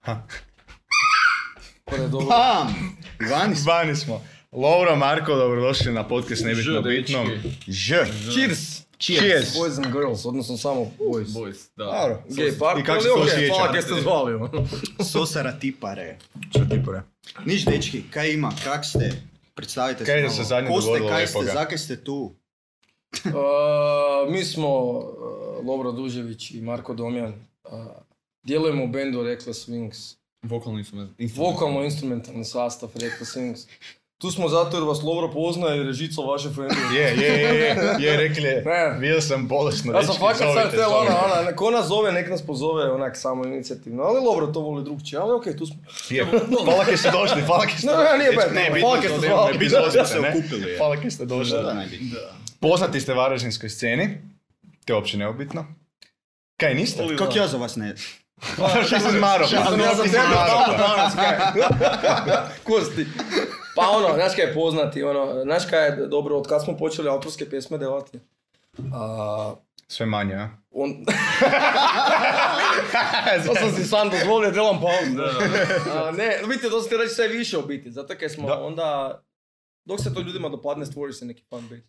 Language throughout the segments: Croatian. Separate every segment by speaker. Speaker 1: Ha,
Speaker 2: Predobro.
Speaker 1: Pam! Vani smo.
Speaker 3: Zvani smo. Lovro, Marko, dobrodošli na podcast Nebitno
Speaker 2: Ž,
Speaker 3: bitno.
Speaker 2: dečki.
Speaker 3: Ž.
Speaker 1: Cheers!
Speaker 3: Cheers.
Speaker 2: Boys and girls, odnosno samo boys.
Speaker 4: Boys, da.
Speaker 3: Dobro.
Speaker 2: Gay par,
Speaker 3: I kako
Speaker 2: ali
Speaker 3: se to
Speaker 2: okej,
Speaker 3: osjeća?
Speaker 2: hvala kaj ste zvali. ono.
Speaker 1: Sosara tipare.
Speaker 3: Čo ti pore?
Speaker 1: Niš dečki, kaj ima, kak ste? Predstavite
Speaker 3: Kaj
Speaker 1: se
Speaker 3: se
Speaker 1: malo.
Speaker 3: zadnje
Speaker 1: Ko ste,
Speaker 3: dogodilo
Speaker 1: kaj
Speaker 3: lepoga?
Speaker 1: ste, zakaj ste tu?
Speaker 2: Uh, mi smo uh, Lovro Dužević i Marko Domjan. Uh, djelujemo u bendu Reckless Wings.
Speaker 4: Vokalni instrument.
Speaker 2: Vokalno-instrumentalni sastav Reckless Wings. Tu smo zato jer vas Lovro poznaje jer je žica vaše friendly.
Speaker 3: Je, je, je, je, je, rekli je,
Speaker 2: Ne.
Speaker 3: bio sam bolesno,
Speaker 2: Ja sam
Speaker 3: dečki,
Speaker 2: fakat sad ono,
Speaker 3: zovite,
Speaker 2: htjela
Speaker 3: zovite.
Speaker 2: ona, ona, nek ona zove, nek nas pozove onak samo inicijativno. Ali Lovro to voli drugčije, ali okej, tu smo.
Speaker 3: Je, hvala kaj ste došli, hvala kaj ste
Speaker 2: Ne, ne, nije
Speaker 3: Dečki,
Speaker 2: bed,
Speaker 3: ne,
Speaker 2: ne,
Speaker 3: bitno
Speaker 2: hvala kaj
Speaker 3: to, ne,
Speaker 2: ste zvali.
Speaker 3: ne, bitno
Speaker 1: Da,
Speaker 3: došli
Speaker 1: da
Speaker 3: ste,
Speaker 1: se
Speaker 3: ne?
Speaker 1: okupili, je.
Speaker 3: Hvala kaj ste došli.
Speaker 1: Da, naj bi.
Speaker 3: Poznati ste varaždinskoj sceni, to je uopće neobitno. Kaj niste?
Speaker 1: Kak ja za vas ne?
Speaker 3: Šta sam zmaro?
Speaker 2: Sam ja za
Speaker 3: Ti si
Speaker 2: tebe
Speaker 3: zmaro.
Speaker 2: tamo danas, kaj. Kosti. Pa ono, znaš kaj je poznati, ono, znaš kaj je dobro, od kad smo počeli autorske pjesme devati? A,
Speaker 3: Sve manje, a?
Speaker 2: on... to sam si sam dozvolio, delam pauzu. A, ne, vidite, to ste reći sve više u biti, zato kaj smo
Speaker 3: Da.
Speaker 2: onda... Dok se to ljudima dopadne, stvori se neki fan base.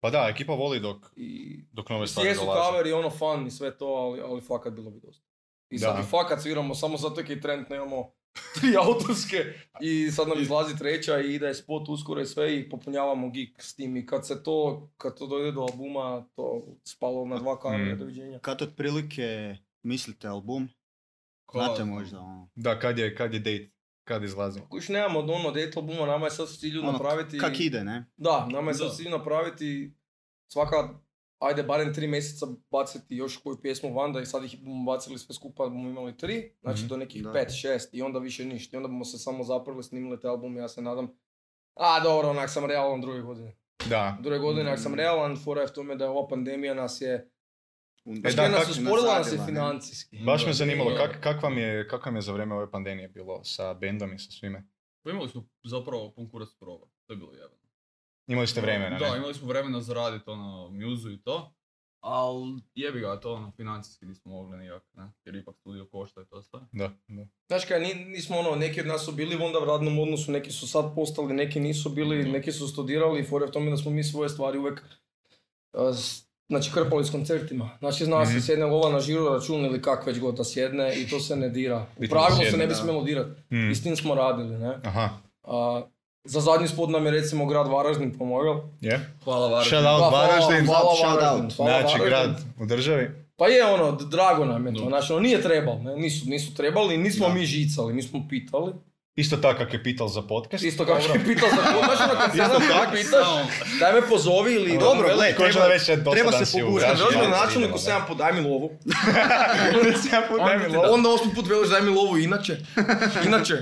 Speaker 3: Pa da, ekipa voli dok,
Speaker 2: I
Speaker 3: dok nove stvari
Speaker 2: jesu
Speaker 3: dolaze.
Speaker 2: cover i ono fan i sve to, ali, ali fakat bilo bi dosta. I sad
Speaker 3: Da.
Speaker 2: i fakat sviramo samo zato kaj trend nemamo tri autorske i sad nam izlazi treća i ide spot uskoro i sve i popunjavamo gig s tim i kad se to, kad to dojde do albuma, to spalo na dva kamere,
Speaker 3: Mm.
Speaker 2: doviđenja.
Speaker 1: Kad otprilike mislite album? Znate možda ono.
Speaker 3: Da, kad je, kad je date, kad izlazi.
Speaker 2: Kuš nemamo ono date albuma, nama je sad cilj
Speaker 1: Ono,
Speaker 2: napraviti...
Speaker 1: Kak ide, ne?
Speaker 2: Da, nama je sad
Speaker 4: Da.
Speaker 2: cilj napraviti svaka, ajde, barem tri mjeseca baciti još koju pjesmu van, da i sad ih bomo bacili sve skupa, bomo imali tri, znači
Speaker 3: Mhm.
Speaker 2: do nekih
Speaker 1: Da.
Speaker 2: pet, šest i onda više ništa. I onda bomo se samo zaprli, snimili te albume, ja se nadam. A, dobro, onak sam realan druge godine.
Speaker 3: Da.
Speaker 2: Druge godine, onak sam realan, fora je v tome da je ova pandemija nas je...
Speaker 1: Onda-
Speaker 3: E,
Speaker 2: Znaš
Speaker 3: da,
Speaker 2: kaj nas
Speaker 1: kak-
Speaker 2: usporila, nas je
Speaker 1: nazadila, ne?
Speaker 2: financijski.
Speaker 3: Baš me zanimalo,
Speaker 2: Da.
Speaker 3: kak, kak, vam je, kak vam je za vrijeme ove pandemije bilo sa bendom i sa svime?
Speaker 4: Pa imali smo zapravo konkurs proba. To je bilo jebeno.
Speaker 3: Imali ste vremena,
Speaker 4: Da,
Speaker 3: ne?
Speaker 4: imali smo vremena za radit ono, mjuzu i to. Ali jebi ga, to ono, financijski nismo mogli nikak, ne? Jer ipak studio košta i to sve.
Speaker 3: Da, da.
Speaker 2: Znaš kaj, ni- nismo ono, neki od nas su bili onda u radnom odnosu, neki su sad postali, neki nisu bili, neki su studirali i fora je u tome da smo mi svoje stvari uvek uh, s- znači krpali s koncertima. Znači zna
Speaker 3: Mhm.
Speaker 2: se sjedne lova na žiro račun ili kak već god da sjedne i to se ne dira.
Speaker 3: I
Speaker 2: U
Speaker 3: to
Speaker 2: pravilu
Speaker 3: sjedne,
Speaker 2: se ne bi
Speaker 1: da.
Speaker 2: smjelo dirat.
Speaker 3: Mm.
Speaker 2: I s tim smo radili, ne.
Speaker 3: Aha,
Speaker 2: A, za zadnji spot nam je recimo grad Varaždin pomogao.
Speaker 3: je.
Speaker 4: Hvala
Speaker 3: Shout
Speaker 4: Varaždin.
Speaker 3: out
Speaker 2: Pa, hvala-
Speaker 3: Varaždin,
Speaker 2: hvala
Speaker 1: shout out.
Speaker 2: Varaždin, hvala
Speaker 3: znači
Speaker 2: Varaždin.
Speaker 3: grad u državi.
Speaker 2: Pa je ono, d- drago nam je to.
Speaker 4: Dobro.
Speaker 2: Znači ono, nije trebalo, ne? Nisu, nisu trebali, nismo
Speaker 1: Da.
Speaker 2: mi žicali, mi smo pitali.
Speaker 3: Isto tako kak je pital za podcast.
Speaker 2: Isto kako je pitao za to, znaš ono kad se jednom pitaš,
Speaker 4: Samo-
Speaker 2: daj me pozovi ili...
Speaker 1: Dobro,
Speaker 2: veli,
Speaker 1: gle,
Speaker 3: Koža
Speaker 1: E, treba-
Speaker 3: već je dosadan
Speaker 1: treba se
Speaker 3: si u
Speaker 1: pogurati.
Speaker 3: Varaždinu.
Speaker 2: Kad dođe
Speaker 1: Idemo,
Speaker 2: načelniku
Speaker 3: da.
Speaker 2: sedam put, daj mi lovu.
Speaker 3: Sedam put daj mi
Speaker 2: Onda ti
Speaker 3: lovu.
Speaker 2: da. Onda osmi put veliš daj mi lovu inače. Inače.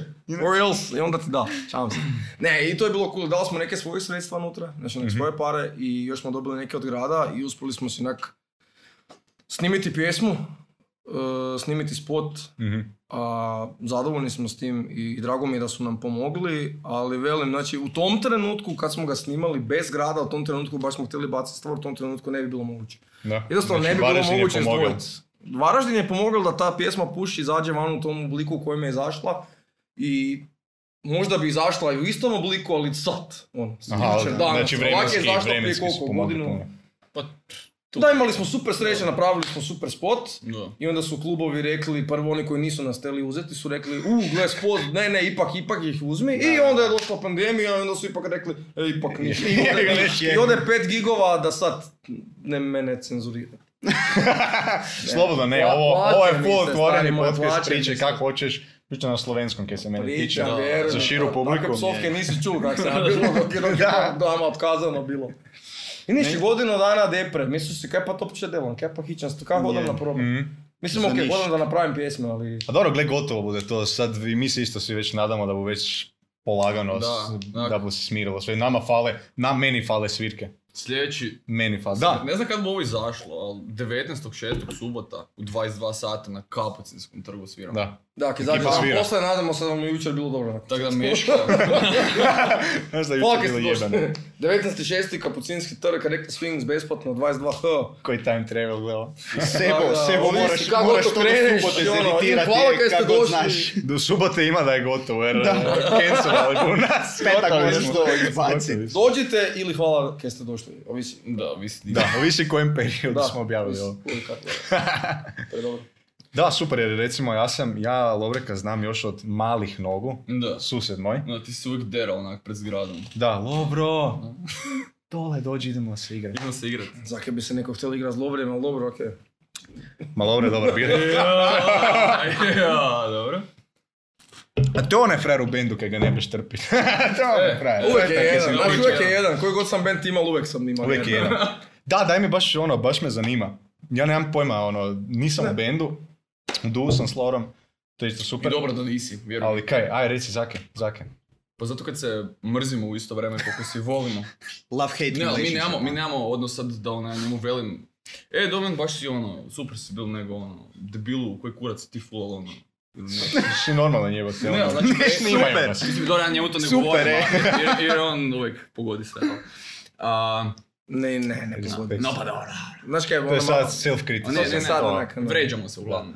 Speaker 2: Or else. I onda ti da. Čavam se. Ne, i to je bilo cool. Dali smo neke svoje sredstva unutra, znači neke svoje pare i još smo dobili neke od grada i uspjeli smo si nak snimiti pjesmu, eh, snimiti spot,
Speaker 3: Mhm.
Speaker 2: a zadovoljni smo s tim i drago mi je da su nam pomogli, ali velim, znači u tom trenutku kad smo ga snimali bez grada, u tom trenutku baš smo htjeli baciti stvar, u tom trenutku ne bi bilo moguće.
Speaker 3: Da. Znači,
Speaker 2: Jednostavno ne bi bilo
Speaker 3: Varaždin je
Speaker 2: moguće
Speaker 3: pomogao.
Speaker 2: izdvojiti. Varaždin je pomogao da ta pjesma puši izađe van u tom obliku u kojem je izašla i možda bi izašla i u istom obliku, ali sad, ono,
Speaker 3: Aha,
Speaker 2: jučer, danas.
Speaker 3: znači
Speaker 2: Ovak je
Speaker 3: vremenski,
Speaker 2: izašla prije
Speaker 3: vremenski
Speaker 2: koliko,
Speaker 3: su pomogli
Speaker 2: godinu?
Speaker 3: puno.
Speaker 4: Pa, tu.
Speaker 2: Da, imali smo super sreće, napravili smo super spot,
Speaker 4: Da.
Speaker 2: i onda su klubovi rekli, prvo oni koji nisu nas htjeli uzeti su rekli, u, gle spot, ne, ne, ipak, ipak ih uzmi. I onda je došla pandemija i onda su ipak rekli, e, ipak ništa. I ode, i ode pet gigova da sad ne mene cenzurira.
Speaker 3: Slobodno, ne,
Speaker 2: Pla-
Speaker 3: ovo, ovo je
Speaker 2: plaćeni
Speaker 3: full
Speaker 2: ste,
Speaker 3: otvoreni
Speaker 2: stari moj,
Speaker 3: podcast,
Speaker 2: plaćeni
Speaker 3: priče
Speaker 2: ste.
Speaker 3: kako hoćeš, priča na slovenskom kaj se mene tiče,
Speaker 2: Pričam, vjerujem.
Speaker 3: za širu publiku.
Speaker 2: Takve psovke nisi čuo kak se ja bilo, dok je dok je
Speaker 3: Da.
Speaker 2: dama otkazano bilo. I ništa, godinu dana depre, mislim si, kaj pa to uopće delam, kaj pa hićam, kaj hodam
Speaker 1: Je.
Speaker 2: na problem.
Speaker 3: Mhm.
Speaker 2: Mislim,
Speaker 1: Za
Speaker 2: ok,
Speaker 1: ništa.
Speaker 2: hodam da napravim pjesme, ali...
Speaker 3: A dobro, gle, gotovo bude to. Sad i mi se isto svi već nadamo da bu već polagano,
Speaker 4: Da,
Speaker 3: s- da,
Speaker 4: da.
Speaker 3: bu se smirilo sve. Nama fale, na meni fale svirke.
Speaker 4: Sljedeći,
Speaker 3: Meni fazno. Da.
Speaker 4: ne znam kad bi ovo izašlo, ali 19.6. subota u 22 sata na Kapucinskom trgu sviramo.
Speaker 3: Da.
Speaker 2: Da, ako izađe
Speaker 3: Ekipa
Speaker 2: dan
Speaker 3: svira.
Speaker 2: posle, nadamo se da vam je jučer bilo dobro.
Speaker 4: Tako da Meško,
Speaker 3: Znaš da je
Speaker 2: Polke
Speaker 3: jučer
Speaker 2: ste
Speaker 3: bilo
Speaker 2: došli.
Speaker 3: jebeno.
Speaker 2: 19.6. Kapucinski trg, Rectal Swings, besplatno, 22h.
Speaker 3: Koji time travel gledao.
Speaker 2: Tako
Speaker 3: Sebo,
Speaker 2: da,
Speaker 3: sebo
Speaker 2: ovisi
Speaker 3: moraš,
Speaker 2: kako
Speaker 3: moraš
Speaker 2: to
Speaker 3: to do
Speaker 2: kreneš,
Speaker 3: subote
Speaker 2: ono,
Speaker 3: zeditirati
Speaker 2: hvala kaj ste
Speaker 3: kako god
Speaker 2: došli.
Speaker 3: znaš. Do subote ima da je gotovo jer eh, cancelali bu nas.
Speaker 1: Petak
Speaker 3: Gotovi
Speaker 1: možeš
Speaker 3: smo.
Speaker 1: to izbaciti.
Speaker 3: Gotovi smo.
Speaker 2: Dođite ili hvala kaj ste došli, ovisi.
Speaker 4: da, visi
Speaker 3: Da, ovisi kojem periodu
Speaker 2: Da,
Speaker 3: smo objavili ovo.
Speaker 2: Uvijek kako je. To je dobro.
Speaker 3: Da, super, jer recimo ja sam, ja Lovreka znam još od malih nogu,
Speaker 4: Da.
Speaker 3: sused moj.
Speaker 4: No, ti si uvijek derao onak pred zgradom.
Speaker 3: Da, Lovro, dole dođi, idemo se igrati.
Speaker 4: Idemo se igrat.
Speaker 2: Zake bi se neko htjeli igrati s Lovrijem, ali dobro, okej.
Speaker 3: E, Ma Lovro je dobar bio.
Speaker 4: ja, dobro.
Speaker 3: A to je onaj frajer u bendu kaj ga ne biš trpiti. to je onaj
Speaker 4: E,
Speaker 3: frajer.
Speaker 2: Uvijek je
Speaker 3: Taj kaj
Speaker 2: jedan,
Speaker 3: sam-
Speaker 2: znači
Speaker 4: uvijek
Speaker 2: uvijek je
Speaker 4: jedan.
Speaker 2: jedan. Koji god sam band imao, uvijek sam imao.
Speaker 3: Uvijek je jedan. Da, daj mi baš ono, baš me zanima. Ja nemam pojma, ono, nisam u bendu, u duo sam s Lovrom, to je isto
Speaker 4: I
Speaker 3: super.
Speaker 4: dobro da nisi, vjerujem.
Speaker 3: Ali kaj, aj reci Zake, Zake.
Speaker 4: Pa zato kad se mrzimo u isto vrijeme koliko si volimo.
Speaker 1: Love hate
Speaker 4: Ne, ali mi
Speaker 1: relationship.
Speaker 4: nemamo, mi nemamo odnos sad da ona njemu velim. E, Domen, baš si ono, super si bil nego ono, debilu, koji kurac si ti fulal ono. Ili nešto.
Speaker 3: Si normalan jebate.
Speaker 4: Ne,
Speaker 3: ono.
Speaker 4: znači,
Speaker 3: Ne snimaju
Speaker 1: super.
Speaker 3: nas.
Speaker 4: Mislim, dobro, ja njemu to ne
Speaker 3: Super,
Speaker 4: govorim,
Speaker 3: e.
Speaker 4: ali- jer, jer on uvijek pogodi sve. A,
Speaker 2: Ne, ne, ne pogodi.
Speaker 4: no pa dobro.
Speaker 2: Znaš kaj,
Speaker 3: To je
Speaker 2: ono
Speaker 3: sad
Speaker 2: malo...
Speaker 3: self-criticism.
Speaker 4: Ne, ne, ne,
Speaker 2: sad
Speaker 3: to.
Speaker 2: onak-
Speaker 4: Vređamo se uglavnom.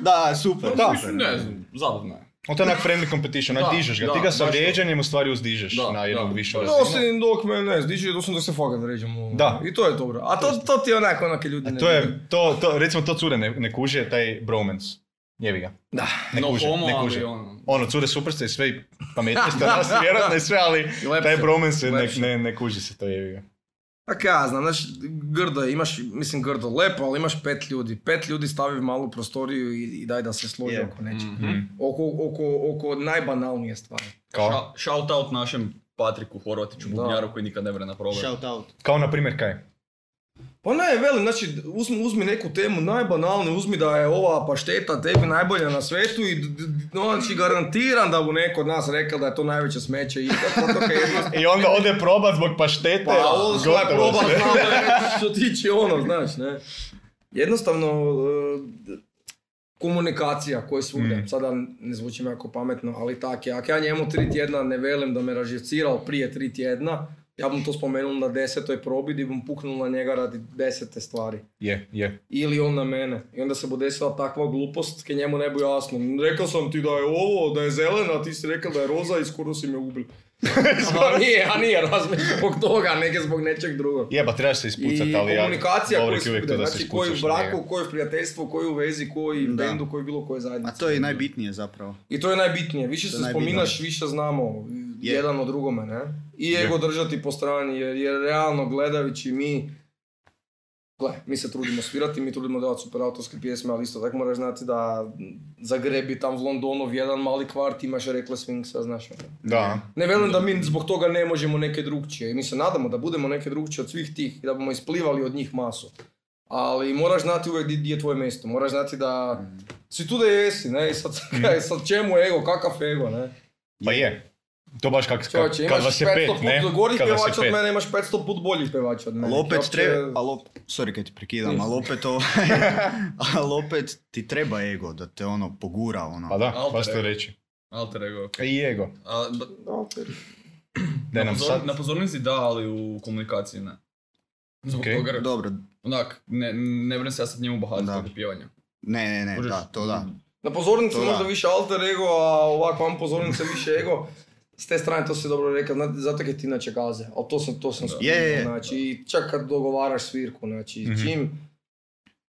Speaker 1: Da, super.
Speaker 3: Da.
Speaker 4: Mislim, Ne znam, zabavno je.
Speaker 3: On to je onak friendly competition, onak
Speaker 4: Da,
Speaker 3: dižeš
Speaker 4: da,
Speaker 3: ga. Ti ga sa
Speaker 4: baš to.
Speaker 3: vrijeđanjem u stvari uzdižeš
Speaker 4: Da,
Speaker 3: na jednom
Speaker 4: da,
Speaker 3: višu
Speaker 4: da.
Speaker 3: razinu.
Speaker 2: No, osim ono, dok me ne zdiče, to sam dok se fakat ređemo.
Speaker 3: Da.
Speaker 2: I to je dobro. A to, to ti je onak, onake ljudi
Speaker 3: A
Speaker 2: ne
Speaker 3: to je, to, to, recimo to cure ne, ne kuže, taj bromance. Jebi ga.
Speaker 2: Da.
Speaker 3: Ne
Speaker 4: no
Speaker 3: kuže,
Speaker 4: homo,
Speaker 3: ne
Speaker 4: ali
Speaker 3: kuže.
Speaker 4: ono.
Speaker 3: Ono, cure super ste i sve i pametni ste od nas, vjerojatno i sve, ali
Speaker 2: I lepše.
Speaker 3: taj bromance se ne,
Speaker 2: Lepše.
Speaker 3: ne, ne kuži se to jebi ga.
Speaker 2: A kaj ja Pa znam, znaš, grdo je, imaš, mislim grdo, lepo, ali imaš pet ljudi. Pet ljudi stavi u malu prostoriju i, i daj da se složi
Speaker 1: Je.
Speaker 2: oko nečega.
Speaker 4: Mhm.
Speaker 2: Oko, oko, oko najbanalnije stvari.
Speaker 3: Kao,
Speaker 4: Ša- Shout out našem Patriku Horvatiću,
Speaker 2: Da.
Speaker 4: bubnjaru koji nikad ne vre na problem.
Speaker 1: Shout out.
Speaker 3: kao na primjer kaj?
Speaker 2: Pa ne, velim, znači, uzmi, uzmi neku temu najbanalniju, uzmi da je ova pašteta tebi najbolja na svetu i d- d- znači garantiram da bu neko od nas rekao da je to najveće smeće i zato kaj jedno
Speaker 3: I onda ode probat zbog paštete,
Speaker 2: Pa ovo što je
Speaker 3: gotovo
Speaker 2: proba
Speaker 3: sve.
Speaker 2: znao da je što tiče ono, znaš, ne. Jednostavno, e, d- komunikacija koja je svugdje,
Speaker 3: Mm.
Speaker 2: sada ne zvučim jako pametno, ali tak je. Ako ja njemu tri tjedna ne velim da me raživcirao prije tri tjedna, ja bom to spomenul na desetoj probidi i bom puknul na njega radi desete stvari.
Speaker 3: Je, je.
Speaker 2: Ili on na mene. I onda se bude desila takva glupost ke njemu ne bu jasno. Rekao sam ti da je ovo, da je zelena, a ti si rekao da je roza i skoro si me ubil. a nije, a nije razmišljam zbog toga, nego zbog nečeg drugog.
Speaker 3: Jeba, trebaš se ispucat, ali
Speaker 2: I
Speaker 3: ja,
Speaker 2: komunikacija koji
Speaker 3: Lovrik je
Speaker 2: se
Speaker 3: uvijek tu
Speaker 2: ide,
Speaker 3: da se
Speaker 2: znači koji u
Speaker 3: ispucaš na njega.
Speaker 2: braku, koji u prijateljstvu, koji u vezi, koji u
Speaker 1: Da.
Speaker 2: bendu, koji bilo koje
Speaker 1: A
Speaker 2: zajednice.
Speaker 1: to je najbitnije zapravo.
Speaker 2: I to je najbitnije, više
Speaker 1: To
Speaker 2: se
Speaker 1: je najbitnije.
Speaker 2: spominaš, više znamo
Speaker 1: Je.
Speaker 2: jedan o drugome, ne? I
Speaker 3: Je.
Speaker 2: ego držati po strani, jer, jer realno gledajući mi, gle, mi se trudimo svirati, mi trudimo davati super autorske pjesme, ali isto tako moraš znati da zagrebi tam v Londonu jedan mali kvart, imaš rekla Sphinxa, znaš. ono.
Speaker 3: Da.
Speaker 2: Ne velim da mi zbog toga ne možemo neke drugčije. I mi se nadamo da budemo neke drugčije od svih tih i da bomo isplivali od njih masu. Ali moraš znati uvijek di- di je tvoje mjesto. Moraš znati da
Speaker 3: Mm.
Speaker 2: si tu da jesi, ne? I sad, kaj, sad čemu ego, kakav ego, ne?
Speaker 3: Pa je. To baš kak, kak,
Speaker 2: Čovječe,
Speaker 3: kad
Speaker 2: imaš
Speaker 3: vas je
Speaker 2: 500
Speaker 3: pet, ne?
Speaker 2: put gorih
Speaker 3: Kad vas je
Speaker 2: pevača od
Speaker 3: pet.
Speaker 2: mene, imaš 500 put boljih pevača od mene.
Speaker 1: Ali opet
Speaker 2: Uopće-
Speaker 1: treba, ali op- sorry kad ti prekidam, ali opet ovo, ali opet ti treba ego da te ono pogura ono.
Speaker 3: Pa da,
Speaker 4: Alter
Speaker 3: baš to
Speaker 4: ego.
Speaker 3: reći.
Speaker 4: Alter ego.
Speaker 3: I ego.
Speaker 4: A, ba-
Speaker 2: Da, opet.
Speaker 3: Da
Speaker 4: na,
Speaker 3: nam
Speaker 4: pozor-
Speaker 3: sad...
Speaker 4: na pozornici da, ali u komunikaciji ne. Zbog
Speaker 3: Okej.
Speaker 4: toga,
Speaker 1: Dobro,
Speaker 4: onak, ne, ne vrem se ja sad njemu bahati
Speaker 1: Da.
Speaker 4: zbog pjevanja.
Speaker 1: ne, ne, ne,
Speaker 4: Kužiš?
Speaker 1: da, to da.
Speaker 2: Na pozornici
Speaker 1: To da.
Speaker 2: možda više alter ego, a ovako vam pozornice više ego. S te strane to si dobro rekao, znate, zato je ti inače gaze, ali to sam, to sam
Speaker 4: Da.
Speaker 2: skužio,
Speaker 1: Je, je, je.
Speaker 2: znači, i čak kad dogovaraš svirku, znači,
Speaker 3: Mhm.
Speaker 2: čim,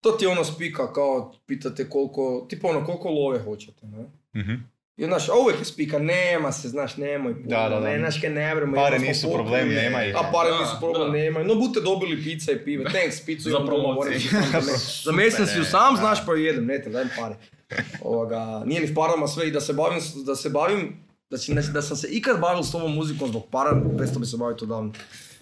Speaker 2: to ti je ono spika, kao, pitate koliko, tipa ono, koliko love hoćete, ne?
Speaker 3: Mhm.
Speaker 2: I znaš, a uvijek je spika, nema se, znaš, nemoj puno,
Speaker 3: Da, da, da.
Speaker 2: ne, znaš, kaj ne vremo,
Speaker 3: Pare
Speaker 2: imamo smo
Speaker 3: nisu
Speaker 2: puno.
Speaker 3: problem,
Speaker 1: je.
Speaker 3: nema ih.
Speaker 2: A pare
Speaker 4: Da,
Speaker 2: nisu problem,
Speaker 4: da.
Speaker 2: nema. No, bute dobili pizza i pive, thanks, pizzu
Speaker 4: Za
Speaker 2: imam doma,
Speaker 4: promociju.
Speaker 2: moram si sam da ne- Za mjesec sam si ju sam, znaš, pa ju jedem, ne te, dajem pare. Ovoga, nije ni v parama sve i da se bavim, s- da se bavim, znači, znači, da sam se ikad bavio s ovom muzikom zbog para, prestao bi se baviti odavno.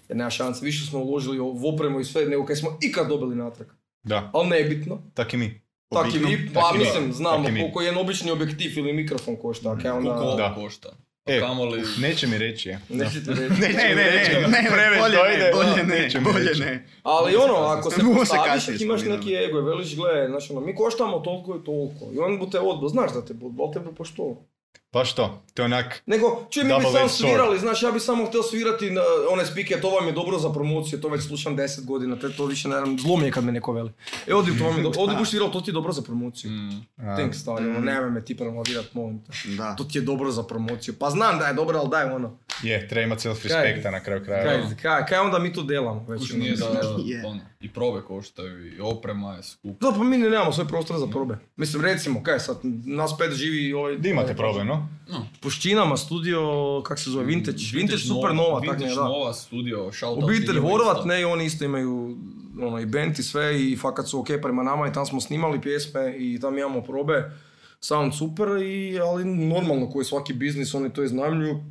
Speaker 2: Jer nema šanse, više smo uložili u opremu i sve, nego kaj smo ikad dobili natrag.
Speaker 3: Da,
Speaker 2: Ali nebitno.
Speaker 3: tak i mi.
Speaker 2: Tak i
Speaker 1: Obitno.
Speaker 2: mi,
Speaker 3: tak
Speaker 2: pa
Speaker 3: i mi,
Speaker 2: mislim, znamo
Speaker 3: tak i mi. Mhm.
Speaker 2: koliko je jedan obični objektiv ili mikrofon košta, kaj
Speaker 4: Koliko
Speaker 2: onda...
Speaker 4: ovo
Speaker 3: Da.
Speaker 4: košta? A
Speaker 3: E,
Speaker 4: kamoli...
Speaker 3: Neće mi reći, je.
Speaker 2: Neću ti reći.
Speaker 1: Ne, ne, ne, ne,
Speaker 3: Preveć
Speaker 1: bolje
Speaker 3: to
Speaker 1: ne,
Speaker 3: ide, da,
Speaker 1: bolje ne,
Speaker 3: neće mi
Speaker 1: bolje
Speaker 3: reći.
Speaker 1: ne.
Speaker 2: Ali ono, ako se
Speaker 1: Mogu se
Speaker 2: postaviš,
Speaker 1: kasnije
Speaker 2: ako imaš
Speaker 1: spominjati.
Speaker 2: neki ego i veliš, gle, znači ono, mi koštamo toliko i toliko. I on bu te odbo, znaš da te bu, ali te bu poštovao.
Speaker 3: Baš to, to je onak,
Speaker 2: Nego, čuj, mi bi
Speaker 3: Double
Speaker 2: samo
Speaker 3: edged sword.
Speaker 2: svirali, znaš, ja bi samo htio svirati na one spike, to vam je dobro za promociju, to već slušam 10 godina, te to više, naravno, zlo mi je kad me neko veli. E, odi, to vam je dobro, odi buš svirao, to ti je dobro za promociju.
Speaker 4: Mm.
Speaker 3: a,
Speaker 2: Thanks, stari, ono, nemoj me ti promovirat, molim te.
Speaker 1: Da.
Speaker 2: To ti je dobro za promociju. Pa znam da je dobro, ali daj ono.
Speaker 3: je, treba imat self-respekta na kraju
Speaker 2: Kaj,
Speaker 3: kraja.
Speaker 2: kaj, kaj onda mi to delamo već?
Speaker 4: Kuš
Speaker 2: ono,
Speaker 4: nije da,
Speaker 2: mislim,
Speaker 1: Je.
Speaker 4: ono, i probe koštaju, i oprema je skup.
Speaker 2: Da, pa mi ne nemamo svoj prostor za probe. Mislim, recimo, kaj sad, nas pet živi ovaj...
Speaker 3: Di imate problem, no?
Speaker 4: No.
Speaker 2: Puščinama, studio, kak se zove, Vintage,
Speaker 3: Mm,
Speaker 2: Vintage, Supernova, tak ne,
Speaker 4: Vintage
Speaker 2: da.
Speaker 4: Nova studio, shoutout
Speaker 2: Obitelj
Speaker 4: njima
Speaker 2: Horvat,
Speaker 4: isto.
Speaker 2: ne, i oni isto imaju ono, i band i sve i fakat su ok prema nama i tam smo snimali pjesme i tam imamo probe. Sound super, i, ali normalno koji svaki biznis, oni to iznajmljuju.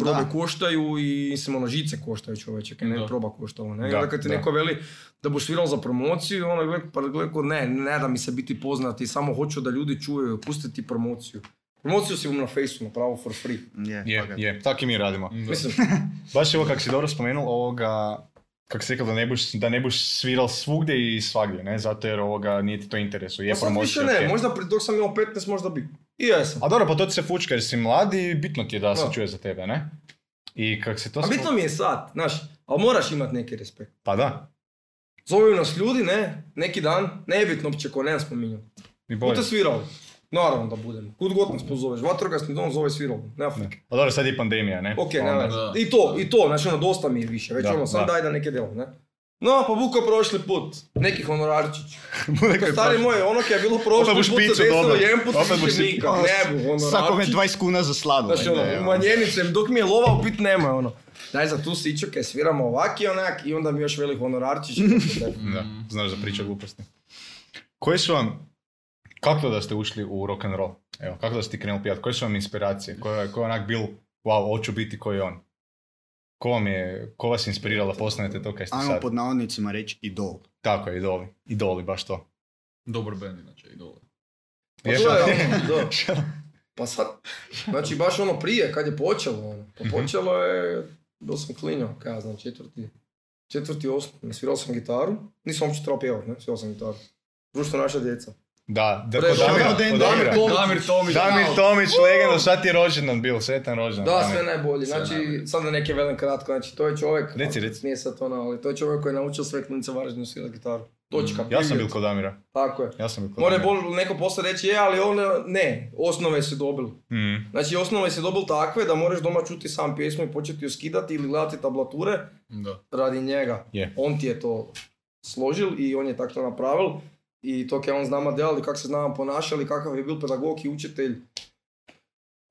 Speaker 2: Probe
Speaker 1: Da.
Speaker 2: koštaju i mislim ono žice koštaju čoveče, kaj ne
Speaker 4: Da.
Speaker 2: proba koštala. Ne? I
Speaker 3: Da,
Speaker 2: onda kad ti
Speaker 3: da.
Speaker 2: neko veli da boš svirao za promociju, ono je pa gle, ko ne, ne da mi se biti poznati, samo hoću da ljudi čuju, pustiti promociju. Promociju si bom na Faceu napravo for free.
Speaker 1: Je,
Speaker 3: Je,
Speaker 1: fakat.
Speaker 3: je, tak i mi radimo.
Speaker 4: Da.
Speaker 2: Mislim,
Speaker 3: Baš evo kak si dobro spomenul ovoga, kak si rekao da ne buš, da ne buš sviral svugdje i svagdje, ne? Zato jer ovoga nije ti to interesu, je
Speaker 2: pa sad više
Speaker 3: promocija,
Speaker 2: ne,
Speaker 3: ok.
Speaker 2: možda pri- dok sam imao 15 možda bi. I jesam.
Speaker 3: A dobro, pa to ti se fučka jer si mlad i bitno ti je da se
Speaker 2: Da.
Speaker 3: čuje za tebe, ne? I kak se to...
Speaker 2: A
Speaker 3: spo-
Speaker 2: bitno mi je sad, znaš, ali moraš imat neki respekt.
Speaker 3: Pa da,
Speaker 2: Zovu nas ljudi, ne, neki dan, nebitno uopće ko, ne spominjao.
Speaker 3: i bolje.
Speaker 2: Bude svirao. Naravno da budem. Kud god nas pozoveš, vatrogasni dom zove svirao, ne frike.
Speaker 3: Pa dobro, sad je pandemija, ne?
Speaker 2: Ok,
Speaker 3: Pa
Speaker 2: ne,
Speaker 3: onda-
Speaker 2: ne.
Speaker 4: da.
Speaker 2: I to, i to, znači ono, dosta mi je više, već
Speaker 3: Da,
Speaker 2: ono, sam
Speaker 3: da.
Speaker 2: daj da neke delo, ne. No, pa buko prošli put, neki honorarčić.
Speaker 3: Bude
Speaker 2: Ka
Speaker 3: kaj
Speaker 2: stari
Speaker 3: prošlo.
Speaker 2: moj, ono kaj je bilo
Speaker 3: Opet
Speaker 2: prošli put
Speaker 3: buš picu
Speaker 2: se desilo,
Speaker 3: dobar.
Speaker 2: jedan put
Speaker 3: Opet buš
Speaker 2: više
Speaker 3: si-
Speaker 2: nikad,
Speaker 1: A,
Speaker 2: ne bu,
Speaker 1: Svakome
Speaker 2: honorarčić.
Speaker 1: 20 kuna za sladoled.
Speaker 2: Ono, Znači ono,
Speaker 1: da, evo.
Speaker 2: umanjenice, dok mi je lova u pit nema, ono. Daj za tu siću kaj sviramo ovak i onak i onda mi još veli honorarčić.
Speaker 4: Mm.
Speaker 3: Da, znaš da priča gluposti. Koji su vam, kako da ste ušli u rock and roll? Evo, kako da ste krenuli pijat? Koje su vam inspiracije? Ko je, ko je onak bil, wow, hoću biti koji je on? Ko vam je, ko vas je inspirirao da postanete to kaj ste
Speaker 1: Ajmo
Speaker 3: sad?
Speaker 1: pod navodnicima reći idol.
Speaker 3: Tako je, idoli. Idoli, baš to.
Speaker 4: Dobar band inače, i dole.
Speaker 2: Pa
Speaker 3: Je,
Speaker 2: to je
Speaker 3: šal-
Speaker 2: ono, da. Pa sad, znači baš ono prije, kad je počelo ono. Pa počelo je, bio sam klinio, kaj ja znam, četvrti, četvrti osnovni, svirao sam gitaru, nisam uopće trebao pjevat, ne, svirao sam gitaru. Društvo naša djeca.
Speaker 3: Da, da,
Speaker 2: Pre-
Speaker 3: kod Damira, kod
Speaker 2: Damir- Damir
Speaker 3: Damira.
Speaker 2: Tomić.
Speaker 4: Damir Tomić.
Speaker 3: Damir
Speaker 4: znao.
Speaker 3: Tomić, legenda, sad ti je rođendan bil, sretan rođendan.
Speaker 2: Da,
Speaker 3: Damir.
Speaker 2: sve najbolje.
Speaker 4: Sve
Speaker 2: Znači,
Speaker 4: najbolje.
Speaker 2: sad da neke velim kratko, znači to je čovjek,
Speaker 3: Reci, reci.
Speaker 2: nije sad ono, ali to je čovjek koji je naučio sve klinice Varaždinu svirati gitaru. Točka.
Speaker 3: Mm. Ja sam
Speaker 2: period.
Speaker 3: bil kod Damira,
Speaker 2: Tako je.
Speaker 3: ja sam bil kod
Speaker 2: More
Speaker 3: Damira.
Speaker 2: bol, neko poslije reći, je, ali on, ne, osnove si dobili.
Speaker 3: Mm,
Speaker 2: Znači, osnove si dobil takve da moraš doma čuti sam pjesmu i početi ju skidati ili gledati tablature
Speaker 4: Da.
Speaker 2: radi njega.
Speaker 3: Je.
Speaker 2: On ti je to složil i on je tako to napravil. I to kaj on s nama delali, kako se s nama ponašali, kakav je bil pedagog i učitelj.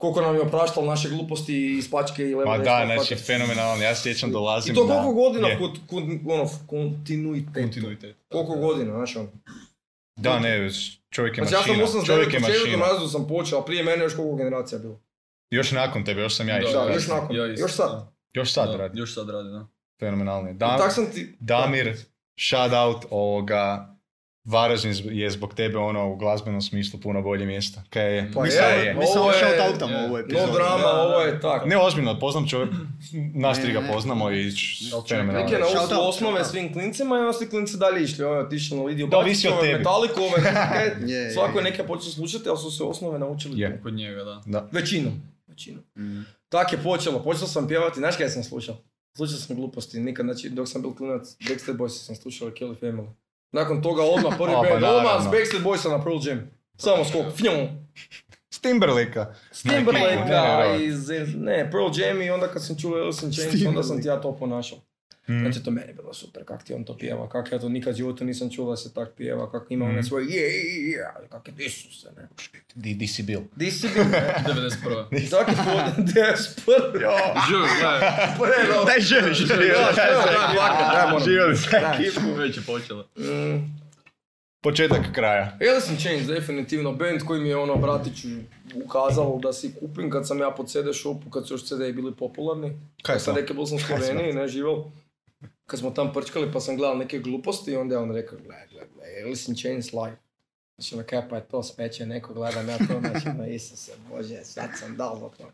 Speaker 2: Koliko nam je opraštal naše gluposti iz pačke i leva
Speaker 3: Ma
Speaker 2: desna,
Speaker 3: da,
Speaker 2: fakat.
Speaker 3: znači fenomenalno, ja se sjećam, dolazim
Speaker 2: I to
Speaker 3: na-
Speaker 2: koliko godina
Speaker 3: je.
Speaker 2: kod, kod, ono, kontinuitet.
Speaker 4: Kontinuitet.
Speaker 2: Koliko godina, znači ono.
Speaker 3: Da, ne, s- čovjek je
Speaker 2: Znači ja sam
Speaker 3: mašina.
Speaker 2: 89
Speaker 3: čovjek je
Speaker 2: u četvrtom
Speaker 3: mašina.
Speaker 2: razredu sam počeo, a prije mene još koliko generacija bilo.
Speaker 3: Još nakon tebe, još sam ja
Speaker 4: Da,
Speaker 3: išao.
Speaker 2: Da,
Speaker 3: raditi.
Speaker 2: još nakon,
Speaker 4: Ja isto,
Speaker 2: još sad.
Speaker 4: da.
Speaker 3: Još sad
Speaker 4: Da,
Speaker 3: radi.
Speaker 4: Još sad radi, da.
Speaker 3: Fenomenalno je.
Speaker 2: I
Speaker 3: Dam,
Speaker 2: tak sam ti...
Speaker 3: Damir, shout out ovoga. Varaždin zb- je zbog tebe ono u glazbenom smislu puno bolje mjesto. Kaj je?
Speaker 2: Pa
Speaker 1: Mi
Speaker 2: je,
Speaker 3: Mislim da
Speaker 1: samo- Mi samo
Speaker 2: ovo je-
Speaker 1: shout outamo
Speaker 4: je.
Speaker 1: ovu epizodu.
Speaker 2: No drama,
Speaker 4: Da, da.
Speaker 2: ovo je tak.
Speaker 3: Ne, ozbiljno, poznam čovjek, nas tri ga
Speaker 1: Ne, ne.
Speaker 3: poznamo i č-
Speaker 4: čovjek
Speaker 3: fenomenalno.
Speaker 2: Lik je
Speaker 3: je.
Speaker 1: Shout
Speaker 2: naučio
Speaker 1: out,
Speaker 2: osnove
Speaker 1: shout out.
Speaker 2: svim klincima i onda su klinci dalje išli. Ovo je otišao na Lidiju
Speaker 3: Da, ovisi o
Speaker 2: Bakić, ovo je
Speaker 3: tebi.
Speaker 2: Metaliku, ovo je ne znam kaj.
Speaker 1: Je, je,
Speaker 2: e, Svako je
Speaker 1: je.
Speaker 2: neke počeo slušati, ali su se osnove naučili.
Speaker 3: Je.
Speaker 4: Kod njega, da.
Speaker 2: Većinom. Većinom.
Speaker 1: Mm.
Speaker 2: Tak je počelo, počeo sam pjevati, znaš kaj sam slušao? Slušao sam gluposti, nikad, znači dok sam bil klinac, Backstreet Boys sam slušao i Kelly Family. Nakon toga odmah prvi
Speaker 3: A, pa
Speaker 2: band, odmah s
Speaker 3: naravno.
Speaker 2: Backstreet Boysa na Pearl Jam. Samo skok, fjom,
Speaker 3: S Timberlake-a.
Speaker 2: S
Speaker 3: Nike, ne,
Speaker 2: Timberlake-a
Speaker 3: ne,
Speaker 2: i z- ne, Pearl Jam i onda kad sam čuo Alice in Chains, onda sam ti ja to ponašao.
Speaker 3: Mm.
Speaker 2: Znači to meni je bilo super, kak ti on to pjeva, kak ja to nikad u životu nisam čuo da se tak pjeva, kak ima one svoje je, je, je, ali kak je Isuse, ne.
Speaker 3: Mm. Di, di si bil?
Speaker 2: Di si bio, ne?
Speaker 4: 91.
Speaker 2: I tako je pod DSP.
Speaker 4: Živi, gledaj.
Speaker 2: Prvo.
Speaker 3: Daj, želi, želi.
Speaker 2: Da, da, fakat, da, moram.
Speaker 3: Živjeli.
Speaker 2: Da.
Speaker 4: Već je počelo.
Speaker 2: Mm,
Speaker 3: Početak kraja.
Speaker 2: Alice in Chains definitivno band koji mi je ono bratiću ukazalo da si kupim kad sam ja pod CD shopu, kad su još CD bili popularni.
Speaker 3: Kaj
Speaker 2: Ja sam
Speaker 3: sad?
Speaker 2: rekao, bol sam u Sloveniji, ne živel. Kad smo tam prčkali pa sam gledal neke gluposti i onda je on rekao, gledaj, gledaj, gledaj, Alice in Chains live.
Speaker 5: Znači, ono, kaj pa je to, speče neko, gledam ja to, znači, ono, Isuse, Bože, sad sam dal za to.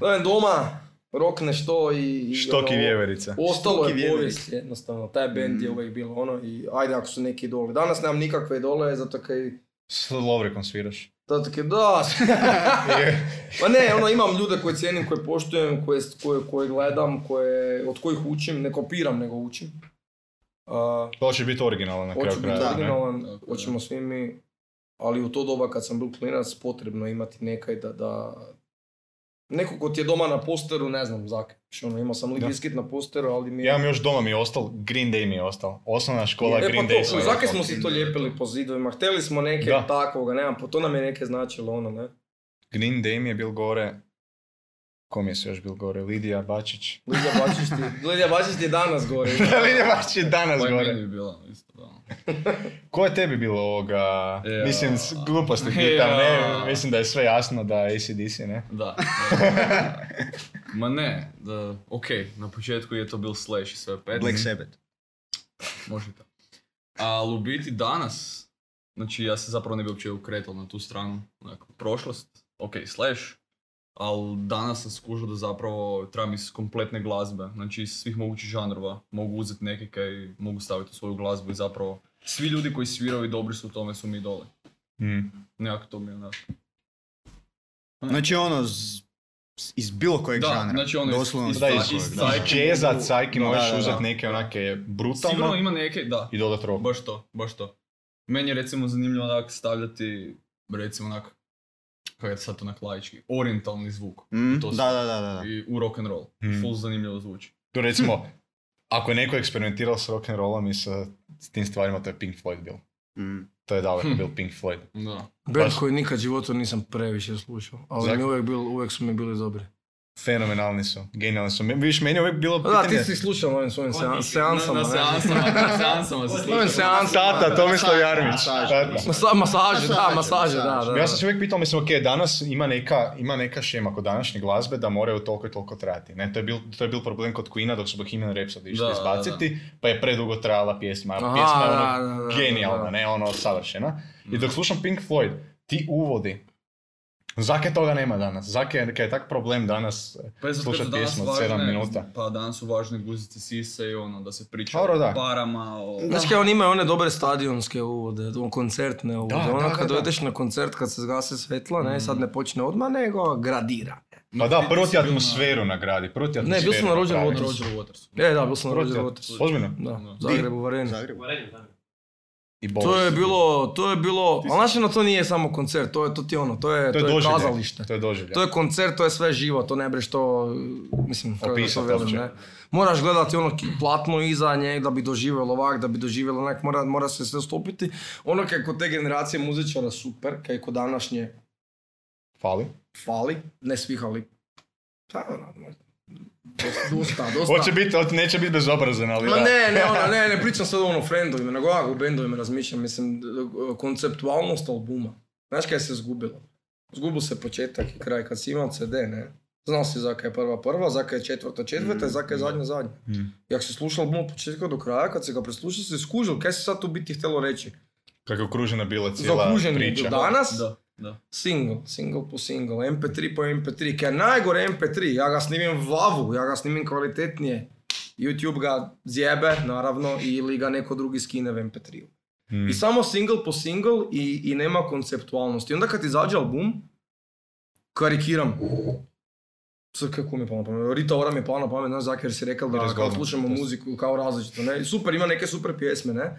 Speaker 2: Dođem doma, rokneš to i... i
Speaker 3: Štoki
Speaker 2: ono,
Speaker 3: vjeverica.
Speaker 2: Ostalo
Speaker 1: Štoki
Speaker 2: je
Speaker 1: vjeverik.
Speaker 2: povijest, jednostavno, taj bend je
Speaker 1: Mm.
Speaker 2: uvijek bilo ono i ajde ako su neki idoli. Danas nemam nikakve idole, zato kaj,
Speaker 3: S Lovrekom sviraš.
Speaker 2: zato kaj da,
Speaker 3: Je.
Speaker 2: Pa ne, ono, imam ljude koje cijenim, koje poštujem, koje, koje, koje gledam, koje, od kojih učim, ne kopiram, nego učim. Uh,
Speaker 3: To će biti originalan na kraju
Speaker 2: hoću biti
Speaker 3: kraja.
Speaker 2: originalan,
Speaker 4: Tako je.
Speaker 2: hoćemo svi mi, ali u to doba kad sam bil klinac, potrebno je imati nekaj da, da Neko ko ti je doma na posteru, ne znam, zak. Ono, imao sam Limp
Speaker 3: Da.
Speaker 2: Bizkit na posteru, ali mi je...
Speaker 3: Ja imam još doma mi je ostal, Green Day mi je ostal. Osnovna škola
Speaker 2: E,
Speaker 3: Green
Speaker 2: pa
Speaker 3: Day.
Speaker 2: to,
Speaker 3: sam
Speaker 2: zakaj
Speaker 3: rekao.
Speaker 2: smo si to lijepili po zidovima? Htjeli smo neke
Speaker 3: Da.
Speaker 2: takvoga, nemam, po to nam je neke značilo, ono, ne?
Speaker 3: Green Day mi je bil gore. Kom je se još bil gore? Lidija Bačić.
Speaker 2: Lidija Bačić ti, Lidija Bačić ti je danas gore.
Speaker 3: Lidija Bačić je danas
Speaker 4: Pa i meni
Speaker 3: gore.
Speaker 4: bi bila, isto da. ono.
Speaker 3: Ko je tebi bilo ovoga?
Speaker 4: Ja.
Speaker 3: Mislim, s- gluposti pitam, ne?
Speaker 4: Ja.
Speaker 3: Mislim da je sve jasno da je ACDC, ne?
Speaker 4: Da. Ma ne, da, ok, na početku je to bil Slash i sve pet.
Speaker 1: Black Sabbath.
Speaker 4: Možete. Ali u biti danas, znači ja se zapravo ne bi uopće ukretao na tu stranu, onako, prošlost, ok, slash, ali danas sam skužio da zapravo trebam iz kompletne glazbe, znači iz svih mogućih žanrova, mogu uzeti neke kaj mogu staviti u svoju glazbu i zapravo svi ljudi koji sviraju i dobri su u tome su mi idoli.
Speaker 3: Mm.
Speaker 4: Nekako to mi je onak.
Speaker 1: Znači ono, z- s- iz bilo kojeg
Speaker 4: Da,
Speaker 1: žanra.
Speaker 4: znači ono iz-
Speaker 1: Doslovno
Speaker 4: iz-
Speaker 1: iz
Speaker 3: Da,
Speaker 1: bilo
Speaker 3: iz,
Speaker 4: iz
Speaker 1: kojeg, da.
Speaker 4: Psyche.
Speaker 3: iz jazza, cajki
Speaker 1: Da,
Speaker 3: možeš
Speaker 1: da, da.
Speaker 3: uzeti neke onake
Speaker 4: Sigurno
Speaker 3: brutalne
Speaker 4: ima neke, da,
Speaker 3: i dodat rock.
Speaker 4: baš to, baš to. Meni je recimo zanimljivo onak stavljati, recimo onak, kako je sad onak laički, orientalni zvuk.
Speaker 1: Mm,
Speaker 4: To su-
Speaker 1: da, da, da, da. da.
Speaker 4: i u rock and roll.
Speaker 3: Mm.
Speaker 4: Full zanimljivo zvuči.
Speaker 3: Tu recimo, ako je neko eksperimentirao s rock'n'rollom i sa s tim stvarima, to je Pink Floyd bil.
Speaker 1: Mm.
Speaker 3: To je daleko
Speaker 4: Hm.
Speaker 3: bil Pink Floyd.
Speaker 4: Da.
Speaker 2: Band
Speaker 3: Baš-
Speaker 2: koji nikad životu nisam previše slušao, ali
Speaker 3: Zak-
Speaker 2: mi uvijek, bil, uvijek su mi bili dobri.
Speaker 3: Fenomenalni su, genijalni su. Me- Vidiš, meni je uvijek bilo
Speaker 2: Pa Da,
Speaker 3: Pa pitanje...
Speaker 2: ti si slušao na ovim svojim sean- seansama.
Speaker 4: Pa Na,
Speaker 2: ne?
Speaker 4: na seansama, na seansama se
Speaker 2: Ovim
Speaker 4: sluša.
Speaker 2: seansama.
Speaker 3: Tata, Tomislav Jarmić.
Speaker 1: Masaže,
Speaker 3: Tata.
Speaker 2: Masa- masaže, da,
Speaker 1: Masaže,
Speaker 2: masaže, da,
Speaker 1: masaže.
Speaker 2: da.
Speaker 3: Ja sam se uvijek pitao, mislim, ok, danas ima neka, ima neka šema kod današnje glazbe da moraju toliko i toliko trajati. Ne, to, je bil, to je bil problem kod Queena dok su Bohemian Rhapsody išli
Speaker 4: Da, da,
Speaker 3: izbaciti, pa je predugo trajala pjesma.
Speaker 2: Aha,
Speaker 3: pjesma je ono
Speaker 2: da, da, da, da,
Speaker 3: genijalna,
Speaker 2: da.
Speaker 3: ne ono savršena. I dok slušam Pink Floyd, ti uvodi, Zake toga nema danas. Zake je, kaj je tak problem danas.
Speaker 4: Pa je zato
Speaker 3: Slušat
Speaker 4: što danas
Speaker 3: pjesmu od sedam
Speaker 4: važne-
Speaker 3: minuta.
Speaker 4: Pa danas su važne guzice sise i ono, da se priča
Speaker 3: Dobro,
Speaker 4: o
Speaker 3: da.
Speaker 4: parama, o...
Speaker 2: Znaš kaj, oni imaju one dobre stadionske uvode, on- koncertne uvode.
Speaker 3: Da,
Speaker 2: ono
Speaker 3: da,
Speaker 2: kad
Speaker 3: da, Mm. da.
Speaker 2: dojdeš na koncert, kad se zgase svetla, ne, sad ne počne odmah, nego gradira.
Speaker 3: Pa da,
Speaker 4: ti-
Speaker 3: prvo
Speaker 4: ti
Speaker 3: ti
Speaker 4: si bil na-
Speaker 3: atmosferu nagradi, prvo ti
Speaker 2: bio sam
Speaker 3: atmosferu
Speaker 2: na Roger
Speaker 3: napravi.
Speaker 4: Na
Speaker 2: Waters.
Speaker 4: Roger Waters.
Speaker 2: E, da, bio sam na
Speaker 3: Prvo ti-
Speaker 2: Roger Waters.
Speaker 3: Ozbiljno?
Speaker 2: Da,
Speaker 4: Di?
Speaker 2: Zagreb u Vareni.
Speaker 1: Zagreb.
Speaker 3: I
Speaker 2: To je
Speaker 3: Boris.
Speaker 2: bilo, to je bilo, ali znaš, ono, to nije samo koncert, to je, to ti je ono, to je,
Speaker 3: To je
Speaker 2: to je
Speaker 3: doživljaj.
Speaker 2: kazalište.
Speaker 3: To je doživljaj.
Speaker 2: To je koncert, to je sve živo, to ne breš to, mislim, kako da to
Speaker 3: Opisat
Speaker 2: velim,
Speaker 3: uopće.
Speaker 2: ne. Moraš gledati ono ki- platno iza nje, da bi doživjelo ovak, da bi doživjelo onak, mora, mora se sve stopiti. Ono kaj kod te generacije muzičara super, kaj kod današnje
Speaker 3: Fali.
Speaker 2: fali, ne svih, ali... Pa, ono, Dosta, dosta.
Speaker 3: Hoće biti, hoće- neće biti bezobrazan, ali
Speaker 2: Ma
Speaker 3: da.
Speaker 2: ne, ne, ono, ne, ne pričam sad ono o friendovima, nego ja o bendovima razmišljam, mislim, d- d- konceptualnost albuma. Znaš kaj se zgubilo? Zgubil se početak i kraj, kad si imao CD, ne? Znao si zakaj je prva prva, zakaj je četvrta četvrta i zakaj je zadnja zadnja.
Speaker 3: Mm.
Speaker 2: I ako si slušao album od početka do kraja, kad si ga preslušao, si skužil kaj si sad tu biti htjelo reći.
Speaker 3: Kako je okružena bila cijela
Speaker 2: Zaokružen je
Speaker 3: priča.
Speaker 2: bio danas,
Speaker 4: Da, da.
Speaker 2: single, single po single, mp3 po mp3, kaj je najgore mp3, ja ga snimim vavu, ja ga snimim kvalitetnije. YouTube ga zjebe, naravno, ili ga neko drugi skine v mp3.
Speaker 3: Mm.
Speaker 2: I samo single po single i, i nema konceptualnosti. I onda kad izađe album, karikiram. Sad kako mi je palo na pamet? Rita Ora mi je palo na pamet, znaš, zato jer si rekao da kao
Speaker 3: Razgovor.
Speaker 2: slušamo muziku kao različito, ne? I Super, ima neke super pjesme, ne?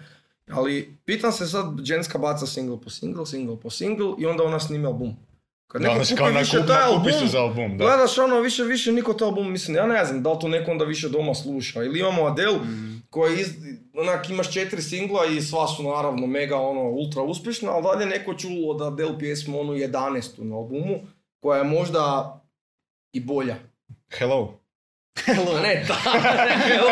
Speaker 2: Ali pitam se sad, ženska baca single po single, single po single i onda ona snimi album. Kad
Speaker 3: Da,
Speaker 2: neko
Speaker 3: znači kao
Speaker 2: kupi
Speaker 3: na
Speaker 2: više
Speaker 3: kup,
Speaker 2: taj
Speaker 3: nakupi se
Speaker 2: album,
Speaker 3: za album, da.
Speaker 2: Gledaš ono, više, više niko to album, mislim, ja ne znam da li to neko onda više doma sluša. Ili imamo Adele, koja iz, onak, imaš četiri singla i sva su naravno mega ono, ultra uspješna, ali dalje neko čulo od Adele pjesmu onu 11. na albumu, koja je možda i bolja.
Speaker 3: Hello.
Speaker 2: Hello. Ne, ta, ne, hello.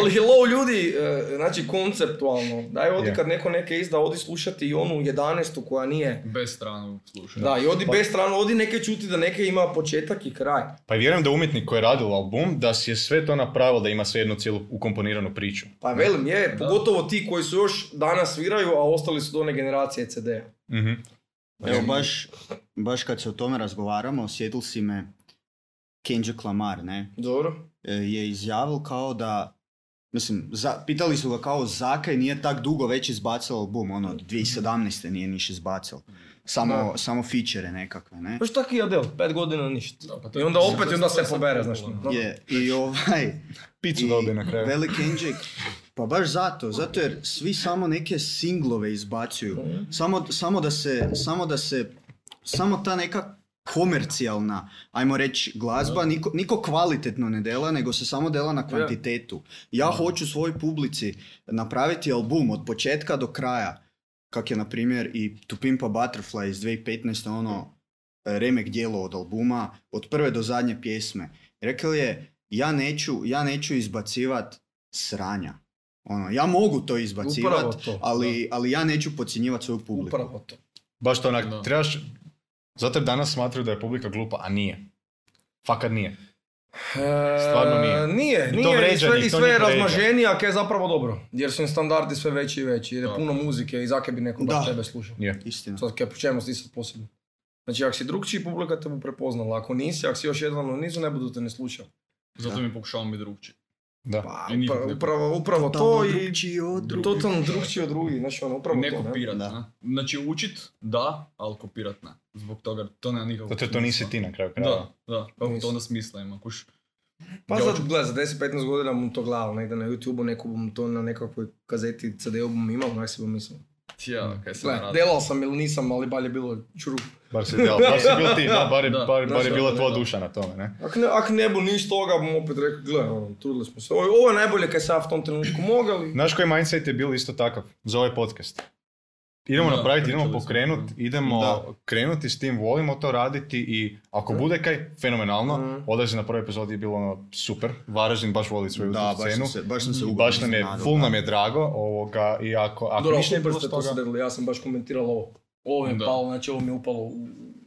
Speaker 2: Ali hello ljudi, eh, znači konceptualno. Daj odi
Speaker 3: Je.
Speaker 2: kad neko neke izda, odi slušati i onu 11. koja nije.
Speaker 4: Bez stranu slušanja.
Speaker 2: Da, i
Speaker 1: Pa-
Speaker 2: odi bez strano, odi neke čuti da neke ima početak i kraj.
Speaker 3: Pa i vjerujem da umjetnik koji je radio album, da si je sve to napravio da ima sve jednu cijelu ukomponiranu priču.
Speaker 2: Pa velim, je, pogotovo ti koji su još danas sviraju, a ostali su do one generacije Ehm, CD-a.
Speaker 3: Mhm.
Speaker 1: Evo, baš, baš kad se o tome razgovaramo, sjetili si me Kendrick Lamar, ne?
Speaker 2: Dobro.
Speaker 1: e, je izjavil kao da, mislim, za, pitali su ga kao zakaj nije tak dugo već izbacil album, ono, od 2017. nije niš izbacil. Samo, samo feature nekakve, ne?
Speaker 2: Baš tako i Adel, pet godina ništa.
Speaker 4: Da, pa to
Speaker 2: I
Speaker 4: je-
Speaker 2: onda opet, i onda
Speaker 4: to je
Speaker 2: se
Speaker 4: sad
Speaker 2: pobere,
Speaker 4: popularno.
Speaker 2: znaš. ono.
Speaker 1: Je, i ovaj,
Speaker 3: Picu
Speaker 1: i
Speaker 3: dobio na kraju.
Speaker 1: Velik Kendrick, pa baš zato, zato jer svi samo neke singlove izbacuju.
Speaker 3: Mhm.
Speaker 1: Samo, samo da se, samo da se, samo ta neka komercijalna, ajmo reći, glazba, niko, niko kvalitetno ne dela, nego se samo dela na kvantitetu. Ja hoću svoj publici napraviti album od početka do kraja, kak je na primjer i To Pimpa Butterfly iz 2015. ono e, remek dijelo od albuma, od prve do zadnje pjesme. Rekel je, ja neću, ja neću izbacivat sranja. Ono, ja mogu to
Speaker 2: Upravo
Speaker 1: izbacivat,
Speaker 2: to.
Speaker 1: ali, ali ja neću podcjenjivati svoju
Speaker 2: da.
Speaker 1: publiku.
Speaker 2: Upravo to.
Speaker 3: Baš to onak,
Speaker 4: Da.
Speaker 3: trebaš... Zato jer danas smatraju da je publika glupa, a nije. Fakat nije. Stvarno nije.
Speaker 2: E, Nije,
Speaker 3: I to
Speaker 2: nije. I
Speaker 3: vređa
Speaker 2: sve,
Speaker 3: njih,
Speaker 2: i
Speaker 3: to
Speaker 2: sve je
Speaker 3: njih vređa.
Speaker 2: razmaženije, a kaj je zapravo dobro. Jer su im standardi sve veći i veći. Jer je
Speaker 4: Da.
Speaker 2: puno muzike i zake bi neko
Speaker 1: Da.
Speaker 2: baš tebe slušao.
Speaker 1: Istina.
Speaker 2: Sad kaj, po čemu si ti sad posebno? Znači, ako si drugčiji, publika te bu prepoznala. Ako nisi, ako si još jedan u nizu, ne budu te ne slušali.
Speaker 4: Zato mi pokušavam biti drugčiji.
Speaker 3: Da.
Speaker 2: Pa,
Speaker 4: I njih
Speaker 2: upra-
Speaker 4: ne-
Speaker 2: upravo, upravo
Speaker 1: Totalno
Speaker 2: to i
Speaker 1: drugčiji od drugih.
Speaker 2: totalno drugčiji od drugih. Znači, ono, upravo
Speaker 4: ne
Speaker 2: to. ne?
Speaker 4: kopirat,
Speaker 1: Da.
Speaker 4: na. Znači učit, da, ali kopirat ne. Zbog toga to nema nikakvog
Speaker 3: Zato jer to nisi ti na kraju kraja.
Speaker 4: Da, da. Kako to
Speaker 2: Nisam.
Speaker 4: onda smisla ima, kuš.
Speaker 2: Pa
Speaker 4: Ja
Speaker 2: za,
Speaker 4: hoću-
Speaker 2: gle, za 10-15 godina bom to gledal, negdje na YouTube-u, neko bom to na nekakvoj kazeti CD-u bom imao, onak si bom mislil.
Speaker 3: Hmm.
Speaker 4: Tja, kaj se
Speaker 2: Gle,
Speaker 4: radi.
Speaker 2: delal sam ili nisam, ali balje bilo čuru.
Speaker 3: Bar si, del, bar si bil ti, da, bar je,
Speaker 4: Da.
Speaker 3: bar, bar je
Speaker 4: Da,
Speaker 3: bila
Speaker 4: da,
Speaker 3: tvoja
Speaker 4: da.
Speaker 3: duša na tome, ne?
Speaker 2: Ak ne, ak ne bo nič toga, bom opet rekel, gle, ono, trudili smo se. Ovo, ovo je najbolje, kaj sam ja v tom trenutku mogel. i-
Speaker 3: Znaš koji mindset je bil isto takav za ovaj podcast? Idemo
Speaker 4: Da,
Speaker 3: napraviti, idemo
Speaker 4: pričali smo.
Speaker 3: pokrenuti, idemo krenuti s tim, volimo to raditi i ako
Speaker 2: Da.
Speaker 3: bude kaj, fenomenalno.
Speaker 2: Mhm.
Speaker 3: Odlazi na prvoj epizodi je bilo ono super, Varaždin baš voli svoju
Speaker 1: Da,
Speaker 3: scenu.
Speaker 1: baš sam se, baš sam se
Speaker 3: I
Speaker 1: ugodno
Speaker 3: baš nam je,
Speaker 1: iznenadil,
Speaker 3: full
Speaker 1: da.
Speaker 3: nam je drago, ovoga, i ako, ako
Speaker 2: Dobro,
Speaker 3: ništa
Speaker 2: super
Speaker 3: bilo
Speaker 2: ste
Speaker 3: s
Speaker 2: to
Speaker 3: toga,
Speaker 2: sredili, ja sam baš komentiral ovo. Ovo mi je
Speaker 4: Da.
Speaker 2: palo, znači ovo mi je upalo, u-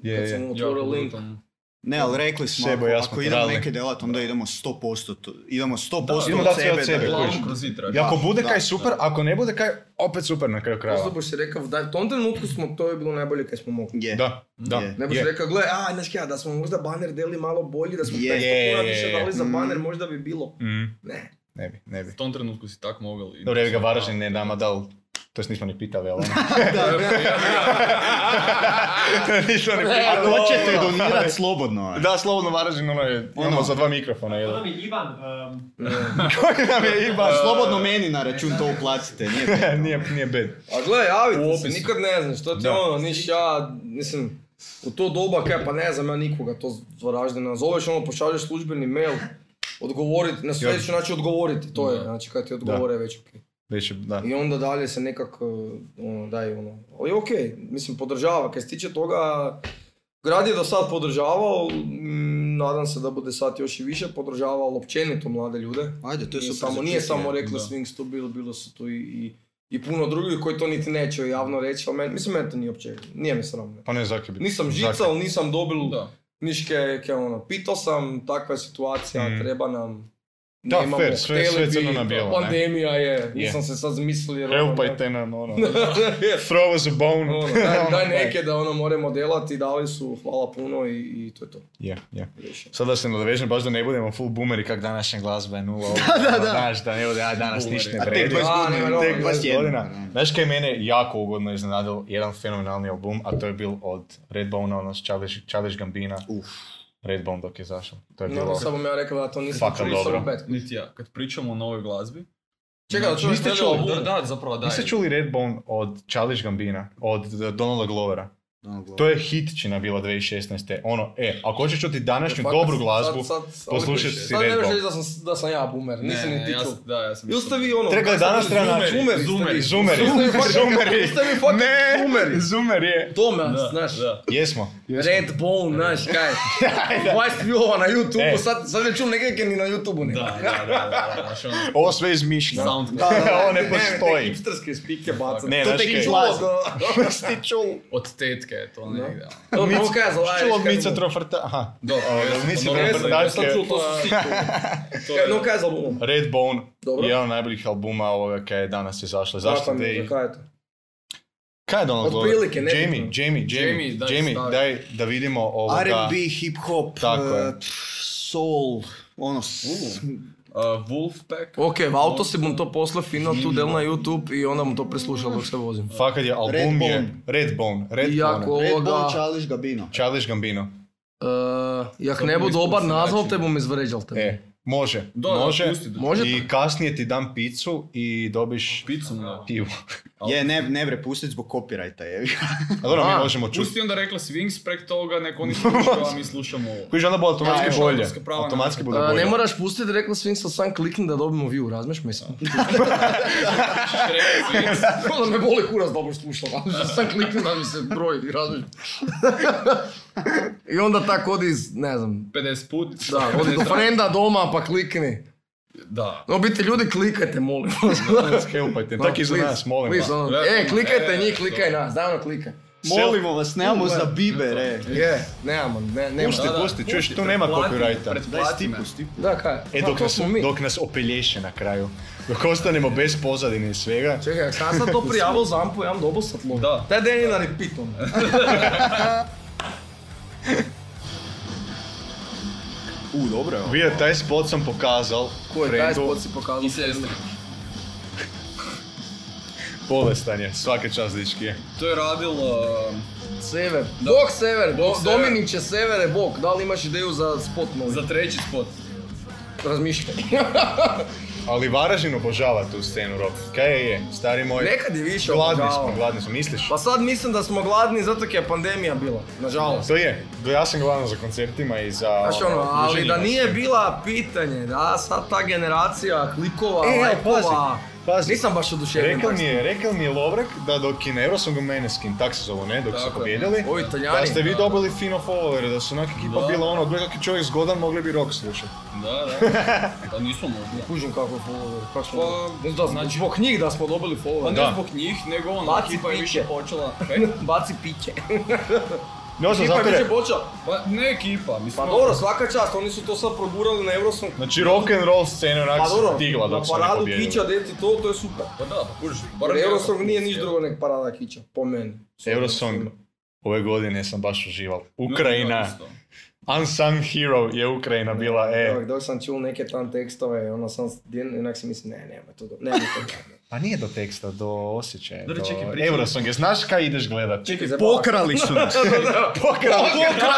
Speaker 3: Je,
Speaker 2: kad
Speaker 3: je.
Speaker 2: sam
Speaker 4: Ja,
Speaker 2: otvoril link.
Speaker 4: brutalno.
Speaker 1: Ne, ali rekli smo,
Speaker 3: Sebo i ja
Speaker 1: ako,
Speaker 3: smo
Speaker 1: ako idemo
Speaker 3: trali.
Speaker 1: neke delat, onda idemo 100%, to- idemo 100%
Speaker 3: idemo
Speaker 1: od
Speaker 3: dat sve
Speaker 1: sebe.
Speaker 3: od sebe,
Speaker 1: da-
Speaker 3: kužiš.
Speaker 4: Glavom kroz zid
Speaker 3: I ako
Speaker 1: Da,
Speaker 3: bude
Speaker 1: da,
Speaker 3: kaj super, ako ne bude kaj, opet super na kraju krajeva.
Speaker 2: Zato boš si rekel, da v tom trenutku smo, to je bilo najbolje, kaj smo mogli.
Speaker 1: Je.
Speaker 3: Da, da.
Speaker 1: Je.
Speaker 2: Ne boš
Speaker 3: je.
Speaker 2: rekel, gle, a, znaš kaj, da smo možda baner deli malo bolji, da smo
Speaker 1: Je.
Speaker 2: 500 kuna više dali za
Speaker 1: Mm.
Speaker 2: baner, možda bi bilo.
Speaker 3: Mhm,
Speaker 2: Ne.
Speaker 3: ne bi, ne bi.
Speaker 4: U tom trenutku si tak mogel. i-
Speaker 3: Dobro, je ga Varaždin ne nama dal, to jest nismo ni pitali, ali ono. nismo ni pitali.
Speaker 1: Ako hoćete donirat slobodno. je.
Speaker 3: Da, slobodno Varaždin, ono je, imamo
Speaker 1: Ono.
Speaker 3: za dva mikrofona, jedan.
Speaker 6: Ono mi Ivan, um,
Speaker 3: Koji nam je
Speaker 1: Pa
Speaker 3: iba,
Speaker 1: slobodno meni na račun to uplatite, nije bitno.
Speaker 3: nije, nije bed.
Speaker 2: A gle,
Speaker 3: U
Speaker 2: javite se,
Speaker 3: opisu.
Speaker 2: nikad ne znaš, to ti
Speaker 3: Da.
Speaker 2: je ono, niš ja, mislim, u to doba, kaj pa ne znam ja nikoga, to zaraždena, zoveš ono, pošalješ službeni mail, odgovorit, na
Speaker 3: Ja.
Speaker 2: sljedeći način odgovoriti, to je,
Speaker 4: Da.
Speaker 2: znači kad ti odgovore već ok.
Speaker 3: Već, je, da.
Speaker 2: I onda dalje se nekak, uh, ono, daj ono, ali ok, mislim, podržava, kaj se tiče toga, grad je do sad podržavao, mm, nadam se da bude sad još i više podržavao, općenito mlade ljude,
Speaker 1: Ajde, to je
Speaker 2: nije
Speaker 1: super
Speaker 2: samo,
Speaker 1: za
Speaker 2: nije
Speaker 1: čuti,
Speaker 2: samo
Speaker 1: je.
Speaker 2: reklo
Speaker 4: da.
Speaker 2: Swings to bilo, bilo su tu i, i, i puno drugih koji to niti neće javno reći, ali men, mislim, meni to nije uopće, nije mi sramno.
Speaker 3: Pa ne, zakaj bi.
Speaker 2: Nisam
Speaker 3: zakaj?
Speaker 2: žical, nisam dobil
Speaker 4: Da.
Speaker 2: niške, ke ono, pitao sam, takva je situacija,
Speaker 3: Mhm.
Speaker 2: treba nam,
Speaker 3: Da,
Speaker 2: nemamo,
Speaker 3: fair, sve-
Speaker 2: htjeli
Speaker 3: sve
Speaker 2: bi,
Speaker 3: crno na bijelo, ne?
Speaker 2: Pandemija je, nisam se sad zamislio. jer ono, ne-
Speaker 3: Helpajte nam, ono.
Speaker 2: Je,
Speaker 3: Throw us a bone.
Speaker 2: ono, daj,
Speaker 3: Ono,
Speaker 2: daj neke da ono moramo delati, dali su, hvala puno i, i to je to.
Speaker 3: Je, je.
Speaker 2: Riješeno.
Speaker 3: Sad da se nadovežem, baš da ne budemo full boomeri kak današnja glazba je nula. da, da, da. Znaš, da ne bude, a danas
Speaker 4: Boomeri.
Speaker 3: ništa ne
Speaker 1: A tek
Speaker 3: vredi.
Speaker 1: 20
Speaker 2: A,
Speaker 1: godina,
Speaker 2: ne,
Speaker 1: tek
Speaker 2: ne,
Speaker 1: 21
Speaker 3: godina.
Speaker 1: godina.
Speaker 3: Znaš kaj je mene jako ugodno iznenadilo jedan fenomenalni album, a to je bil od Redbone, ono s Childish- Childish Gambina,
Speaker 1: Uf,
Speaker 3: Redbone dok je zašao. To je
Speaker 2: No,
Speaker 3: bilo...
Speaker 2: samo ja rekao da to nisam
Speaker 3: Fakat
Speaker 2: čuo,
Speaker 3: dobro.
Speaker 2: nisam bad.
Speaker 4: Niti ja. Kad pričamo o novoj glazbi...
Speaker 2: Čekaj, da čuješ
Speaker 3: Niste
Speaker 2: mene
Speaker 3: čuli?
Speaker 2: ovo?
Speaker 4: Da, da, zapravo da.
Speaker 3: Niste
Speaker 4: je.
Speaker 3: čuli Redbone od Childish Gambina, od eh, Donalda Glovera?
Speaker 1: Donald Glover.
Speaker 3: To je hitčina bila 2016. Ono, e, ako hoćeš čuti današnju
Speaker 2: Fakat,
Speaker 3: dobru
Speaker 2: sad-
Speaker 3: glazbu,
Speaker 2: sad- sad- sad
Speaker 3: poslušaj
Speaker 2: ne
Speaker 3: si
Speaker 2: možeš
Speaker 3: Red Bull.
Speaker 2: reći da sam, da sam ja boomer, nisam
Speaker 4: ne,
Speaker 2: ni ti
Speaker 4: ja,
Speaker 2: čuo.
Speaker 4: sam- da, ja sam
Speaker 2: Ili
Speaker 4: isto-
Speaker 2: ste vi ono...
Speaker 3: Treba je
Speaker 2: kako
Speaker 3: danas
Speaker 2: ste
Speaker 3: treba
Speaker 2: vi,
Speaker 3: naći.
Speaker 2: Zoomeri,
Speaker 4: Zoomeri.
Speaker 3: Zoomeri,
Speaker 2: Ili ste vi fucking-
Speaker 3: zoomeri,
Speaker 2: ili ste vi fucking
Speaker 3: ne,
Speaker 2: zoomeri.
Speaker 3: zoomeri je.
Speaker 2: Tome,
Speaker 4: Da,
Speaker 2: znaš.
Speaker 4: da.
Speaker 3: Jesmo.
Speaker 2: Red Bone, znaš, kaj. 20 view ono, na
Speaker 3: E.
Speaker 2: YouTube, sad, sad ne čujem nekaj ni na YouTube-u nema.
Speaker 4: Da, da, da, da, da, znaš, ono,
Speaker 3: Ovo sve izmišljeno.
Speaker 4: sound-
Speaker 3: Ovo ne postoji.
Speaker 2: hipsterske spike baca.
Speaker 3: Ne,
Speaker 2: to
Speaker 3: znaš
Speaker 2: tek
Speaker 3: kaj.
Speaker 2: izlazi.
Speaker 3: Sti čul.
Speaker 4: Od tetke je to negdje. ono.
Speaker 2: To ono kaj zalaziš.
Speaker 3: Čul od Mica Trofarta. Aha.
Speaker 4: Dobro,
Speaker 3: Ovo,
Speaker 4: jesam,
Speaker 3: Mica
Speaker 4: dobro,
Speaker 3: Trofarta-
Speaker 4: jesam,
Speaker 2: Ja sam čuo, to
Speaker 4: Pa-
Speaker 2: su svi čuli.
Speaker 4: To
Speaker 2: Kaj,
Speaker 4: je-
Speaker 2: No kaj je za albumom?
Speaker 3: Redbone
Speaker 2: Dobro.
Speaker 3: je jedan od najboljih albuma ovoga kaj je danas izašla. Zašto
Speaker 2: Zapam je,
Speaker 3: te...
Speaker 2: Zakaj je to?
Speaker 3: Kaj je Donald Glover?
Speaker 2: Otprilike, nebitno.
Speaker 3: Jamie, Jamie, Jamie,
Speaker 4: Jamie, daj
Speaker 3: Jamie,
Speaker 4: stavi.
Speaker 3: daj da vidimo ovoga.
Speaker 1: R&B, hip hop,
Speaker 3: Tako je.
Speaker 1: eh, soul, ono, s-
Speaker 4: Uh, Wolfpack.
Speaker 2: Ok, v avtu si bom to poslal fino tu del na YouTube i onda bom to preslušal dok se vozim. E,
Speaker 3: Fakat je album
Speaker 1: Redbone.
Speaker 3: je Redbone,
Speaker 2: Iako
Speaker 3: Redbone.
Speaker 1: Red
Speaker 2: ovoga,
Speaker 1: Bull, Childish Gambino.
Speaker 3: Childish Gambino.
Speaker 2: uh, jak
Speaker 4: Samo
Speaker 2: ne bo
Speaker 4: nismo
Speaker 2: dobar
Speaker 4: se
Speaker 2: nazval,
Speaker 4: načeli.
Speaker 2: te bom izvređal te.
Speaker 3: E, može,
Speaker 4: Da, da,
Speaker 3: može.
Speaker 4: pusti da-
Speaker 2: Može
Speaker 3: I kasnije ti dam picu i dobiš
Speaker 4: Picu mu da.
Speaker 3: pivu.
Speaker 1: Je, ne, ne bre, pustit zbog copyrighta, je.
Speaker 3: A dobro, mi
Speaker 2: A,
Speaker 3: možemo čuti.
Speaker 4: Pusti onda rekla Pa si Wings prek toga, nek oni slušaju, a mi slušamo ovo.
Speaker 3: Koji onda bude automatski
Speaker 4: Ja, ja.
Speaker 3: bolje.
Speaker 4: Autorska prava,
Speaker 3: Automatski bude
Speaker 2: Uh,
Speaker 3: bolje.
Speaker 2: ne moraš pustiti, rekla svim sam sam klikni da dobimo view, razmeš mi sam.
Speaker 4: Rekla
Speaker 2: da
Speaker 4: Swings.
Speaker 2: me boli kurac dobro slušam, ali što sam klikni da mi se broj, razmeš. I onda tako odi, iz, ne znam,
Speaker 4: 50 put.
Speaker 2: da, odi do frenda doma pa klikni.
Speaker 4: Da.
Speaker 2: No biti ljudi klikajte, molim vas.
Speaker 3: Helpajte, tako i za
Speaker 2: Please,
Speaker 3: nas, molim vas.
Speaker 2: please, ono,
Speaker 4: Ja,
Speaker 2: E,
Speaker 4: ono,
Speaker 2: klikajte
Speaker 4: e,
Speaker 2: njih, klikaj
Speaker 4: to.
Speaker 2: nas, daj ono klikaj.
Speaker 1: Molimo vas, nemamo za biber, e.
Speaker 2: Je, nemamo, ne, nema.
Speaker 3: Pusti, pusti, čuješ, tu nema copyrighta.
Speaker 1: Daj
Speaker 4: Pretplati me.
Speaker 1: stipu, stipu.
Speaker 2: Da, kaj?
Speaker 3: E,
Speaker 2: Ma,
Speaker 3: dok
Speaker 2: Pa to
Speaker 3: nas,
Speaker 2: smo mi.
Speaker 3: dok nas opelješe na kraju. Dok ostanemo bez pozadine i svega.
Speaker 2: Čekaj, ak sam sad to prijavil za Ampu, ja imam dobil satlov.
Speaker 4: Da.
Speaker 2: Taj den je na repeatu.
Speaker 1: U, dobro je ovo.
Speaker 3: Bio taj spot sam pokazal
Speaker 2: Ko je taj
Speaker 3: frendu.
Speaker 2: spot si pokazal?
Speaker 4: I sestri.
Speaker 3: Bolestan je, svaka čast dički je.
Speaker 4: To je radilo... um,
Speaker 2: Sever. Bog Sever, Do,
Speaker 4: Sever.
Speaker 2: Dominiče Sever je Bog. Da li imaš ideju za spot novi?
Speaker 4: Za treći spot.
Speaker 2: Razmišljaj.
Speaker 3: Ali Varaždin obožava tu scenu rock. Kaj je je, stari moj?
Speaker 2: Nekad je više
Speaker 3: Gladni smo,
Speaker 2: obožavao.
Speaker 3: gladni smo, misliš?
Speaker 2: Pa sad mislim da smo gladni zato jer je pandemija bila, nažalost.
Speaker 3: To je, ja sam gladan za koncertima i za...
Speaker 2: Znaš ono, ali
Speaker 3: druženjima
Speaker 2: da
Speaker 3: i
Speaker 2: nije
Speaker 3: svega.
Speaker 2: bila pitanje, da sad ta generacija klikova,
Speaker 3: E, ali pazi,
Speaker 2: lajkova,
Speaker 3: pazi.
Speaker 2: nisam baš oduševljen.
Speaker 3: Rekao
Speaker 2: pa tak
Speaker 3: mi je, rekao mi je Lovrak da dok je na Eurosongu Meneskin, tak se zovu, ne, dok su
Speaker 4: Tako je.
Speaker 3: pobjedili,
Speaker 2: Ovi Italijani,
Speaker 3: da ste vi
Speaker 2: da,
Speaker 3: dobili fino followere, da su onak ekipa
Speaker 4: Da.
Speaker 3: bila ono, gledaj kak je čovjek zgodan, mogli bi rock slušati.
Speaker 4: Da, da. Pa nismo mogli.
Speaker 2: Kužim kako je follower, kako smo...
Speaker 4: Pa,
Speaker 2: Ne znam,
Speaker 4: znači-
Speaker 2: zbog njih da smo dobili
Speaker 4: Pa
Speaker 2: follower.
Speaker 4: ne
Speaker 3: Da.
Speaker 4: zbog njih, nego ono,
Speaker 2: Baci
Speaker 4: ekipa je
Speaker 2: piće.
Speaker 4: više počela...
Speaker 2: Baci piće.
Speaker 3: Ne znam, zato
Speaker 2: Ekipa je
Speaker 3: je,
Speaker 2: više počela.
Speaker 4: Pa ne ekipa, mislim... ono,
Speaker 2: Pa dobro, svaka čast, oni su to sad progurali na Eurosong.
Speaker 3: znači rock and roll scena je
Speaker 2: Pa
Speaker 3: onak
Speaker 2: dobro,
Speaker 3: stigla
Speaker 2: na
Speaker 3: dok su oni
Speaker 2: paradu
Speaker 3: pobjedili.
Speaker 2: kića, deti to, to je super.
Speaker 4: Pa da, pa kužiš.
Speaker 2: Jer
Speaker 4: je
Speaker 2: Eurosong nije niš drugo nek parada kića, po meni.
Speaker 3: Eurosong. Ove godine sam baš užival.
Speaker 4: No,
Speaker 3: Ukrajina,
Speaker 4: da, isto.
Speaker 3: unsung hero je Ukrajina bila, e.
Speaker 5: Dok, dok sam čul neke tam tekstove, ono sam, jednak si mislim, ne, nema to dobro, nema to dobro.
Speaker 3: Pa nije do teksta, do osjećaja, do
Speaker 4: Dobro, čekaj, pričaj.
Speaker 3: Eurosong. Znaš kaj ideš gledat?
Speaker 2: Čekaj,
Speaker 1: Pokrali su nas.
Speaker 3: Pokrali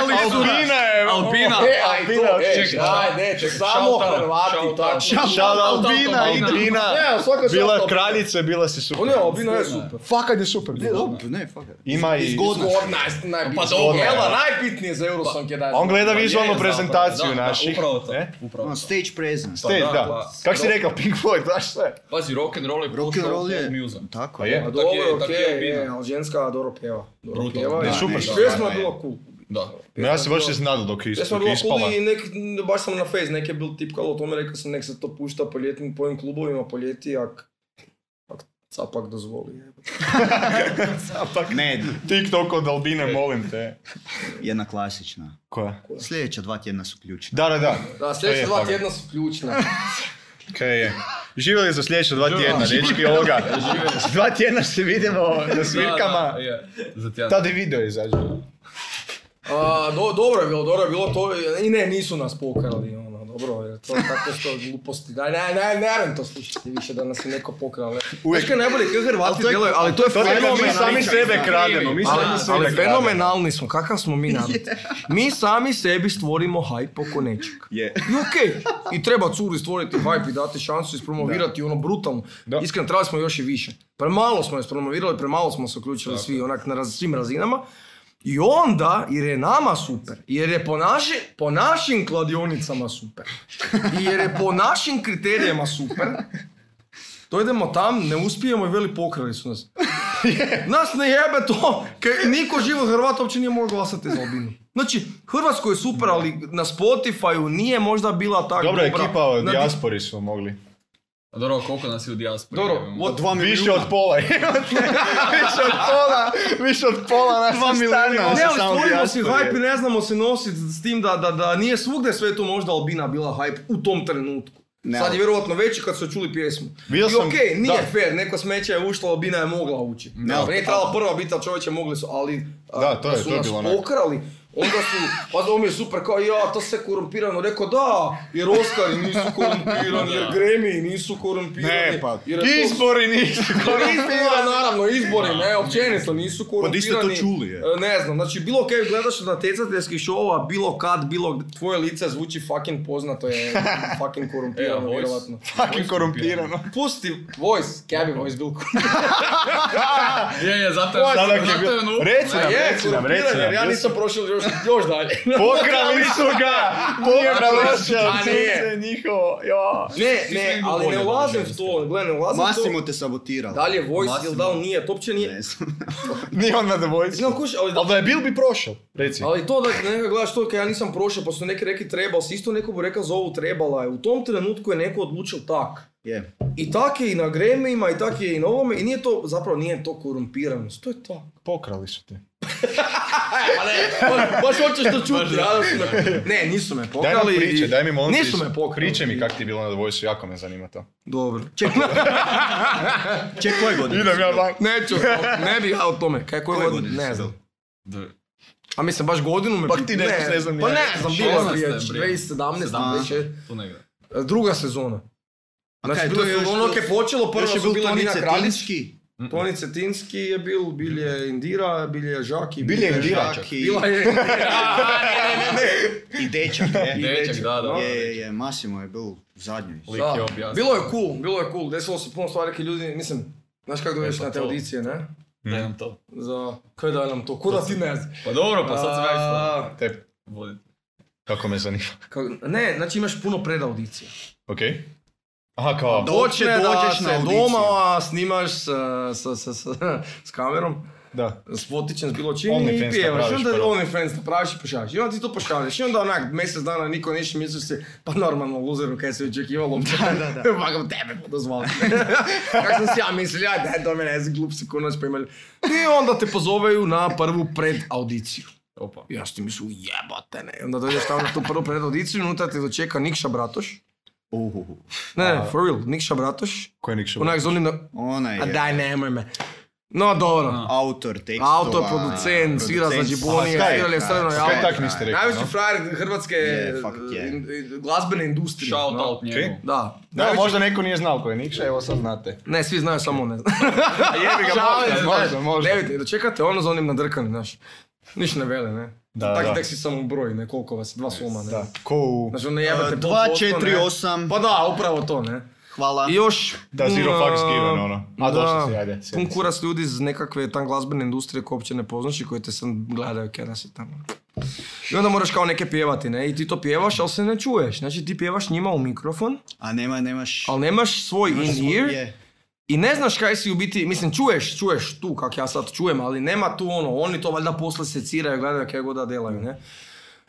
Speaker 3: Albina je!
Speaker 4: Albina!
Speaker 2: E, aj to, e,
Speaker 3: čekaj.
Speaker 2: aj, ne, samo
Speaker 4: shout out,
Speaker 2: Hrvati,
Speaker 4: shout out.
Speaker 2: tako.
Speaker 3: Šala Albina,
Speaker 4: Albina.
Speaker 3: Idrina,
Speaker 2: Ne, svaka čast
Speaker 3: bila
Speaker 2: Albina.
Speaker 3: kraljica, je bila si super.
Speaker 2: Ono je, Albina je super.
Speaker 3: Fakat je super. bila.
Speaker 1: Dobro, ne, fuck it.
Speaker 3: Ima i...
Speaker 1: Zgodno.
Speaker 2: Zgodna je, najbitnije.
Speaker 4: Pa dobro,
Speaker 2: Evo,
Speaker 3: evo.
Speaker 2: najbitnije za Eurosong je da je
Speaker 3: A On gleda
Speaker 4: Pa je
Speaker 3: vizualnu
Speaker 4: zapravo,
Speaker 3: prezentaciju
Speaker 4: da, da,
Speaker 3: naših.
Speaker 4: Upravo to,
Speaker 3: ne?
Speaker 4: upravo
Speaker 1: Ono,
Speaker 4: to.
Speaker 1: stage presence.
Speaker 3: Te,
Speaker 4: da,
Speaker 3: da.
Speaker 4: pa-
Speaker 3: Kak si rekao, Pink Floyd, znaš sve?
Speaker 4: Pazi, rock'n'roll je
Speaker 1: Rock and roll je...
Speaker 4: Musan.
Speaker 1: Tako
Speaker 3: Pa
Speaker 1: je.
Speaker 3: je.
Speaker 2: Pa
Speaker 4: Tak
Speaker 2: dobro,
Speaker 4: je- tak
Speaker 2: okej,
Speaker 4: je
Speaker 2: je,
Speaker 4: Albina.
Speaker 2: ali ženska dobro pjeva. Dobro
Speaker 4: Brutalno.
Speaker 2: pjeva.
Speaker 4: Da,
Speaker 2: i-
Speaker 3: super
Speaker 2: i
Speaker 3: stvar,
Speaker 2: Pjesma je
Speaker 3: da,
Speaker 2: bila
Speaker 3: je.
Speaker 2: cool.
Speaker 4: Da.
Speaker 2: E,
Speaker 3: No, ja se baš iznadao dok je
Speaker 2: Pjesma je
Speaker 3: ispala.
Speaker 2: bila cool i nek, baš sam na Face neke bil tipkalo o tome, rekao sam nek se to pušta po ljetnim, po ovim klubovima po ljeti, ak, ak capak dozvoli. jebote.
Speaker 3: Zapak.
Speaker 1: Ne,
Speaker 3: TikTok od Albine, molim te.
Speaker 1: jedna klasična.
Speaker 3: Koja?
Speaker 1: Sljedeća dva tjedna su ključna.
Speaker 3: Da, da, da.
Speaker 2: Da,
Speaker 3: To je
Speaker 2: sljedeća dva
Speaker 3: fakat.
Speaker 2: tjedna su ključna.
Speaker 3: Kaj je? Živjeli za sljedeća dva tjedna, dečki ovoga. Dva tjedna se vidimo na
Speaker 4: Da, da,
Speaker 3: svirkama.
Speaker 4: je. Za tjedan.
Speaker 3: Tad i video izađe.
Speaker 2: A, do, dobro je bilo, dobro je bilo to. I ne, nisu nas pokrali, ono, dobro, jer to je tako što gluposti. Daj, ne, ne, ne, moram to slušati više da nas je neko pokrao. Uvijek. Znaš kaj je najbolje, kaj Hrvati djelaju, ali to je
Speaker 3: To je kao mi
Speaker 2: fenomenalno.
Speaker 3: sami sebe krademo, mi
Speaker 2: Ali,
Speaker 3: sami
Speaker 2: ali
Speaker 3: sebe krademo.
Speaker 2: fenomenalni smo, kakav smo mi narod. Mi sami sebi stvorimo hype oko nečeg.
Speaker 1: Je.
Speaker 2: I okej, i treba curi stvoriti hype i dati šansu ispromovirati ono brutalno.
Speaker 3: Da.
Speaker 2: Iskreno, trebali smo još i više. Premalo smo je ispromovirali, premalo smo se uključili svi onak na raz, svim razinama. I onda, jer je nama super, jer je po, naši, po našim kladionicama super, i jer je po našim kriterijima super, dojdemo tam, ne uspijemo i veli pokrali su nas. Nas ne jebe to, kaj niko živo Hrvat uopće nije mogao glasati za Albinu. Znači, Hrvatskoj je super, ali na Spotify-u nije možda bila tako
Speaker 3: Dobra
Speaker 2: dobra.
Speaker 3: ekipa od
Speaker 2: Na-
Speaker 3: dijaspori su mogli.
Speaker 4: A dobro, koliko nas je u dijaspori? ono?
Speaker 2: Dobro,
Speaker 4: jebemo?
Speaker 2: od
Speaker 1: Dva
Speaker 3: Više od
Speaker 1: milijuna.
Speaker 3: pola. više od pola, više od pola nas
Speaker 1: Dva
Speaker 3: je
Speaker 1: milijuna.
Speaker 3: starilo
Speaker 1: Ne,
Speaker 2: Ne,
Speaker 3: sa
Speaker 2: ali
Speaker 3: samo
Speaker 2: stvorimo si
Speaker 3: dijaspore.
Speaker 2: hype i ne znamo se nositi s tim da, da, da nije svugdje sve to možda Albina bila hype u tom trenutku.
Speaker 1: Ne,
Speaker 2: Sad
Speaker 1: ali-
Speaker 2: je vjerojatno veći kad su čuli pjesmu.
Speaker 3: Vidio
Speaker 2: I
Speaker 3: sam-
Speaker 2: okej, nije
Speaker 3: da.
Speaker 2: fair, neko smeće je ušla, Albina je mogla ući. Ne,
Speaker 1: ali-
Speaker 2: nije trebala prva biti, ali čovječe mogli su, ali a,
Speaker 3: Da, to je-
Speaker 2: su
Speaker 3: to je
Speaker 2: nas
Speaker 3: bilo onak.
Speaker 2: pokrali. Onda su, pa to mi je super, kao ja, to sve korumpirano, rekao da, jer Oscari nisu korumpirani, jer Grammy nisu korumpirani.
Speaker 3: Ne, pa,
Speaker 2: jer je to
Speaker 3: izbori nisu.
Speaker 2: Korumpirani, naravno, izbori, ne, općenito nisu korumpirani.
Speaker 1: niste to čuli, je.
Speaker 2: E, Ne znam, znači bilo kaj gledaš od natjecateljskih šova, bilo kad, bilo tvoje lice zvuči fucking poznato je fucking
Speaker 4: E, a
Speaker 2: korumpirano,
Speaker 4: voice?
Speaker 2: vjerojatno.
Speaker 3: Fucking korumpirano.
Speaker 2: Pusti voice, kaj bi voice bil
Speaker 4: Je, je, zato je,
Speaker 3: Sada
Speaker 4: zato
Speaker 3: je bio-
Speaker 4: je ono- nup.
Speaker 3: Reci nam,
Speaker 2: je,
Speaker 3: reci nam, reci
Speaker 2: korumpiran,
Speaker 3: nam.
Speaker 2: jer ja
Speaker 3: jesi-
Speaker 2: nisam prošao još, još dalje.
Speaker 3: Pokrali su ga! Pokrali su
Speaker 2: A
Speaker 3: ga!
Speaker 2: nije.
Speaker 3: sunce njihovo, ja.
Speaker 2: Ne,
Speaker 4: Ti sve
Speaker 2: ne,
Speaker 4: ima
Speaker 2: ali
Speaker 4: bolje
Speaker 2: ne
Speaker 4: od
Speaker 2: ulazim
Speaker 4: žene,
Speaker 2: v to, gle, ne ulazim
Speaker 1: Masimo
Speaker 2: v to.
Speaker 1: te sabotirali.
Speaker 2: Da li je voice ili da li
Speaker 4: Massimo.
Speaker 2: nije, to uopće nije.
Speaker 1: Ne znam.
Speaker 3: Nije on na The Voice.
Speaker 2: Znam, kuš, ali,
Speaker 3: Ali da je bil bi prošao, reci.
Speaker 2: ali to da nekako gledaš to, kaj ja nisam prošao, pa su neki rekli trebal, si isto neko bi rekao za ovu trebala je. U tom trenutku je neko odlučil tak.
Speaker 1: Je.
Speaker 2: I tak je i na gremijima, i tak je i na ovome, i nije to, zapravo nije to korumpiranost, to je tak.
Speaker 3: Pokrali su te.
Speaker 2: Pa ne, baš, baš hoćeš to čuti,
Speaker 4: da.
Speaker 2: ja da su me- Ne, nisu me
Speaker 3: Daj nam
Speaker 2: pokrali.
Speaker 3: priče,
Speaker 2: i-
Speaker 3: daj mi molim te,
Speaker 2: Nisu me pokrali.
Speaker 3: Priče mi kak ti je bilo na The Voice, jako me zanima to.
Speaker 2: Dobro. Čekaj,
Speaker 1: Ček, koje godine?
Speaker 3: Idem ja van.
Speaker 2: neću, ne bi ja o tome. Kaj koje
Speaker 1: Koje
Speaker 2: godine?
Speaker 1: godine
Speaker 2: Ne
Speaker 1: si
Speaker 2: znam.
Speaker 1: bil?
Speaker 4: D-
Speaker 2: A mislim, baš godinu me...
Speaker 3: Pa
Speaker 2: pit-
Speaker 3: ti nešto ne znam ni
Speaker 2: Pa
Speaker 3: ja.
Speaker 2: ne znam, bilo je
Speaker 4: 16
Speaker 2: prije
Speaker 4: je, bre.
Speaker 2: 2017,
Speaker 1: 17.
Speaker 2: već je,
Speaker 4: Tu negdje.
Speaker 2: e, druga sezona.
Speaker 1: A
Speaker 2: Znači,
Speaker 1: kaj,
Speaker 2: bilo
Speaker 1: to
Speaker 2: je
Speaker 1: je još
Speaker 2: ono
Speaker 1: bilo-
Speaker 2: kad je počelo, prvo
Speaker 1: Još je
Speaker 2: su
Speaker 1: bil
Speaker 2: bila Nina
Speaker 1: Toni
Speaker 2: Kraljić.
Speaker 1: Cetinski.
Speaker 2: Toni Cetinski je bil, bil je Indira, bil je Žaki.
Speaker 3: Bil je Indira.
Speaker 1: Čak i...
Speaker 2: Bila je
Speaker 1: I dečak, je.
Speaker 4: I Dečak, da, da.
Speaker 1: Je, je, je, Masimo je bil zadnji.
Speaker 4: Lik
Speaker 2: Da.
Speaker 4: je objasnio.
Speaker 2: Bilo je cool, bilo je cool. Desilo se puno stvari kad ljudi, mislim, znaš kako dođeš
Speaker 4: E, pa
Speaker 2: na te
Speaker 4: to.
Speaker 2: audicije, ne?
Speaker 4: Daj nam to.
Speaker 2: Za, kaj da nam to? Kuda ti ne znaš?
Speaker 4: Pa dobro, pa sad sam ja isto.
Speaker 2: A,
Speaker 3: Te,
Speaker 4: Vodi.
Speaker 3: kako me zanima.
Speaker 2: ka- Ne, znači imaš puno predaudicija.
Speaker 3: Okej. Aha, kao,
Speaker 1: Do- Doće,
Speaker 2: Počne da
Speaker 1: dođeš
Speaker 2: se
Speaker 1: na audiciju.
Speaker 2: doma a, snimaš sa, sa, sa, sa- s kamerom,
Speaker 3: da.
Speaker 2: s fotićem, s bilo čim i
Speaker 3: OnlyFans
Speaker 2: pjevaš. I
Speaker 3: napraviš
Speaker 2: onda
Speaker 3: prvo.
Speaker 2: OnlyFans napraviš i pošalješ. I onda ti to pošalješ. I onda onak mjesec dana niko ništa misli se, pa normalno luzeru kaj se očekivalo. Da, da, da. Pa ga tebe budu zvali. Kako sam si ja mislio, ja daj do mene, jesi glup se kunac pa imali. I onda te pozoveju na prvu predaudiciju.
Speaker 4: Opa.
Speaker 2: I ja što mislim, jebate ne. I onda dođeš tamo na tu prvu predaudiciju, unutra te dočeka Nikša Bratoš.
Speaker 1: Uhuhu.
Speaker 2: Ne, ne, for real, Nikša Bratoš.
Speaker 3: Ko je Nikša?
Speaker 2: Onak zoni na,
Speaker 1: Ona je
Speaker 2: a daj, nemoj me. No, dobro.
Speaker 4: A.
Speaker 1: autor tekstova.
Speaker 2: Autor, producent, svira za
Speaker 1: producent,
Speaker 2: Džibonije,
Speaker 3: Sky.
Speaker 2: svirali je strano
Speaker 3: Sky
Speaker 2: javno.
Speaker 3: tak niste rekli,
Speaker 2: Najveći
Speaker 3: no?
Speaker 2: frajer hrvatske
Speaker 1: Je, fuck je.
Speaker 2: in- in- glazbene industrije.
Speaker 4: Shout
Speaker 2: no.
Speaker 4: out njemu.
Speaker 2: Da.
Speaker 3: Da,
Speaker 2: Najveći-
Speaker 3: možda neko nije znao ko je Nikša, evo sad znate.
Speaker 2: Ne, svi znaju, samo on ne zna.
Speaker 3: Jebi ga,
Speaker 2: Šalim se,
Speaker 3: možda, možda,
Speaker 2: znaš.
Speaker 3: možda.
Speaker 2: Ne vidite, dočekate ono za onim nadrkanim, znaš. Ništa ne vele, ne.
Speaker 3: Da,
Speaker 2: Tako
Speaker 3: da.
Speaker 2: tek si samo broj, ne, koliko vas, je, dva soma, ne.
Speaker 3: Da, ko u...
Speaker 2: Znači, ne jebate pol
Speaker 1: Dva,
Speaker 2: posto, ne.
Speaker 1: četiri, osam.
Speaker 2: Pa da, upravo to, ne.
Speaker 1: Hvala.
Speaker 2: I još...
Speaker 3: Da, zero
Speaker 2: pun,
Speaker 3: fucks
Speaker 2: a,
Speaker 3: given, ono. A, došao si, ajde, sjedi
Speaker 2: Pun
Speaker 3: se.
Speaker 2: kurac ljudi iz nekakve tam glazbene industrije koje uopće ne poznaš i koje te sam gledaju kaj nas je tamo. I onda moraš kao neke pjevati, ne? I ti to pjevaš, ali se ne čuješ. Znači ti pjevaš njima u mikrofon,
Speaker 1: A nema, nemaš...
Speaker 2: ali nemaš svoj
Speaker 1: nemaš svoj-
Speaker 2: in-ear
Speaker 1: je.
Speaker 2: i ne znaš kaj si u biti, mislim čuješ, čuješ tu kak ja sad čujem, ali nema tu ono, oni to valjda posle seciraju, gledaju kaj god da delaju, ne?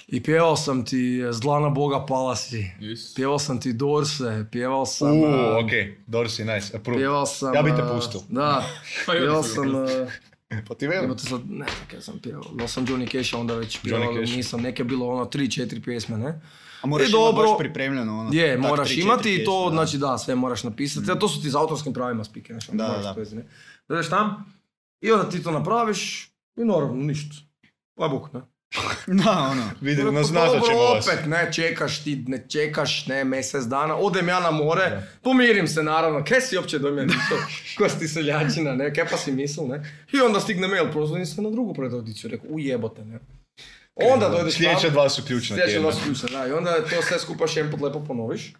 Speaker 2: I pjevao sam ti eh, Zlana Boga pala si,
Speaker 4: Yes.
Speaker 2: pjevao sam ti Dorse, pjevao sam... eh,
Speaker 3: Uuu, okej, Dorsi, nice, approved.
Speaker 2: Pjevao sam...
Speaker 3: Ja bi te
Speaker 2: eh,
Speaker 3: pustil.
Speaker 2: Da,
Speaker 4: Pa i oni
Speaker 2: pjevao
Speaker 4: su
Speaker 2: sam...
Speaker 4: ga
Speaker 2: eh,
Speaker 3: Pa ti velim.
Speaker 2: Evo te sad, ne znam kaj sam pjevao, da sam Johnny Cash, onda već pjevao,
Speaker 3: Cash.
Speaker 2: nisam, neke je bilo ono 3-4 pjesme, ne?
Speaker 1: A moraš
Speaker 2: E,
Speaker 1: imati
Speaker 2: dobro.
Speaker 1: baš pripremljeno ono.
Speaker 2: Je,
Speaker 1: tak,
Speaker 2: moraš
Speaker 1: tri, četiri
Speaker 2: imati i to,
Speaker 1: pjesme, da.
Speaker 2: znači da, sve moraš napisati, a to su ti za autorskim pravima spike, znači,
Speaker 1: Da,
Speaker 2: moraš
Speaker 1: da.
Speaker 2: to iz- ne? Dođeš tam, i onda ti to napraviš, i naravno, ništa. Pa buk, ne?
Speaker 1: Da, ono.
Speaker 3: Vidim,
Speaker 2: Torej, Dobro,
Speaker 3: nas nazvat ćemo vas.
Speaker 2: opet, ne, čekaš ti, ne čekaš, ne, mjesec dana, odem ja na more, pomirim se naravno, kaj si uopće do mene išao, ko si ti seljačina, ne, kaj pa si misl, ne. I onda stigne mail, prozvodim se na drugu predodiciju, rekao, ujebote, ne. Onda dojdeš tamo,
Speaker 3: Sljedeća dva su ključna
Speaker 2: sljedeća
Speaker 3: tjedna.
Speaker 2: dva su ključna, da, i onda to sve skupa još jedan lepo ponoviš.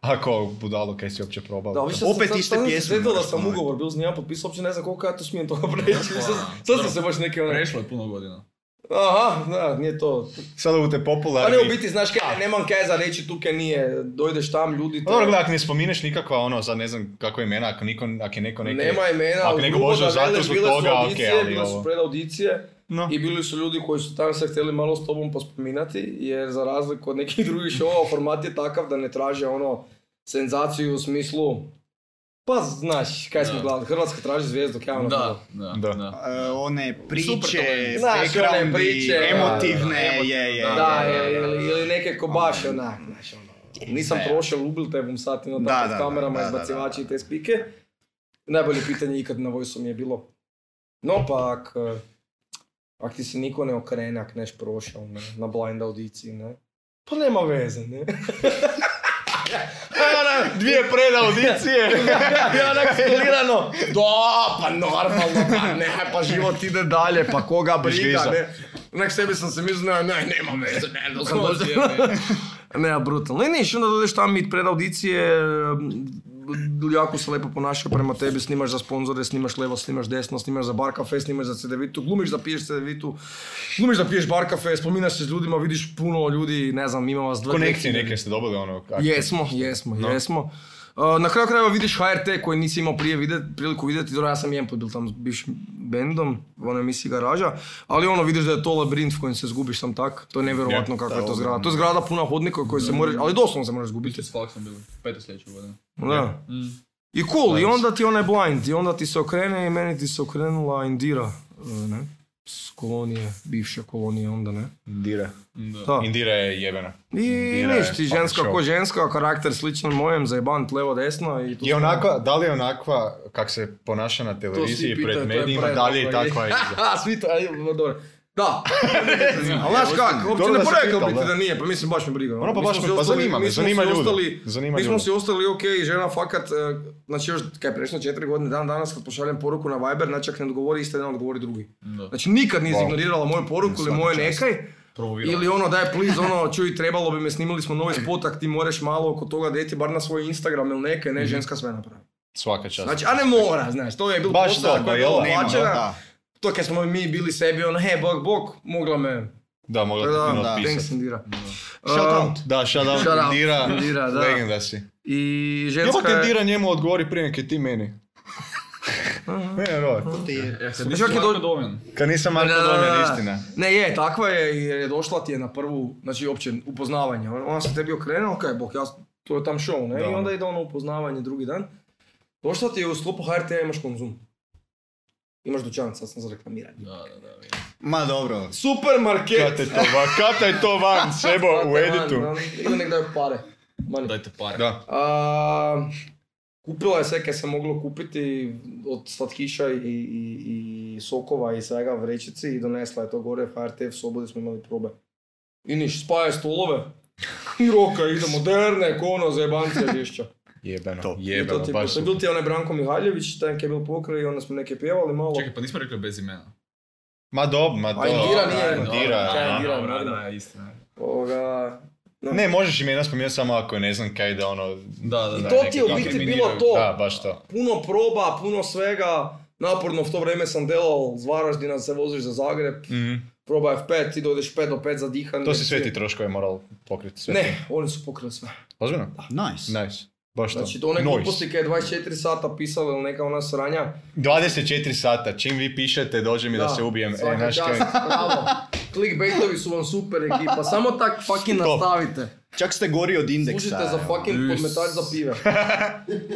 Speaker 3: Ako budalo, kaj si uopće probao.
Speaker 2: Da, više sam-
Speaker 1: Opet
Speaker 2: sad-
Speaker 1: iste
Speaker 2: sad sam se
Speaker 1: pjesme
Speaker 2: sjetio da
Speaker 1: moraš
Speaker 2: sam
Speaker 1: ponoviti.
Speaker 2: ugovor bil s njima potpisao, uopće ne znam koliko ja to smijem toga preći. Sad,
Speaker 4: Hvala.
Speaker 2: sad sam se baš neki onaj...
Speaker 4: Prešlo je puno godina.
Speaker 2: Aha, da, nije to.
Speaker 3: Sada u te
Speaker 2: Pa
Speaker 3: popularni...
Speaker 2: ne, u biti, znaš kaj, nemam kaj za reći, tu kaj nije. Dojdeš tam, ljudi
Speaker 3: Pa
Speaker 2: te...
Speaker 3: Dobro, gledaj, ako ne spomineš nikakva ono, sad ne znam kako je imena, ako, niko, ako je neko neke...
Speaker 2: Nema imena,
Speaker 3: Ako
Speaker 2: ali
Speaker 3: neko
Speaker 2: grubo
Speaker 3: može
Speaker 2: da
Speaker 3: u zatvor
Speaker 2: veleš,
Speaker 3: zbog
Speaker 2: bile su
Speaker 3: toga, ok,
Speaker 2: audicije,
Speaker 3: ali
Speaker 2: bile su
Speaker 3: ovo-
Speaker 2: predaudicije
Speaker 3: No.
Speaker 2: i bili su ljudi koji su tam se htjeli malo s tobom pospominati, jer za razliku od nekih drugih šova, format je takav da ne traže ono senzaciju u smislu pa znaš, kaj smo
Speaker 4: Da.
Speaker 2: gledali, Hrvatska traži zvijezdu, kaj je ono bilo?
Speaker 4: Da, da,
Speaker 3: Da.
Speaker 4: da.
Speaker 1: E, one
Speaker 4: Super
Speaker 1: priče,
Speaker 4: to je.
Speaker 2: Znaš, one
Speaker 1: backgroundi,
Speaker 2: priče, da,
Speaker 1: emotivne,
Speaker 4: da, da,
Speaker 1: je, je,
Speaker 4: da,
Speaker 2: Da,
Speaker 1: je,
Speaker 2: je,
Speaker 1: je, je.
Speaker 2: ili, ili neke ko baš onak, znaš, ono, nisam
Speaker 1: ja, Ne.
Speaker 2: prošao, ubil te bom sad, ono,
Speaker 1: Da,
Speaker 2: tako
Speaker 1: da,
Speaker 2: s
Speaker 1: da,
Speaker 2: kamerama,
Speaker 1: da, da,
Speaker 2: izbacivači
Speaker 1: da,
Speaker 2: i te spike. Najbolje pitanje ikad na vojsu mi je bilo. No pa, ak, eh, ak ti se niko ne okrene, ak neš prošao ne, na blind audiciji, ne, pa nema veze, ne.
Speaker 3: Dvije predaudicije!
Speaker 2: ja onak skulirano, da, pa normalno, pa ne, pa život ide dalje, pa koga briga,
Speaker 3: Izliza.
Speaker 2: ne. Onak sebi sam se mislio, ne, ne, nema veze, ne, da sam došao. Ne, a brutalno. I niš, onda dođeš tam i pred audicije, m, jako se lepo ponašaju prema tebi, snimaš za sponzore, snimaš levo, snimaš desno, snimaš za bar kafe, snimaš za CDV-tu, glumiš da piješ CDV-tu, glumiš da piješ bar kafe, spominaš se s ljudima, vidiš puno ljudi, ne znam, ima vas dva.
Speaker 3: Konekcije
Speaker 2: tri-
Speaker 3: neke ste dobili ono... kak-
Speaker 2: Jesmo, jesmo, jesmo. Uh, na kraju krajeva vidiš HRT koji nisi imao prije videt, priliku vidjeti, dobro ja sam jedan put bil tamo s bivšim bendom, u onoj emisiji Garaža, ali ono vidiš da je to labirint v kojem se zgubiš sam tak, to je nevjerojatno
Speaker 3: Je,
Speaker 2: kako
Speaker 3: da, Mm.
Speaker 2: je to zgrada. To je zgrada puna hodnika koji se moraš, ali doslovno se moraš zgubiti.
Speaker 4: S Falksom bili, peto sljedeće godine.
Speaker 2: Da.
Speaker 3: Mm.
Speaker 2: I cool, i onda ti onaj blind, i onda ti se okrene i meni ti se okrenula Indira, uh, ne? S kolonije, bivše kolonije onda, ne?
Speaker 3: Indira.
Speaker 4: Da.
Speaker 2: Da.
Speaker 3: Indira je jebena.
Speaker 2: I
Speaker 3: Indira je
Speaker 2: ništa, ti
Speaker 3: fucking
Speaker 2: ženska
Speaker 3: show.
Speaker 2: ko ženska, karakter sličan mojem, zajebant levo desno i tu
Speaker 3: Je onakva, da li je onakva kak se ponaša na televiziji
Speaker 2: pitaju, to
Speaker 3: pred
Speaker 2: je
Speaker 3: medijima,
Speaker 2: prejednako
Speaker 3: da li je takva iza?
Speaker 2: A, svi to, aj, dobro. Da. Ali znaš kak, uopće
Speaker 3: Dobro
Speaker 2: ne
Speaker 3: da si
Speaker 2: porekao
Speaker 3: pitao,
Speaker 2: bi ti
Speaker 3: da.
Speaker 2: da nije, pa mislim baš me briga.
Speaker 3: Ono, pa
Speaker 2: Mi
Speaker 3: baš
Speaker 2: smo
Speaker 3: me-
Speaker 2: si
Speaker 3: pa
Speaker 2: ostali-
Speaker 3: zanima me,
Speaker 2: mi smo
Speaker 3: zanima
Speaker 2: si
Speaker 3: ljude.
Speaker 2: ostali-
Speaker 3: Zanima
Speaker 2: Mi smo
Speaker 3: ljude.
Speaker 2: si ostali, ok, žena fakat, eh, znači još, kaj prešlo četiri godine, dan danas kad pošaljem poruku na Viber, znači ak ne odgovori, ista jedan odgovori drugi.
Speaker 4: Da.
Speaker 2: Znači nikad nije
Speaker 3: Wow.
Speaker 2: ignorirala moju poruku ili
Speaker 3: Svaka
Speaker 2: moje
Speaker 3: čast.
Speaker 2: nekaj.
Speaker 4: Promovirala.
Speaker 2: Ili ono, daj please, ono, čuj, trebalo bi me, snimili smo novi spotak, ti moraš malo oko toga deti, bar na svoj Instagram ili nekaj,
Speaker 3: Mhm.
Speaker 2: ne, ženska sve napravi.
Speaker 3: Svaka čast.
Speaker 2: Znači, a ne mora, znaš, to je bilo
Speaker 3: Baš
Speaker 2: posao
Speaker 3: to,
Speaker 2: koje je
Speaker 3: da,
Speaker 2: bilo
Speaker 3: jel? Nema,
Speaker 2: plaćeno.
Speaker 1: da.
Speaker 2: To kad smo mi bili sebi, ono, he, bog, bog, mogla me...
Speaker 3: Da, mogla
Speaker 2: Da,
Speaker 3: ti puno
Speaker 2: da, thanks,
Speaker 3: otpisati.
Speaker 2: Indira.
Speaker 1: Shout
Speaker 2: Um,
Speaker 1: out.
Speaker 3: Da, shout out
Speaker 2: Shout out.
Speaker 3: Indira,
Speaker 2: Indira, da.
Speaker 3: legenda si.
Speaker 2: I
Speaker 3: Jeba
Speaker 2: ženska
Speaker 3: kad
Speaker 2: je...
Speaker 3: Indira njemu odgovori prije nek je ti meni. Ne, Robert.
Speaker 4: Ja sam
Speaker 2: Čak i do-
Speaker 4: domen.
Speaker 3: Kad nisam Marko
Speaker 2: Da, da, da,
Speaker 3: Domjan,
Speaker 2: da.
Speaker 3: istina.
Speaker 2: Ne, je, takva je, jer je došla ti je na prvu, znači, uopće, upoznavanje. Ona ona se tebi okrenula, kaj, bog, ja, to je tam show, ne?
Speaker 3: Da.
Speaker 2: I onda ide ono upoznavanje drugi dan. Došla ti je u sklopu HRT-a imaš konzum. Imaš dućan, sad sam za reklamiranje.
Speaker 4: Da, da, da. vidim.
Speaker 1: Ma dobro.
Speaker 2: Supermarket!
Speaker 3: Kata je to van, kata je to van, sebo u editu.
Speaker 2: Ili nek daju ono, pare. Money.
Speaker 4: Dajte pare.
Speaker 3: Da.
Speaker 2: A, kupila je sve kaj se moglo kupiti od slatkiša i, i, i sokova i svega v vrećici i donesla je to gore u HRT v sobu gdje smo imali probe. I niš, spaje stolove i roka, idemo, derne, kono, zajebancija ono, žišća.
Speaker 3: Jebeno,
Speaker 1: To.
Speaker 2: I to
Speaker 3: jebeno,
Speaker 2: ti
Speaker 3: baš
Speaker 2: je
Speaker 3: super.
Speaker 2: bil ti je onaj Branko Mihaljević, taj kaj je bil pokraj i onda smo neke pjevali malo.
Speaker 4: Čekaj, pa nismo rekli bez imena.
Speaker 3: Ma dob, ma dob.
Speaker 2: A Indira nije
Speaker 3: da,
Speaker 2: imena.
Speaker 3: Indira,
Speaker 2: Kaj je
Speaker 3: aha.
Speaker 2: Indira?
Speaker 4: Dobra,
Speaker 2: naravno.
Speaker 4: da, istina.
Speaker 2: Ovoga,
Speaker 3: Ne, možeš imena spominjati samo ako je ne znam kaj da ono...
Speaker 4: Da, da,
Speaker 2: I
Speaker 4: da.
Speaker 2: to
Speaker 3: neka
Speaker 2: ti je u
Speaker 3: kako
Speaker 2: biti bilo
Speaker 4: eliminiraju.
Speaker 2: to.
Speaker 3: Da, baš to.
Speaker 2: puno proba, puno svega. Naporno v to vrijeme sam delal z Varaždina, se voziš za Zagreb,
Speaker 3: Mhm.
Speaker 2: proba F5, ti dođeš 5 do 5 za dihanje.
Speaker 3: To si sve ti troškove moral pokriti. Sve ti.
Speaker 2: Ne, oni su pokrili sve.
Speaker 3: Ozbiljno?
Speaker 1: Nice.
Speaker 3: Nice. Baš to.
Speaker 2: Znači, to one
Speaker 3: Noise.
Speaker 2: gluposti kaj je 24 sata pisala ili neka ona sranja.
Speaker 3: 24 sata, čim vi pišete, dođe mi da, se ubijem. E,
Speaker 2: svaka
Speaker 3: znaš kaj.
Speaker 2: čast, bravo. Clickbaitovi su vam super ekipa, samo tak fucking
Speaker 3: Top.
Speaker 2: nastavite.
Speaker 1: Čak ste gori od indeksa.
Speaker 2: Služite za
Speaker 1: evo.
Speaker 3: ono?
Speaker 2: fucking
Speaker 4: Is.
Speaker 2: podmetač za pive.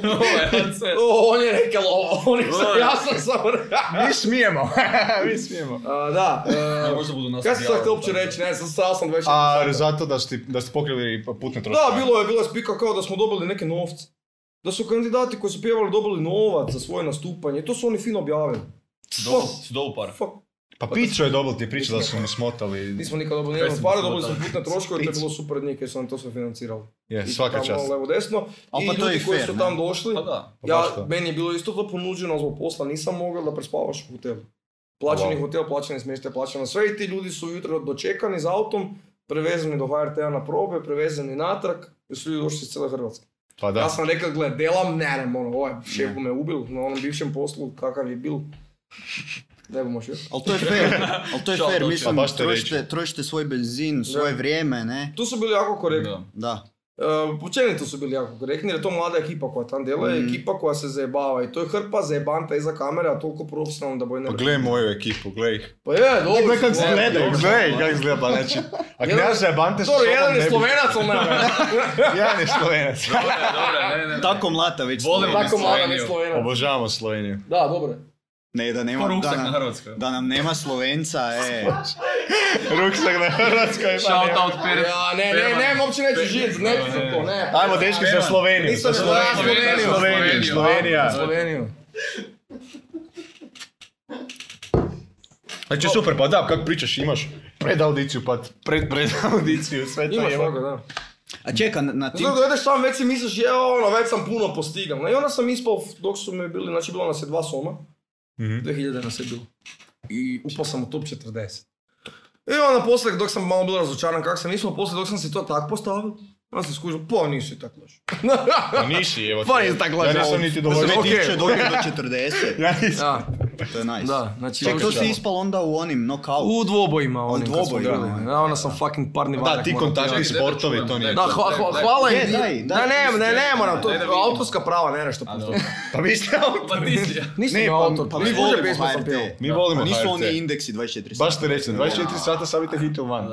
Speaker 4: Ovo je od sve.
Speaker 2: O, on je rekel ovo, on je sam, ja sam sam
Speaker 3: Mi smijemo. mi smijemo.
Speaker 2: A, Da,
Speaker 4: A,
Speaker 2: e,
Speaker 4: Možda budu nas
Speaker 2: kaj sam
Speaker 4: odjavili,
Speaker 2: sad uopće
Speaker 4: tako da.
Speaker 2: reći, ne, sam sam sam 24
Speaker 3: A
Speaker 2: sata.
Speaker 3: zato da ste, da ste pokrili putne troškove.
Speaker 2: Da, bilo je, bilo je spika kao da smo dobili neke novce. Da su kandidati koji su pjevali dobili novac za svoje nastupanje. To su oni fino objavili.
Speaker 4: Si dobu- Si dobu para.
Speaker 2: Fuck.
Speaker 3: Pa piću je dobil ti je priča da su mu smotali.
Speaker 2: Nismo nikad dobili
Speaker 4: Kaj
Speaker 2: nijedno
Speaker 4: smo
Speaker 2: pare,
Speaker 4: smo
Speaker 2: dobili smo
Speaker 4: dali?
Speaker 2: putne troškove, to je bilo super od njih jer su nam to sve financirali.
Speaker 3: Je,
Speaker 2: Isto
Speaker 3: svaka
Speaker 2: tamo ono,
Speaker 3: čast.
Speaker 2: Levo desno.
Speaker 1: Al
Speaker 2: I
Speaker 1: pa to je
Speaker 2: ljudi
Speaker 1: i
Speaker 2: koji
Speaker 1: fair,
Speaker 2: su
Speaker 1: ne?
Speaker 2: tam došli,
Speaker 4: Pa da.
Speaker 3: Pa
Speaker 2: ja,
Speaker 3: baš to.
Speaker 2: meni je bilo isto to ponuđeno zbog posla, nisam mogao da prespavaš u hotelu. Plaćeni
Speaker 3: Wow.
Speaker 2: hotel, plaćeni smještaj, plaćeno sve i ti ljudi su ujutro dočekani s autom, prevezani do HRT-a na probe, prevezani natrag, jer su ljudi došli iz cijele Hrvatske.
Speaker 3: Pa da.
Speaker 2: Ja sam rekao, gle, delam, ne, ne, ono, ovaj šef bi me ubil na onom bivšem poslu, kakav je bil. Ne bomo šef.
Speaker 1: Ali to je fair, ali to je
Speaker 4: Šal
Speaker 1: fair,
Speaker 4: doći,
Speaker 1: mislim,
Speaker 3: a baš te
Speaker 1: trošite, trošite svoj benzin, svoje vrijeme, ne?
Speaker 2: Tu su bili jako korektni.
Speaker 4: Pa Da.
Speaker 1: Da.
Speaker 2: Uh, općenito su bili jako korektni, jer je to mlada ekipa koja tam djeluje,
Speaker 1: Mhm.
Speaker 2: ekipa koja se zajebava i to je hrpa zajebanta iza kamere, a toliko profesionalno da boj ne...
Speaker 3: Pa gle moju ekipu, gle ih.
Speaker 2: Pa je, dobro.
Speaker 3: Gle
Speaker 2: su,
Speaker 3: kako
Speaker 2: dobro,
Speaker 3: izgledaju,
Speaker 2: dobro su,
Speaker 3: gle
Speaker 2: dobro.
Speaker 3: kako izgleda, pa znači. A
Speaker 2: Jedan-
Speaker 3: knjaž Zajebante sa
Speaker 2: Dobro,
Speaker 3: sobom
Speaker 2: jedan
Speaker 3: ne
Speaker 2: je
Speaker 3: bi-
Speaker 2: slovenac, ali ne.
Speaker 3: Jedan je slovenac.
Speaker 4: Dobro, je, dobro, je, ne, ne, ne.
Speaker 1: Tako mlata već.
Speaker 4: Volim
Speaker 1: stoji.
Speaker 4: vas.
Speaker 2: Tako mala ne slovenac.
Speaker 3: Obožavamo Sloveniju.
Speaker 2: Da, dobro je.
Speaker 1: Ne, da
Speaker 4: Ko
Speaker 1: nema, da,
Speaker 4: ruksak na
Speaker 1: nam,
Speaker 4: Hrvatskoj.
Speaker 1: da nam nema Slovenca, e.
Speaker 3: Ruksak na Hrvatskoj. pa
Speaker 4: Shout
Speaker 3: nema.
Speaker 4: out Perez.
Speaker 2: Ja, ne, ne,
Speaker 4: Perman.
Speaker 2: ne, uopće neću živjeti,
Speaker 4: Ne,
Speaker 2: ne
Speaker 4: ne,
Speaker 2: za to, ne.
Speaker 3: Ajmo dečki za Sloveniju.
Speaker 2: Nisam
Speaker 3: za
Speaker 2: ne-
Speaker 3: Sloveniju,
Speaker 2: da, Sloveniju,
Speaker 3: Sloveniju,
Speaker 4: Sloveniju.
Speaker 3: Slovenija.
Speaker 2: Sloveniju.
Speaker 3: Znači super, pa da, kako pričaš, imaš pred audiciju, pa pred, pred audiciju, sve to
Speaker 2: Imaš
Speaker 3: je.
Speaker 2: toga, da.
Speaker 1: A čeka, na, na tim...
Speaker 2: Zato da ideš sam, već si misliš, je ono, već sam puno postigao. No, I onda sam ispao, dok su me bili, znači bilo nas je dva soma,
Speaker 3: Mhm.
Speaker 2: 2000 nas je bilo. I upao sam u top 40. I onda poslije, dok sam malo bio razočaran kako sam ispao, poslije dok sam si to tak postavio, onda sam skužio, pa nisi tak loš.
Speaker 3: Pa nisi, evo.
Speaker 2: Pa
Speaker 3: ti.
Speaker 2: nisi tako
Speaker 3: Ja
Speaker 2: lažao.
Speaker 3: nisam niti dovoljno.
Speaker 1: Sve
Speaker 2: Mislim,
Speaker 1: tiče
Speaker 2: ok.
Speaker 1: do 40,
Speaker 3: Ja nisam.
Speaker 2: da,
Speaker 1: to je nice.
Speaker 2: da, znači...
Speaker 1: Ček, to
Speaker 2: dok sam-
Speaker 1: si ispalo onda u onim knockout.
Speaker 2: U dvobojima onim kad smo
Speaker 1: dvobojima,
Speaker 2: bili.
Speaker 1: ne.
Speaker 2: Ja, onda sam fucking parni valjak.
Speaker 3: Da, ti
Speaker 2: moram
Speaker 3: kontaktni
Speaker 2: pjevati.
Speaker 3: sportovi, to nije.
Speaker 2: Da,
Speaker 3: to.
Speaker 2: hva- hva- hvala
Speaker 1: Je,
Speaker 2: im.
Speaker 1: daj,
Speaker 2: Da,
Speaker 1: daj,
Speaker 2: ne, ne, ne moram, to
Speaker 4: Daj da vidim.
Speaker 2: autorska prava, ne nešto. pusti.
Speaker 3: Pa vi ste autor.
Speaker 4: Pa ti si.
Speaker 2: Nisam
Speaker 3: Ne,
Speaker 2: ja
Speaker 3: pa-
Speaker 2: autor,
Speaker 3: pa mi
Speaker 2: pa mi
Speaker 1: volimo
Speaker 2: volimo pjesmu sam
Speaker 1: HRT.
Speaker 2: pjevao.
Speaker 3: Mi volimo
Speaker 1: Pa nisu oni
Speaker 3: HRT.
Speaker 1: indeksi 24 sata.
Speaker 3: Baš ste recimo, 24 sata savite hitu van.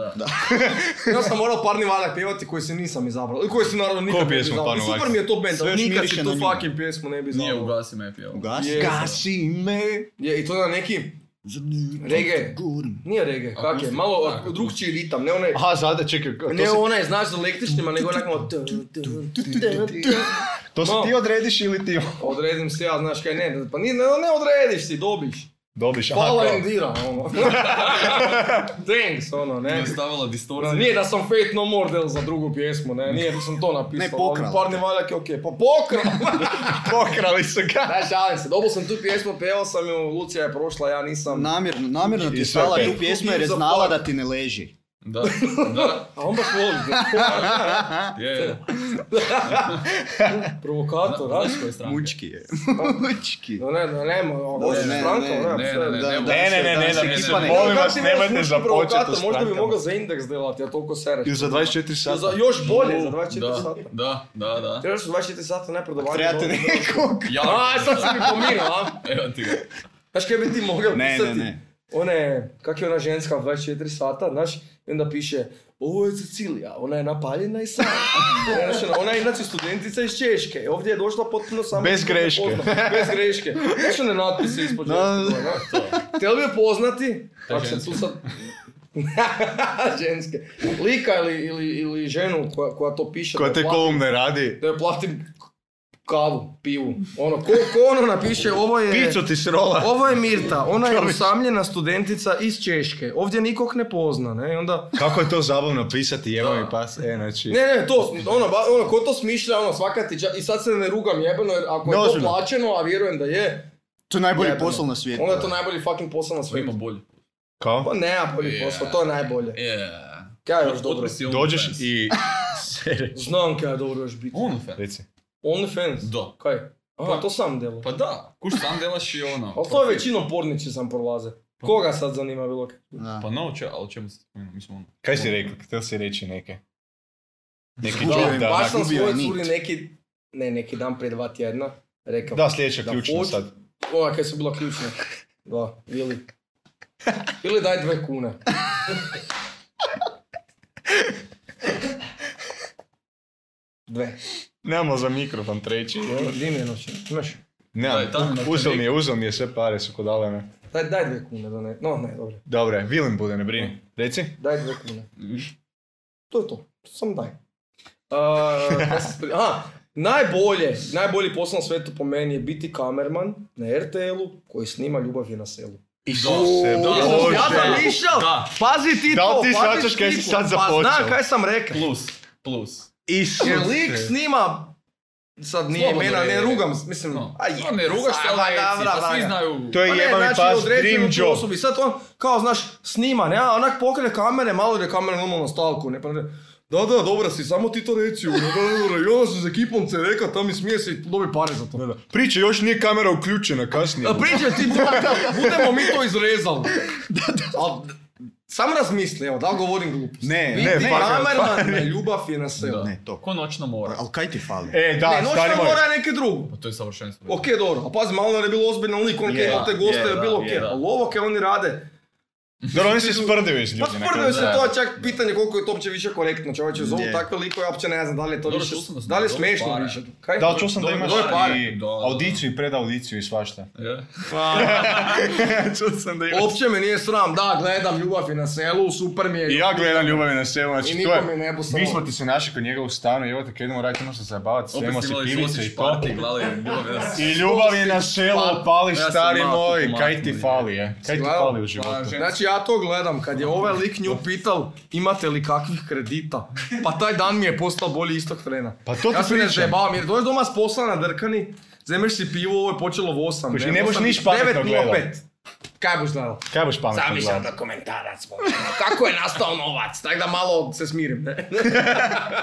Speaker 2: Ja sam morao parni valjak pjevati koji se nisam izabrao. I koji se naravno nikad ne bi
Speaker 3: pjesmu
Speaker 2: izabrao.
Speaker 3: Parni
Speaker 2: I Super
Speaker 3: valjak?
Speaker 2: mi je to band,
Speaker 1: Sve
Speaker 2: ali
Speaker 1: još
Speaker 2: nikad
Speaker 1: miriše
Speaker 2: si
Speaker 1: na
Speaker 2: tu
Speaker 1: nju.
Speaker 2: fucking pjesmu ne bi
Speaker 4: Nije
Speaker 2: izabrao.
Speaker 4: ugasi me pjevo.
Speaker 1: Ugasi.
Speaker 2: Je.
Speaker 1: Gasi me.
Speaker 2: Je, i to na neki... Reggae.
Speaker 1: Gurm.
Speaker 2: Nije reggae, kak je,
Speaker 4: Akustika.
Speaker 2: malo drugčiji ritam, ne onaj...
Speaker 3: Aha, sada čekaj, to
Speaker 2: Ne
Speaker 3: si-
Speaker 2: onaj, znaš, za električnima, nego onak malo...
Speaker 3: to si
Speaker 2: no.
Speaker 3: ti odrediš ili ti
Speaker 2: Odredim se ja, znaš kaj, ne, pa ni, ne, ne odrediš si, dobiš.
Speaker 3: dobiš? Aha,
Speaker 2: Pala
Speaker 3: kao.
Speaker 2: endira, ono. Thanks, ono,
Speaker 4: Mi
Speaker 2: ne.
Speaker 4: je stavila distorziju.
Speaker 2: Nije da sam Fate No More del za drugu pjesmu, ne, nije da sam to napisao.
Speaker 1: Ne, pokrala.
Speaker 2: ali Parni valjak je okej, pa pokrala!
Speaker 3: Pokrali su ga.
Speaker 2: Daj, šalim se, dobio sam tu pjesmu, pevao sam ju, Lucija je prošla, ja nisam.
Speaker 1: Namjerno, namjerno ti
Speaker 3: I
Speaker 1: je
Speaker 3: sve
Speaker 1: stala
Speaker 3: pet.
Speaker 1: tu pjesmu jer je
Speaker 2: Za
Speaker 1: znala
Speaker 2: fuck.
Speaker 1: da ti ne leži.
Speaker 4: Da, da,
Speaker 2: A on baš voli.
Speaker 4: je, je.
Speaker 2: Provokator, a?
Speaker 4: Znaš koje stranke?
Speaker 1: Mučki je. Mučki.
Speaker 2: No ne, ne, nema, ovo
Speaker 1: Ne,
Speaker 2: je
Speaker 1: ne,
Speaker 2: stranka,
Speaker 1: ne,
Speaker 2: ne,
Speaker 4: ne,
Speaker 2: sve.
Speaker 4: ne,
Speaker 2: Da,
Speaker 4: ne,
Speaker 1: Da,
Speaker 3: Ne, ne, ne, ne,
Speaker 1: danas
Speaker 3: da
Speaker 1: je
Speaker 3: mi se
Speaker 1: ekipa ne-
Speaker 3: molim
Speaker 2: kako
Speaker 3: vas,
Speaker 2: ti možeš
Speaker 3: nemojte
Speaker 2: biti
Speaker 3: započeti
Speaker 2: provokator,
Speaker 3: u
Speaker 2: Možda bi
Speaker 3: strankama.
Speaker 2: mogao za indeks delati, ja toliko sereš.
Speaker 3: Ili za 24
Speaker 2: Ili za-
Speaker 3: sata.
Speaker 2: Još bolje, za
Speaker 4: U,
Speaker 2: 24
Speaker 4: da,
Speaker 2: sata.
Speaker 4: Da, da, da.
Speaker 2: Trebaš su 24 sata najprodavanje.
Speaker 1: Trebate nekog.
Speaker 4: Ja,
Speaker 2: A, sad si mi pomirao, a?
Speaker 4: Evo ti ga.
Speaker 2: Znaš kaj bi ti mogao
Speaker 1: Ne, ne,
Speaker 2: pisati?
Speaker 1: ne.
Speaker 2: one, kak je ona ženska 24 sata, znaš, i onda piše, ovo je Cecilija, ona je napaljena i sama. Znaš, ona- ona je inače studentica iz Češke, ovdje je došla potpuno sama.
Speaker 3: Bez greške.
Speaker 2: Bez greške. Znaš one natpise ispod
Speaker 1: Da.
Speaker 2: ženskog, ono? Htjeli bi je poznati,
Speaker 4: Ta
Speaker 2: ako se tu
Speaker 4: ženska.
Speaker 2: sad... ženske. Lika ili, ili, ili ženu koja, koja to piše. da
Speaker 3: Koja
Speaker 2: je
Speaker 3: te
Speaker 2: platim-
Speaker 3: kolumne radi.
Speaker 2: Da joj platim kavu, pivu. Ono, ko, ko ono napiše, ovo je...
Speaker 3: Picu ti srola.
Speaker 2: Ovo je Mirta, ona je usamljena studentica iz Češke. Ovdje nikog ne pozna, ne? I onda...
Speaker 3: Kako je to zabavno pisati, jeba
Speaker 2: Da.
Speaker 3: mi pas, e, znači...
Speaker 2: Ne, ne, to, ono, ba- ono, ko to smišlja, ono, svaka ti ča- I sad se ne rugam jebeno, jer ako je to
Speaker 3: Ozbiljno.
Speaker 2: plaćeno, a vjerujem da je,
Speaker 1: To je najbolji
Speaker 2: Jebeno.
Speaker 1: posao na svijetu.
Speaker 2: onda je to najbolji fucking posao na
Speaker 4: Sve ima
Speaker 2: svijetu.
Speaker 4: bolje.
Speaker 3: Kao?
Speaker 2: Pa ne, a bolji
Speaker 4: Je.
Speaker 2: posao, to je najbolje.
Speaker 4: Yeah.
Speaker 2: Kaj je još dobro?
Speaker 3: Dođeš i... Sere.
Speaker 2: Znam kaj je dobro još biti.
Speaker 4: OnlyFans.
Speaker 3: Reci.
Speaker 2: OnlyFans?
Speaker 4: Da.
Speaker 2: Kaj? Aha,
Speaker 4: Pa-
Speaker 2: to sam delo.
Speaker 4: Pa da, kuš sam delaš i ono.
Speaker 2: Ali to je
Speaker 4: profil.
Speaker 2: većinom porniči sam prolaze. Koga sad zanima bilo kaj?
Speaker 1: Da.
Speaker 4: Pa no, če, ali čemu se spomenuo, mislim ono.
Speaker 3: Kaj si rekao? Htio si reći neke? Neki
Speaker 1: Da,
Speaker 3: joke da...
Speaker 2: Baš
Speaker 3: onak-
Speaker 2: sam
Speaker 1: nagubio je
Speaker 2: svojoj
Speaker 1: nit.
Speaker 2: curi neki, ne, neki dan prije dva tjedna, rekao,
Speaker 3: Da, sljedeća
Speaker 2: Da
Speaker 3: ključna
Speaker 2: hoću-
Speaker 3: sad.
Speaker 2: Ova kaj su bila ključna. Da, ili... Ili daj dve kune. Dve.
Speaker 3: Nemamo za mikrofon treći.
Speaker 2: Gdje mi je novčanik? Imaš?
Speaker 4: Da,
Speaker 3: Nemam,
Speaker 4: i tamo je
Speaker 3: uzeo
Speaker 4: novčanik.
Speaker 3: mi je, uzeo mi je sve pare su kod Alena.
Speaker 2: Daj, daj dve kune da ne... No, ne, dobro.
Speaker 3: Dobre, Vilim bude, ne brini. Reci.
Speaker 2: Daj dve kune. To je to. Samo daj. Uh, kaj sam spri- Aha, najbolje, najbolji posao na svetu po meni je biti kamerman na RTL-u koji snima Ljubav je na selu.
Speaker 3: Isuse
Speaker 4: Da,
Speaker 2: Jesam
Speaker 3: Bože.
Speaker 2: ja zamišljao?
Speaker 4: Da,
Speaker 2: Pazi ti
Speaker 3: Da li
Speaker 2: to,
Speaker 3: ti
Speaker 2: pazi
Speaker 3: shvaćaš kaj si
Speaker 2: sliku.
Speaker 3: sad
Speaker 2: Pa
Speaker 3: započeo?
Speaker 2: znam kaj sam rekao.
Speaker 4: plus, plus.
Speaker 3: Isuse.
Speaker 2: Jer lik snima... Sad nije
Speaker 4: Slobodno
Speaker 2: imena, ne
Speaker 4: je.
Speaker 2: rugam, mislim...
Speaker 4: No,
Speaker 2: a je,
Speaker 4: no ne rugaš se,
Speaker 2: sad,
Speaker 4: ali
Speaker 2: da,
Speaker 4: reci,
Speaker 2: da,
Speaker 4: pa svi
Speaker 2: da.
Speaker 4: znaju.
Speaker 3: To je
Speaker 2: Pa ne,
Speaker 3: jebani
Speaker 2: znači,
Speaker 3: pas,
Speaker 2: određenu
Speaker 3: dream
Speaker 2: tu
Speaker 3: job.
Speaker 2: Osobi. Sad on, kao znaš, snima, ne, a onak pokrene kamere, malo da kamere normalno na stalku, ne, pa ne, da, da, dobra si, samo ti to reci, ono, da, dobro. I onda sam s ekipom se rekao, tam mi smije se i dobi pare za to.
Speaker 3: Priče, još nije kamera uključena kasnije.
Speaker 2: A pričaj ti, da, da, budemo mi to izrezali. Al, samo razmisli, evo, da li govorim glupost?
Speaker 1: Ne,
Speaker 2: Vidi,
Speaker 3: ne, fakat,
Speaker 2: kamerna ljubav je na selu.
Speaker 1: Ne, to.
Speaker 4: Ko noćno mora.
Speaker 1: Ali kaj ti fali?
Speaker 3: E, da,
Speaker 2: Ne,
Speaker 3: stari
Speaker 2: noćna
Speaker 3: moj.
Speaker 2: mora je neke drugo.
Speaker 4: Pa to je savršenstvo.
Speaker 2: Ok, dobro, a pazi, malo je bilo ozbiljno lik, on
Speaker 3: Je,
Speaker 2: yeah, te goste,
Speaker 4: je,
Speaker 2: je
Speaker 4: da,
Speaker 2: bilo ok,
Speaker 4: je, da.
Speaker 2: ali ovo kaj oni rade,
Speaker 3: Dobro, oni se sprdaju s ljudi.
Speaker 2: pa
Speaker 3: na
Speaker 2: sprdaju se
Speaker 3: kraju.
Speaker 2: to, čak pitanje koliko je to uopće više korektno, čovječe, zovu
Speaker 1: Je.
Speaker 2: takve likove, ja uopće ne znam da li je to
Speaker 4: Dobro,
Speaker 2: više,
Speaker 4: čuo sam da su
Speaker 2: da li je
Speaker 4: dobili
Speaker 2: smiješno
Speaker 4: pare.
Speaker 2: više, kaj?
Speaker 3: Da, ali čuo sam da
Speaker 4: Dobro,
Speaker 3: imaš
Speaker 4: dobro, pare.
Speaker 3: i
Speaker 4: Da, da, da.
Speaker 3: audiciju i predaudiciju i svašta.
Speaker 4: Je.
Speaker 3: čuo sam da
Speaker 2: Uopće me nije sram, da, gledam ljubav je na selu, super mi je.
Speaker 3: I ja gledam ljubavi na selu, znači
Speaker 2: I
Speaker 3: to
Speaker 2: nikome
Speaker 3: je...
Speaker 2: ne bu
Speaker 3: Mi smo ti se našli kod njega u stanu i evo te kad idemo raditi, idemo se zabavati,
Speaker 4: Opet
Speaker 3: svemo
Speaker 4: ste
Speaker 3: se
Speaker 4: imali
Speaker 3: pivice
Speaker 4: Subotić
Speaker 3: i to.
Speaker 4: party, gledali, bilo bi nas-
Speaker 3: I ljubav je na selu,
Speaker 2: Pa,
Speaker 3: pali
Speaker 4: Ja sam
Speaker 3: stari
Speaker 4: malo
Speaker 3: moj,
Speaker 4: pomaknuo,
Speaker 3: kaj ti
Speaker 4: je.
Speaker 3: fali je? Kaj ti
Speaker 2: Gledam,
Speaker 3: fali u životu?
Speaker 2: pa, Znači ja to gledam, kad je ovaj lik nju pital imate li kakvih kredita, pa taj dan mi je postao bolji istog trena.
Speaker 3: Pa to ti
Speaker 2: ja se ne
Speaker 3: pričam.
Speaker 2: zajebavam, jer dođeš doma s posla na drkani, zemeš si pivo, ovo je počelo u 8.
Speaker 3: Kužiš, i
Speaker 2: ne,
Speaker 3: ne boš
Speaker 2: 8,
Speaker 3: niš pametno
Speaker 2: 9:05.
Speaker 3: gledao.
Speaker 2: Kaj boš gledao?
Speaker 3: Kaj boš pametno
Speaker 2: Zamišljam
Speaker 3: gledao?
Speaker 2: dokumentarac, ono, kako je nastao novac, tako da malo se smirim, ne?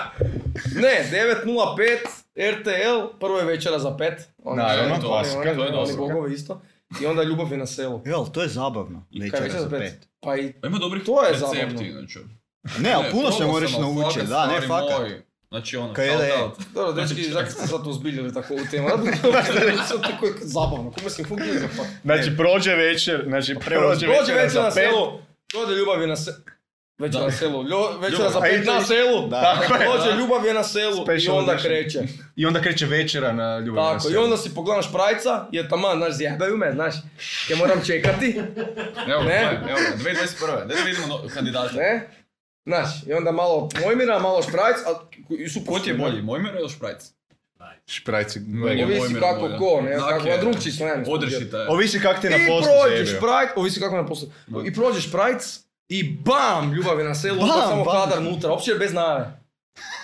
Speaker 2: ne, 9.05, RTL, prvo je večera za pet. Oni
Speaker 3: Naravno,
Speaker 2: žele to,
Speaker 3: klasika,
Speaker 2: oni-
Speaker 3: to je
Speaker 2: oni
Speaker 3: dobro.
Speaker 2: bogovi isto. I onda ljubav je na selu.
Speaker 1: Jel, to je zabavno.
Speaker 2: I kaj
Speaker 1: Večera za pet.
Speaker 2: Pa i
Speaker 4: Pa Ima dobrih
Speaker 2: To je zabavno.
Speaker 4: recepti, znači.
Speaker 1: Ne, E, ali
Speaker 4: Ne,
Speaker 1: puno se
Speaker 4: probao
Speaker 1: moraš
Speaker 4: sam, ali
Speaker 1: naučiti.
Speaker 4: fakat,
Speaker 1: Da, ne,
Speaker 4: stari
Speaker 1: fakat.
Speaker 4: moj, Znači ono,
Speaker 1: Kaj je da je?
Speaker 4: shout out. Znači,
Speaker 2: Dobro,
Speaker 3: Znači,
Speaker 2: dečki, zak ste sad uzbiljili tako ovu temu. Ja bih to tako je zabavno. Kome si fuck za fuck.
Speaker 3: Znači, prođe večer, znači, prođe
Speaker 2: Dođe
Speaker 3: večera
Speaker 2: večer
Speaker 3: za
Speaker 2: na
Speaker 3: pet.
Speaker 2: selu. Dođe ljubav je na selu. Večer
Speaker 4: Da.
Speaker 2: na selu. Ljo- Večera za
Speaker 3: A i
Speaker 2: pet
Speaker 3: to
Speaker 2: na
Speaker 3: i-
Speaker 2: selu.
Speaker 3: Tako je.
Speaker 2: Dođe ljubav je na selu i
Speaker 3: Special
Speaker 2: onda
Speaker 3: edition.
Speaker 2: kreće.
Speaker 3: I onda kreće večera na ljubavi na
Speaker 2: Tako, i
Speaker 3: selu.
Speaker 2: onda si pogledaš prajca, jer taman, znaš, zjebaju me, znaš, ja moram čekati,
Speaker 4: Evo,
Speaker 2: Ne?
Speaker 4: ne? evo, 2021. Daj da vidimo no, kandidata.
Speaker 2: ne? Znaš, i onda malo Mojmira, malo šprajc, a i su
Speaker 4: Ko ti je bolji, Mojmer ili Šprajc?
Speaker 3: Šprajci,
Speaker 4: je
Speaker 3: mega.
Speaker 4: Ovi-
Speaker 2: Ovisi
Speaker 4: Mojmir
Speaker 2: kako
Speaker 4: bolja.
Speaker 2: ko, ne,
Speaker 4: Znak
Speaker 2: kako,
Speaker 4: je-
Speaker 2: a drugčiji su, ne znam.
Speaker 4: Odrešite je.
Speaker 3: Ovisi kak ti je na
Speaker 2: I
Speaker 3: poslu
Speaker 2: prođeš
Speaker 3: zjebio.
Speaker 2: prajc, ovisi kako je na poslu. I prođeš prajc i bam, ljubav je na selu,
Speaker 1: Bam,
Speaker 2: odmah samo
Speaker 1: bam.
Speaker 2: hladar unutra, uopće je bez najave.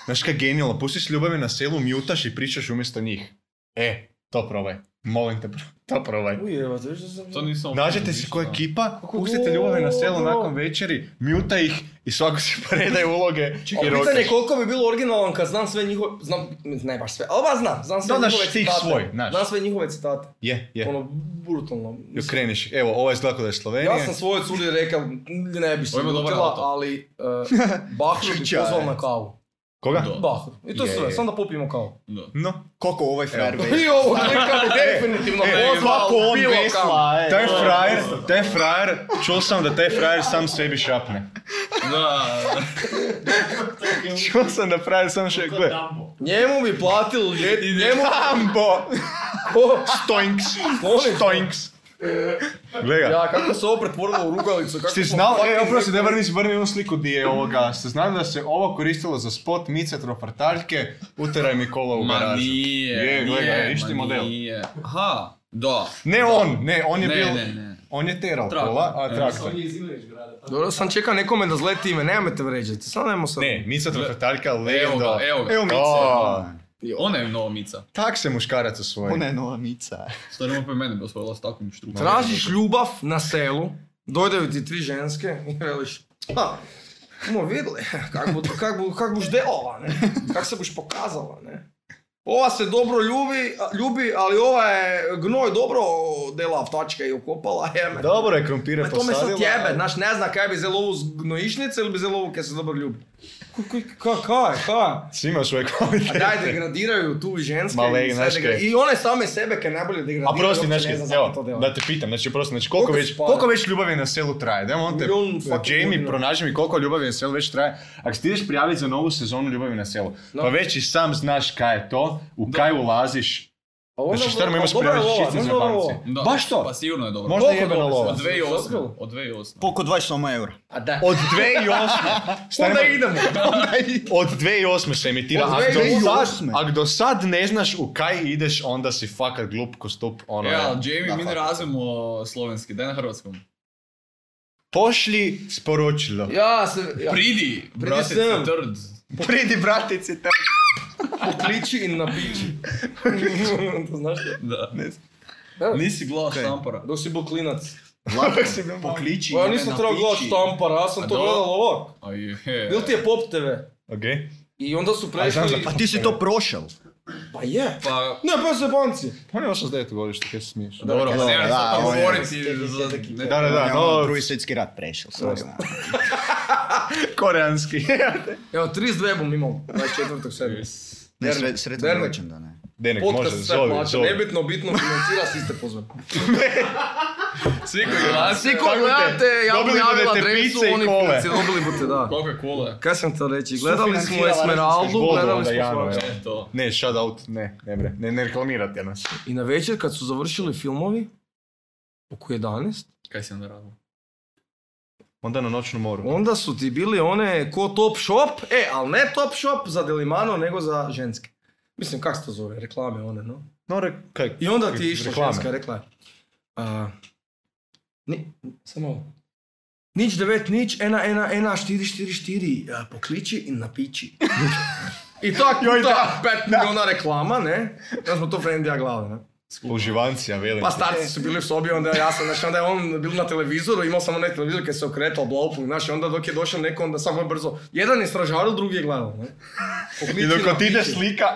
Speaker 3: Znaš kaj je genijalno, pustiš ljubavi na selu, mjutaš i pričaš umjesto njih. E, to probaj. Molim te, pro- to probaj.
Speaker 2: Ujeva, to je što sam...
Speaker 4: To nisam...
Speaker 3: Nađete si koja
Speaker 4: ništa.
Speaker 3: ekipa, pustite ljubavi na selu nakon večeri, mjuta ih i svako si predaje uloge
Speaker 2: A
Speaker 3: i
Speaker 2: pitanje je
Speaker 3: rokaš.
Speaker 2: koliko bi bilo originalan kad znam sve njihove, znam, ne baš sve, ali ba znam, znam sve
Speaker 3: Da, znaš
Speaker 2: njihove
Speaker 3: stih
Speaker 2: citate.
Speaker 3: svoj, znaš.
Speaker 2: Znam sve njihove citate.
Speaker 3: Je, je.
Speaker 2: Ono, brutalno.
Speaker 3: I
Speaker 2: mislim.
Speaker 3: okreniš, evo, ovo je zlako da je
Speaker 2: Ja
Speaker 3: Slovenija.
Speaker 2: sam svojoj curi rekao, ne bi se
Speaker 4: Ovo ima dobar
Speaker 2: ljutila,
Speaker 4: auto.
Speaker 2: ali uh, Bahru bi
Speaker 1: Šućaj.
Speaker 2: pozvao na kavu.
Speaker 3: Koga?
Speaker 4: Da.
Speaker 2: Bahru. I to je
Speaker 3: Je,
Speaker 2: sve,
Speaker 3: je.
Speaker 2: samo da popijemo kavu.
Speaker 4: Da.
Speaker 3: No. E,
Speaker 1: Koliko ovaj frajer veš?
Speaker 2: I ovo klika bi definitivno pozvao, Ono, bilo Ono, kavu.
Speaker 3: taj frajer, taj frajer, čuo sam da taj frajer sam sebi šapne.
Speaker 4: Da,
Speaker 3: Čuo sam da frajer sam še, gle,
Speaker 2: Njemu bi platili ljet, njemu
Speaker 3: Ambo!
Speaker 2: ko...
Speaker 3: Stoinks!
Speaker 2: Molim.
Speaker 3: Stoinks! Gle ga.
Speaker 2: Ja, kako se ovo pretvorilo u rugalicu, kako
Speaker 3: Ti
Speaker 2: smo
Speaker 3: znao,
Speaker 2: fucking
Speaker 3: e, oprosti, da vrni, vrni onu sliku di je ovoga. Ste znali da se ovo koristilo za spot mice tropartaljke, uteraj mi kola u
Speaker 4: ma
Speaker 3: garažu.
Speaker 4: nije,
Speaker 3: Je, gle ga,
Speaker 4: nije,
Speaker 3: isti
Speaker 4: ma
Speaker 3: model.
Speaker 4: nije. Aha, da.
Speaker 3: Ne on, ne, on je
Speaker 4: Ne,
Speaker 3: bil,
Speaker 4: ne, ne.
Speaker 3: on je terao
Speaker 4: Traktor.
Speaker 3: kola, a traktor.
Speaker 2: Dobro, sam čekao nekome da zleti ime, nemojte te vređati, samo nemoj sad.
Speaker 3: Ne, mica tropartaljka,
Speaker 4: Evo
Speaker 3: legenda.
Speaker 4: ga, evo ga.
Speaker 3: Evo mice.
Speaker 4: O. Ona je nova mica.
Speaker 3: Tak se muškarac osvoji.
Speaker 1: Ona je nova mica.
Speaker 4: Stvarno opet mene bi osvojila s takvim štrukom.
Speaker 2: Tražiš ljubav na selu, dojdaju ti tri ženske i veliš, ha, smo vidjeli, kak, bu, kak, bu, kak buš delala, ne? kak se buš pokazala, ne. Ova se dobro ljubi, ljubi ali ova je gnoj dobro dela tačka i okopala, jeme.
Speaker 3: Dobro je krompire
Speaker 2: Ma Pa to me
Speaker 3: posadila.
Speaker 2: sad jebe, znaš, ne zna kaj bi zelo ovu z gnojišnice ili bi zelo ovu kaj se dobro ljubi. Ko- ko- ka- Kaj, kaj?
Speaker 3: Svi imaš svoje
Speaker 2: A Pa daj
Speaker 3: kvalitete.
Speaker 2: degradiraju tu ženske
Speaker 3: Ma le,
Speaker 2: i, sve
Speaker 3: znaš
Speaker 2: degra-
Speaker 3: kaj.
Speaker 2: i one same sebe kaj najbolje degradiraju.
Speaker 3: A prosti,
Speaker 2: uopće ne
Speaker 3: znaš, kaj,
Speaker 2: zna zašto to
Speaker 3: evo,
Speaker 2: dela.
Speaker 3: da te pitam, znači prosti, znači koliko,
Speaker 2: Koliko
Speaker 3: već,
Speaker 2: spara?
Speaker 3: koliko već ljubavi na selu traje? Da on te,
Speaker 2: Milion fucking
Speaker 3: Jamie,
Speaker 2: godina.
Speaker 3: pronaži mi koliko ljubavi na selu već traje. Ako se ti ideš prijaviti za novu sezonu ljubavi na selu,
Speaker 2: Da.
Speaker 3: pa već i sam znaš kaj je to, u kaj ulaziš.
Speaker 2: A onda-
Speaker 3: Znači, šta
Speaker 2: a
Speaker 3: mi imaš
Speaker 2: dobra je
Speaker 3: prijaviti
Speaker 2: lova,
Speaker 3: čiste za
Speaker 2: možda je dobra
Speaker 3: banci?
Speaker 2: lova.
Speaker 4: Da,
Speaker 3: Baš to.
Speaker 4: Pa sigurno je dobro.
Speaker 3: Možda
Speaker 2: Koliko
Speaker 3: jebena
Speaker 2: dobro
Speaker 3: lova.
Speaker 4: Od
Speaker 2: se-
Speaker 4: 2008. Od 2008.
Speaker 1: Koliko 28 eura?
Speaker 2: A da.
Speaker 3: Od 2008. Stari
Speaker 2: Onda
Speaker 3: moj,
Speaker 2: idemo.
Speaker 3: Od 2008 se emitira.
Speaker 2: Od
Speaker 3: Ak do, sad,
Speaker 1: 2008.
Speaker 3: ak do sad ne znaš u kaj ideš, onda si fakat glup ko stup. Ono,
Speaker 4: E, ali Jamie,
Speaker 1: Da,
Speaker 4: mi ne
Speaker 1: fakat.
Speaker 4: razumemo slovenski, daj na hrvatskom.
Speaker 3: Pošli sporočilo.
Speaker 2: Ja se... Ja.
Speaker 4: Pridi, brate,
Speaker 2: sem.
Speaker 4: trd.
Speaker 3: Pridi bratici te.
Speaker 2: Pokliči i napiči. to znaš to?
Speaker 4: Da.
Speaker 3: Ne znam.
Speaker 2: Da.
Speaker 4: Nisi glas
Speaker 1: Kaj?
Speaker 4: štampara.
Speaker 2: Dok si bil klinac.
Speaker 3: Pokliči.
Speaker 2: Pa ja
Speaker 4: me
Speaker 2: nisam trebao
Speaker 4: napiči.
Speaker 2: gledati štampara, ja sam
Speaker 4: A
Speaker 2: to
Speaker 4: do-
Speaker 2: gledal ovak.
Speaker 4: A je.
Speaker 2: Bil ti je Pop TV.
Speaker 3: Ok?
Speaker 2: I onda su
Speaker 3: znam
Speaker 2: prešli...
Speaker 3: za-
Speaker 1: A ti si to prošel.
Speaker 2: Pa je.
Speaker 4: Pa,
Speaker 2: Ne, pa se banci.
Speaker 3: On je 89 godište, kaj se smiješ?
Speaker 4: dobro, pa
Speaker 1: da,
Speaker 4: nemam sad
Speaker 1: ovo je-
Speaker 4: govoriti za... ne-
Speaker 3: Da, da, da,
Speaker 1: Ja, ono,
Speaker 3: no,
Speaker 1: drugi svjetski rat prešel, sve znam.
Speaker 3: koreanski.
Speaker 2: Evo, 32 bom imao, 24. sebi.
Speaker 1: Ne,
Speaker 2: Dernek,
Speaker 1: sre, sretan
Speaker 2: dernek.
Speaker 1: rođendan, ne.
Speaker 3: Denek, može,
Speaker 2: Podcast sve
Speaker 3: zove,
Speaker 2: plaća,
Speaker 3: zove.
Speaker 2: nebitno, bitno, financira, svi ste pozvani.
Speaker 4: Svi koji gledate-
Speaker 2: Svi koji
Speaker 3: Tako te,
Speaker 2: gledate, ja vam
Speaker 3: dobili
Speaker 2: javila
Speaker 3: budete
Speaker 2: adresu,
Speaker 3: pice i
Speaker 2: oni
Speaker 3: kole.
Speaker 2: financiraju, dobili budete, da.
Speaker 4: Koliko je kule?
Speaker 2: Kaj sam to reći, gledali smo
Speaker 1: Sufinancirala
Speaker 2: Esmeraldu,
Speaker 3: Vodu
Speaker 2: gledali
Speaker 3: onda
Speaker 2: smo
Speaker 3: Janu,
Speaker 2: svašta.
Speaker 3: evo.
Speaker 4: E, to.
Speaker 3: Ne, shout out, ne, ne bre, ne, ne reklamirate nas.
Speaker 2: I na večer kad su završili filmovi, oko 11,
Speaker 4: Kaj si onda radila?
Speaker 3: Onda na noćnu moru.
Speaker 2: onda su ti bili one ko Top Shop, e, ali ne Top Shop za Delimano, nego za ženske. Mislim, kak se to zove, reklame one, no?
Speaker 3: No, re, kaj,
Speaker 2: I onda ti je išla
Speaker 3: reklame.
Speaker 2: ženska, rekla je. a, ni, samo Nič devet, nič, ena, ena, ena, štiri, štiri, štiri, a, pokliči in napiči. I to je ta pet milijuna reklama, ne? Da smo to Frendija glave, ne?
Speaker 3: Uživancija, velim.
Speaker 2: Pa
Speaker 3: ti.
Speaker 2: starci su bili u sobi, onda ja sam, znači onda je on bil na televizoru, imao samo onaj televizor kad se okretao, blaupung, znaš, i onda dok je došao neko, onda samo je brzo, jedan je stražaril, drugi je gledao, ne? Pokliči,
Speaker 3: I dok ti
Speaker 2: napiči.
Speaker 3: ide slika,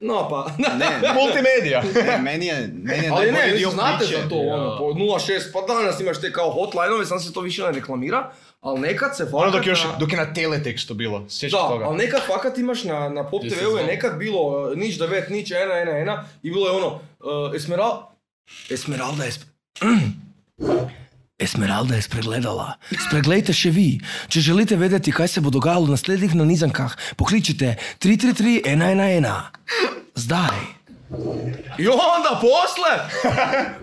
Speaker 2: No pa,
Speaker 1: Ne,
Speaker 3: multimedija.
Speaker 1: ne, E, meni je, meni je
Speaker 2: Ali ne,
Speaker 1: najbolji
Speaker 2: vi
Speaker 1: dio
Speaker 2: znate
Speaker 1: priče.
Speaker 2: za to, ono, po 0.6, pa danas imaš te kao hotline-ove, sam se to više ne reklamira, ali nekad se
Speaker 3: Ono
Speaker 2: fakat...
Speaker 3: dok, je još,
Speaker 2: na-
Speaker 3: dok je na teletekstu bilo, sjećaš
Speaker 2: Da, ono
Speaker 3: toga.
Speaker 2: ali nekad fakat imaš na, na Pop
Speaker 4: Gdje se
Speaker 2: TV-u je
Speaker 4: zna.
Speaker 2: nekad bilo e, nič 9, nič 1, 1, 1 i bilo je ono, uh, Esmeral... Esmeralda je... sp- Esmeralda je spregledala. Spreglejte še vi. Če želite vedeti, kaj se bo dogajalo v naslednjih nanizankah, pokličite 333-111. Zdaj. I onda posle!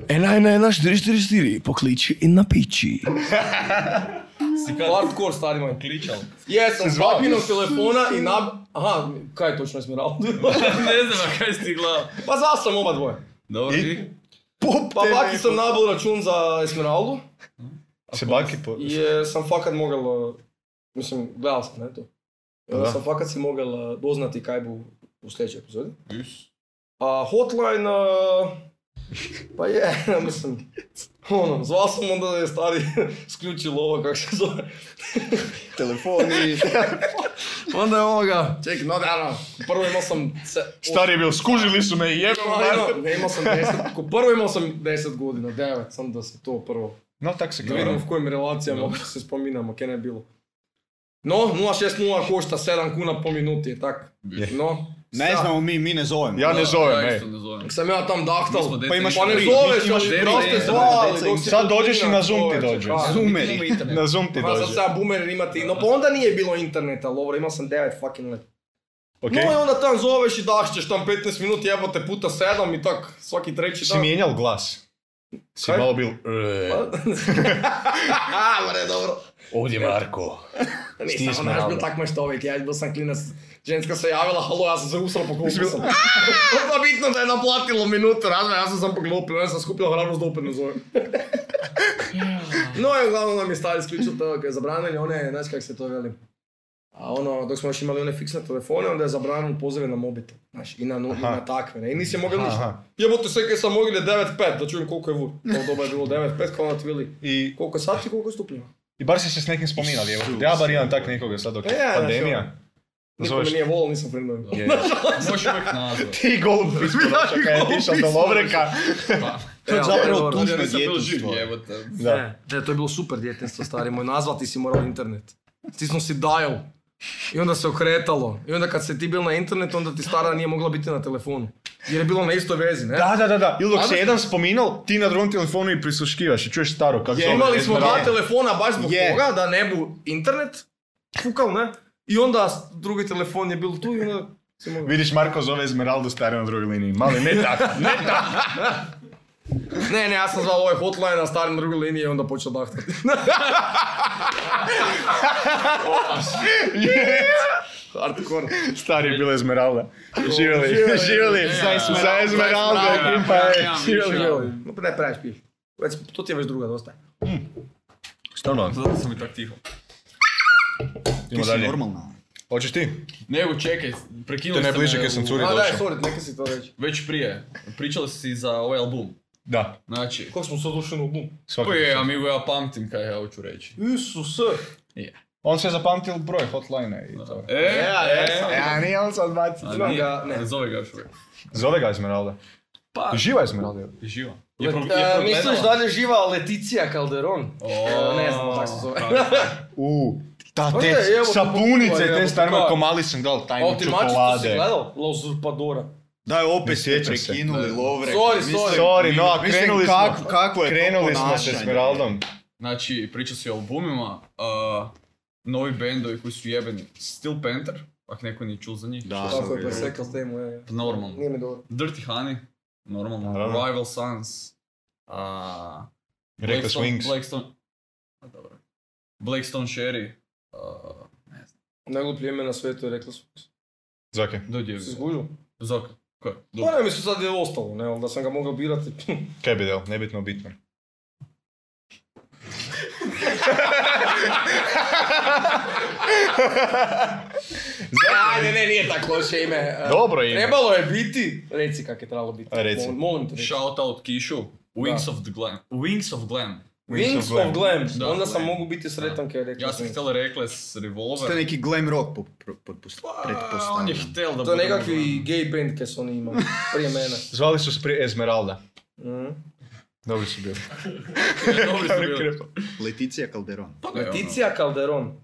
Speaker 2: 111444, pokliči in napiči.
Speaker 4: Si kaj
Speaker 2: Hardcore, stari moj.
Speaker 4: kličal?
Speaker 2: Jesam,
Speaker 3: Se zvao?
Speaker 2: zvakinuo telefona i nab... Aha, kaj je točno Esmeralda?
Speaker 4: ne znam, a kaj si ti gledao?
Speaker 2: pa zvao sam oba dvoje.
Speaker 4: Dobro,
Speaker 3: I-
Speaker 4: ti?
Speaker 3: Pop,
Speaker 2: Pa
Speaker 3: te
Speaker 2: baki
Speaker 3: neko.
Speaker 2: sam nabil račun za Esmeraldu
Speaker 3: Se baki po...
Speaker 2: i e, sam fakat mogel, e, mislim, gledao sam, ne to. E,
Speaker 3: Da.
Speaker 2: Sam fakat si mogel e, doznati kaj bo u sljedećoj epizodi.
Speaker 4: Is.
Speaker 2: A hotline, e, pa je, mislim, ono, zvao sam onda je stari sključilo ovo, kak se zove.
Speaker 1: Telefoni,
Speaker 2: Onda je ovoga, čekaj, no da, no, prvo imao sam... Se,
Speaker 3: Stari je bio, skužili su me i jebam
Speaker 2: Ono,
Speaker 3: mater.
Speaker 2: Ajno, ne, imao sam 10, ko prvo imao sam 10 godina, 9, sam da se to prvo,
Speaker 3: No, tak se
Speaker 2: da
Speaker 3: gleda.
Speaker 2: vidimo
Speaker 1: Pa
Speaker 2: v kojim relacijama
Speaker 4: Da.
Speaker 2: uopće se spominamo, kaj ne je bilo. No, 0,60 košta 7 kuna po minuti, je tak.
Speaker 4: Je.
Speaker 2: No,
Speaker 1: ne
Speaker 2: šta?
Speaker 1: znamo mi, mi ne zovemo.
Speaker 3: Ja Pa ne zovem,
Speaker 4: Ja
Speaker 3: ej.
Speaker 4: isto ne zovem.
Speaker 2: Sam ja tam
Speaker 4: Mi smo
Speaker 2: dahtal.
Speaker 4: deca.
Speaker 1: Pa imaš
Speaker 2: Pa ne
Speaker 1: tri,
Speaker 2: zoveš,
Speaker 1: imaš
Speaker 2: ali
Speaker 4: deca,
Speaker 2: bro ste
Speaker 4: deca,
Speaker 2: zvali.
Speaker 1: deca,
Speaker 2: dok
Speaker 1: i
Speaker 2: si
Speaker 3: sad dođeš i na Zoom ti
Speaker 2: čoveče,
Speaker 3: dođeš.
Speaker 2: pa.
Speaker 1: Zoom. Zoomeri.
Speaker 4: Nema interneta.
Speaker 3: Na Zoom ti
Speaker 2: Pa sad
Speaker 3: dođe.
Speaker 2: sam ja boomer imati, no pa onda nije bilo interneta, ali dobro, imao sam 9 fucking let.
Speaker 3: Ok?
Speaker 2: No i onda tam zoveš i dašćeš tam 15 minut, jebote puta 7 i tak, svaki treći
Speaker 3: Si
Speaker 2: dan.
Speaker 3: mijenjal glas. Si
Speaker 2: Kaj?
Speaker 3: malo bil... "E,
Speaker 2: A, bre, dobro.
Speaker 3: Ovdje Marko.
Speaker 2: Nisam,
Speaker 3: Stisni
Speaker 2: ono, ja
Speaker 3: navrat.
Speaker 2: bil tak maštovik, ja bil sam klinac. Ženska se javila, halo, ja sam se usrao, poklopio sam. Pa bitno da je naplatilo minutu razme, ja sam sam poklopio, ja sam skupila hrabrost da opet ne zovem. no i uglavnom nam je stari isključio to, kad je zabranili one, znaš kak se to veli. A ono, dok smo još imali one fiksne telefone, onda je zabranili pozive na mobitel, znaš, i na, no- i
Speaker 3: Aha.
Speaker 2: na takve, ne, i nisi mogel
Speaker 3: Aha,
Speaker 2: ništa.
Speaker 3: aha.
Speaker 2: Jebote, sve kaj sam mogli je 9.5, da čujem koliko je vur. To doba je bilo 9.5, kao ono ti veli,
Speaker 3: I,
Speaker 2: koliko je sati, koliko je stupnjeva.
Speaker 3: I bar si se s nekim spominali, evo. Ja bar imam tak nekoga sad dok
Speaker 2: E,
Speaker 3: je
Speaker 2: ja,
Speaker 3: pandemija.
Speaker 2: Niko me
Speaker 3: Zoveš-
Speaker 2: nije volio, nisam friendovim.
Speaker 3: Je.
Speaker 4: Možeš uvijek nazvat.
Speaker 3: Ti golub piskovača kad je otišao do Lovreka.
Speaker 4: Pa.
Speaker 1: To je zapravo
Speaker 2: dobro,
Speaker 1: tužno
Speaker 4: Ja nisam bio živ,
Speaker 1: djetinstvo.
Speaker 4: jebote.
Speaker 3: Da.
Speaker 2: e, Ne, ne, to je bilo super djetinstvo, stari moj. Nazvati si morao internet. Stisnuo si dial. I onda se okretalo. I onda kad se ti bil na internetu, onda ti stara nije mogla biti na telefonu. Jer je bilo na istoj vezi, ne?
Speaker 3: Da, da, da, da. Ili dok
Speaker 2: A
Speaker 3: se
Speaker 2: da-
Speaker 3: jedan spominal, ti na drugom telefonu i prisluškivaš i čuješ staro kako zove.
Speaker 2: Imali smo dva
Speaker 3: Esmeralda.
Speaker 2: telefona baš zbog
Speaker 1: Je.
Speaker 2: toga da ne bu internet fukal, ne? I onda s- drugi telefon je bil tu i onda si mogao-
Speaker 3: Vidiš, Marko zove Esmeraldu stare na drugoj liniji. Mali, ne tako, ne tako.
Speaker 2: Ne, ne, ja sam zvao ovaj hotline, a stari na drugoj liniji i onda počeo dahtati. Hardcore.
Speaker 3: Stari je bila Esmeralda. Živjeli,
Speaker 2: Živjeli.
Speaker 3: živjeli.
Speaker 4: Za Esmeraldu.
Speaker 3: Za Esmeraldu,
Speaker 4: Za Esmeraldu.
Speaker 3: ekipa je.
Speaker 4: Ja, ja,
Speaker 3: Živjeli.
Speaker 4: ja.
Speaker 2: Evo, no, pa daj praviš piš. Već, to ti je već druga dosta.
Speaker 3: Stvarno,
Speaker 4: Zato sam i tak tiho.
Speaker 3: idemo
Speaker 1: Ti si
Speaker 3: dalje.
Speaker 1: normalna.
Speaker 3: Hoćeš ti?
Speaker 4: Nego, čekaj, prekinuo
Speaker 3: Te
Speaker 4: sam
Speaker 3: najbliže
Speaker 4: me
Speaker 3: kaj sam
Speaker 4: u-
Speaker 3: curi.
Speaker 2: A daj,
Speaker 3: došao.
Speaker 2: sorry, neka si to reći.
Speaker 4: Već prije, pričali si za ovaj album.
Speaker 3: Da,
Speaker 4: Znači,
Speaker 2: Kako smo sad ušli u bum?
Speaker 3: svakako.
Speaker 4: koji je, amigo, ja pamtim kaj ja hoću reći.
Speaker 2: Isuse!
Speaker 4: Je.
Speaker 3: On se je zapamtil broj hotline i to.
Speaker 4: E, e,
Speaker 3: Ja, nije on sad baci.
Speaker 4: A
Speaker 7: znam
Speaker 4: nije-
Speaker 7: ga, ne.
Speaker 4: ne zove ga još uvijek.
Speaker 3: Zove ga Esmeralda.
Speaker 4: Pa,
Speaker 3: Živa Esmeralda.
Speaker 4: živa.
Speaker 2: Let-
Speaker 4: pro-
Speaker 2: e,
Speaker 4: progledala?
Speaker 2: misliš da li je živa Leticija Calderon? E,
Speaker 4: O,
Speaker 2: ne znam kako se zove.
Speaker 3: U, ta
Speaker 2: Možda
Speaker 3: te
Speaker 2: je, evo,
Speaker 3: sapunice,
Speaker 2: evo,
Speaker 3: te starme
Speaker 2: evo,
Speaker 3: komali sam dal tajnu
Speaker 2: O, ti mačicu si
Speaker 3: čokolade.
Speaker 2: gledal? La Usurpadora.
Speaker 1: Daj, opet
Speaker 3: Ne
Speaker 1: ste
Speaker 3: sjećam se.
Speaker 1: prekinuli
Speaker 4: Da.
Speaker 1: Lovre.
Speaker 2: Sorry,
Speaker 1: Mislim-
Speaker 2: sorry.
Speaker 3: Sorry, no, a
Speaker 1: mislim,
Speaker 3: krenuli
Speaker 1: kak-
Speaker 3: smo.
Speaker 1: kakvo je to
Speaker 3: Krenuli smo s
Speaker 1: ponašanje?
Speaker 3: Esmeraldom.
Speaker 4: Znači, priča se o albumima, a, novi bendovi koji su jebeni. Steel Panther, ako neko nije čul za njih.
Speaker 1: Da.
Speaker 4: Čuo sam
Speaker 2: Tako je
Speaker 4: ga.
Speaker 2: presekal temu, je. je.
Speaker 4: Normalno.
Speaker 2: Nije mi dobro.
Speaker 4: Dirty Honey, normalno.
Speaker 3: Naravno.
Speaker 4: Rival Sons. a,
Speaker 3: Reckless
Speaker 4: Blackstone-
Speaker 3: Wings.
Speaker 4: Blackstone... A, dobro. Blackstone Sherry. a,
Speaker 2: Najgluplje ime na svetu je rekla su.
Speaker 3: Zake.
Speaker 4: Dođe.
Speaker 2: Si izgužio?
Speaker 4: Zok. Ko je? Dobro.
Speaker 2: Pa mi su sad je ostalo, ne, ali da sam ga mogao birati.
Speaker 3: Kaj bi del, nebitno bitno.
Speaker 2: A, ne, ne, nije tako loše ime. E,
Speaker 3: Dobro ime.
Speaker 2: Trebalo je biti. Reci kak je trebalo biti.
Speaker 3: A, reci.
Speaker 2: Molim, molim te. Reci.
Speaker 4: Shout out Kishu. Wings of the Glam. Wings of Glam.
Speaker 2: Wings of Glam.
Speaker 4: Da,
Speaker 2: Onda sam
Speaker 4: Glam.
Speaker 2: mogu biti sretan kad je rekla.
Speaker 4: Ja sam htjela Reckless
Speaker 1: Ste
Speaker 4: Revolver.
Speaker 1: neki glam rock po- pro- potpust-
Speaker 4: Pa, on je
Speaker 1: pretpostavljam.
Speaker 4: htel da
Speaker 2: To je
Speaker 4: bude
Speaker 2: nekakvi
Speaker 4: ono-
Speaker 2: gay band kaj su oni imali prije mene.
Speaker 3: Zvali su se prije Esmeralda.
Speaker 2: Mhm.
Speaker 3: Dobri su bili.
Speaker 4: Dobri su bili.
Speaker 1: Leticija Calderon.
Speaker 4: Pa ne, ono.
Speaker 2: Leticija Calderon.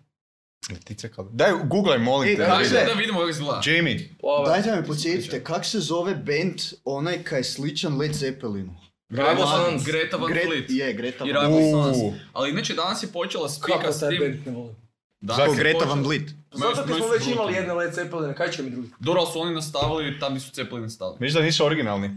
Speaker 3: Letice kao... Daj, googlaj, molim
Speaker 1: Ej,
Speaker 3: te.
Speaker 1: daj,
Speaker 4: Ajde,
Speaker 1: Ajde.
Speaker 4: da vidimo kako izgleda.
Speaker 3: Jamie.
Speaker 4: Pa,
Speaker 2: Plava.
Speaker 1: Dajte me podsjetite, kak se zove band onaj kaj je sličan Led Zeppelinu?
Speaker 4: Greta Van,
Speaker 2: Sons.
Speaker 4: Greta Van
Speaker 1: Gre-
Speaker 4: Fleet.
Speaker 1: Je, Greta
Speaker 4: I
Speaker 1: Van
Speaker 4: Rival Sons.
Speaker 3: Uuu.
Speaker 4: Ali inače danas je počela spika
Speaker 2: Kako
Speaker 4: s
Speaker 2: taj
Speaker 4: tim.
Speaker 2: band ne volim?
Speaker 4: Danas
Speaker 1: Ko
Speaker 4: je
Speaker 1: Greta
Speaker 4: počela-
Speaker 1: Van Vliet.
Speaker 2: Zato
Speaker 4: Moji-
Speaker 2: kad
Speaker 4: moji
Speaker 2: smo
Speaker 4: su
Speaker 2: već
Speaker 4: brutalni.
Speaker 2: imali jedne Led Zeppelin, kaj će mi drugi?
Speaker 4: Dobro, ali su oni nastavili, tam nisu cepeli nastavili.
Speaker 3: Viš da nisu originalni?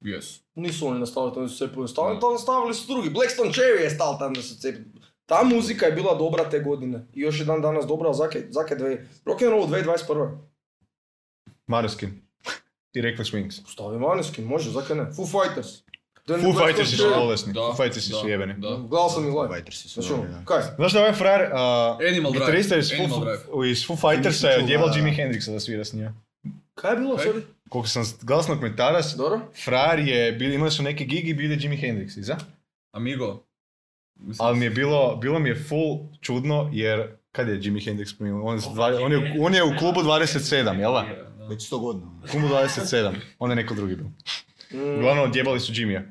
Speaker 4: Yes.
Speaker 2: Nisu oni nastavili, to nisu Zeppelin stavili, to nastavili su drugi. Blackstone Cherry je stal tam da su cepili. Ta muzika je bila dobra te godine. I još je dan danas dobra, ali zake, zake dve... Rock'n'roll 2021.
Speaker 3: Mareskin. I Reckless Wings.
Speaker 2: Stavi Maneskin, može, zake ne. Foo Fighters. Then
Speaker 3: Foo
Speaker 2: Black
Speaker 3: Fighters su
Speaker 2: Stone Cherry.
Speaker 3: bolesni. Foo Fighters su
Speaker 4: da,
Speaker 3: jebeni.
Speaker 4: Da.
Speaker 2: Gledao sam i live.
Speaker 1: Fighters su
Speaker 2: Znači ono,
Speaker 1: dobri, da.
Speaker 2: kaj?
Speaker 3: Znaš da je ovaj frajer,
Speaker 4: Animal
Speaker 3: uh,
Speaker 4: Drive.
Speaker 3: gitarista iz
Speaker 4: Animal
Speaker 3: Foo,
Speaker 4: Drive.
Speaker 3: iz Foo Fightersa je
Speaker 1: Nisam čuo,
Speaker 3: odjebal
Speaker 1: da, da.
Speaker 3: Jimi Hendrixa da svira s njima.
Speaker 2: Kaj je bilo,
Speaker 4: Kaj?
Speaker 2: sorry?
Speaker 3: Koliko sam glasno komentarac,
Speaker 2: Dobro?
Speaker 3: frajer je, bili, imali su neke gigi, bili je Jimi Hendrix iza.
Speaker 4: Amigo. Mislim,
Speaker 3: Ali mi je bilo, bilo mi je full čudno jer, kad je Jimi Hendrix primio? On, je s dva- on, je, on je u klubu 27, jel da?
Speaker 1: Već sto godina.
Speaker 3: U klubu 27, onda je neko drugi bio. Uglavnom odjebali su Jimija.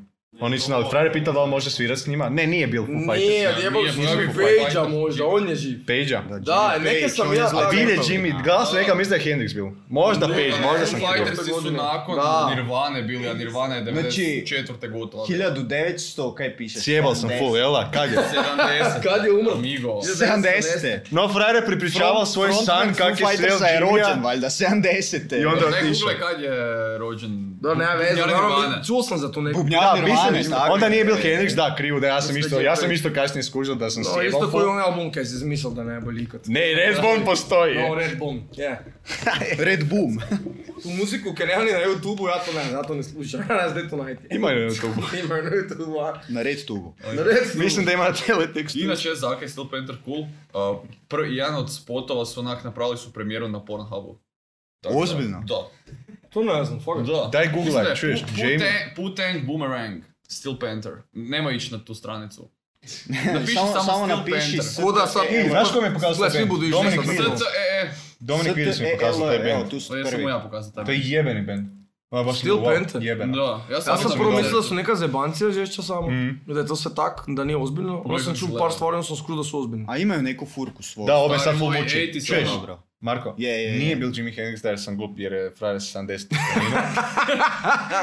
Speaker 3: Oni nisu znali, frajer je pitao da li može svirati s njima. Ne, nije bio Foo Fighters.
Speaker 2: Nije, odjebali
Speaker 4: Nije
Speaker 2: su
Speaker 4: Foo
Speaker 2: Jimmy
Speaker 4: Fighters.
Speaker 2: Page-a možda, on je živ.
Speaker 3: Page-a.
Speaker 2: Da, neke
Speaker 1: Page,
Speaker 2: sam
Speaker 1: on je
Speaker 2: ja...
Speaker 1: zla-
Speaker 3: A
Speaker 2: da,
Speaker 3: di je
Speaker 2: da.
Speaker 3: Jimmy? Glas neka misli da je Hendrix bio. Možda Page, možda sam
Speaker 4: Foo
Speaker 3: krivo.
Speaker 4: Fightersi su
Speaker 2: Godine.
Speaker 4: nakon
Speaker 1: Da.
Speaker 4: Nirvane bili, a Nirvana je
Speaker 1: Znači,
Speaker 4: 94. gotova.
Speaker 1: 1900, kaj piše?
Speaker 3: Sjebal sam full, jel da? Kad je?
Speaker 4: 70.
Speaker 2: Kad je umro?
Speaker 4: Amigo.
Speaker 1: 70.
Speaker 3: No, frajer je pripričaval svoj san kak je
Speaker 1: Fighters je
Speaker 3: sreo
Speaker 1: rođen,
Speaker 3: Jimija.
Speaker 1: valjda, 70.
Speaker 3: I onda
Speaker 4: Ne,
Speaker 3: otišao.
Speaker 4: google kad je rođen.
Speaker 2: Da, nema veze,
Speaker 4: Ja
Speaker 2: uglavnom,
Speaker 4: Nirvane.
Speaker 2: čuo sam za tu neku.
Speaker 3: Da,
Speaker 1: Bubnjar
Speaker 3: mislim, onda nije bil
Speaker 1: Henrik.
Speaker 3: Hendrix, da, krivo, da ja sam
Speaker 2: Mislim da
Speaker 3: isto,
Speaker 2: je
Speaker 3: ja
Speaker 2: to-
Speaker 3: sam isto kasnije skužio da sam
Speaker 2: No,
Speaker 3: sjebal
Speaker 2: isto koji
Speaker 3: full.
Speaker 2: onaj album kaj si izmislil da ne bolji ikad.
Speaker 3: Ne, Redbone postoji.
Speaker 2: No, Red Bone, je.
Speaker 1: Red Boom.
Speaker 2: Tu muziku kaj nema ni na YouTube-u, ja to ne, ja to ne slušam. Nas detonajte.
Speaker 3: Ima je na YouTube.
Speaker 2: Ima na YouTube-u, a...
Speaker 1: Na Red Tubu.
Speaker 2: Na Red Bone.
Speaker 3: Mislim da ima na teletekstu.
Speaker 4: Inače, Zaka je Steel Panther cool. Uh, prvi, jedan od spotova su onak napravili su premijeru na Pornhubu. Tako da-
Speaker 1: Ozbiljno?
Speaker 4: Da.
Speaker 2: To ne znam, fuck.
Speaker 4: Da.
Speaker 3: Daj googlaj,
Speaker 4: Mislim da je
Speaker 3: čuješ,
Speaker 4: Pu-
Speaker 3: Jamie.
Speaker 4: Putang- Putang Boomerang, Steel Panther. Nema ići na tu stranicu. Napiši
Speaker 1: Samo-
Speaker 4: samo,
Speaker 1: samo
Speaker 4: Steel
Speaker 1: napiši
Speaker 4: Panther.
Speaker 2: Kuda sad...
Speaker 1: E,
Speaker 3: I, znaš ko mi je pokazao
Speaker 2: Gle,
Speaker 3: taj
Speaker 2: svi
Speaker 3: band?
Speaker 2: budu išli
Speaker 3: Dominic
Speaker 2: sad na
Speaker 3: Wilson.
Speaker 4: SC, e, e.
Speaker 3: Dominic Wilson mi je pokazao taj
Speaker 1: STEL, evo,
Speaker 3: band.
Speaker 1: tu su
Speaker 4: To je
Speaker 1: prvi.
Speaker 4: samo ja pokazao taj
Speaker 3: To je
Speaker 4: band.
Speaker 3: jebeni band. Ono baš
Speaker 2: Steel
Speaker 3: mi je wow,
Speaker 2: Panther?
Speaker 3: Jebena.
Speaker 4: Da, ja sam,
Speaker 2: Ja sam
Speaker 4: mislio
Speaker 2: prvo
Speaker 4: da-
Speaker 2: mislio da su neka zebancija žešća samo,
Speaker 3: Mhm.
Speaker 2: i da je to sve tak, da nije ozbiljno. Onda sam
Speaker 4: Pogledaj
Speaker 2: čuo
Speaker 4: kako
Speaker 2: par
Speaker 4: izgleda.
Speaker 2: stvari, onda sam skruo da su ozbiljni.
Speaker 1: A imaju neku furku svoju.
Speaker 3: Da, ovo je sad
Speaker 4: Stari
Speaker 3: full
Speaker 4: moj,
Speaker 3: muči.
Speaker 4: 80s
Speaker 3: Čuješ?
Speaker 4: ono.
Speaker 1: Dobro.
Speaker 3: Marko,
Speaker 1: Je, je, je.
Speaker 3: nije bil Jimi Hendrix da jer sam glup jer je frajer sa 70.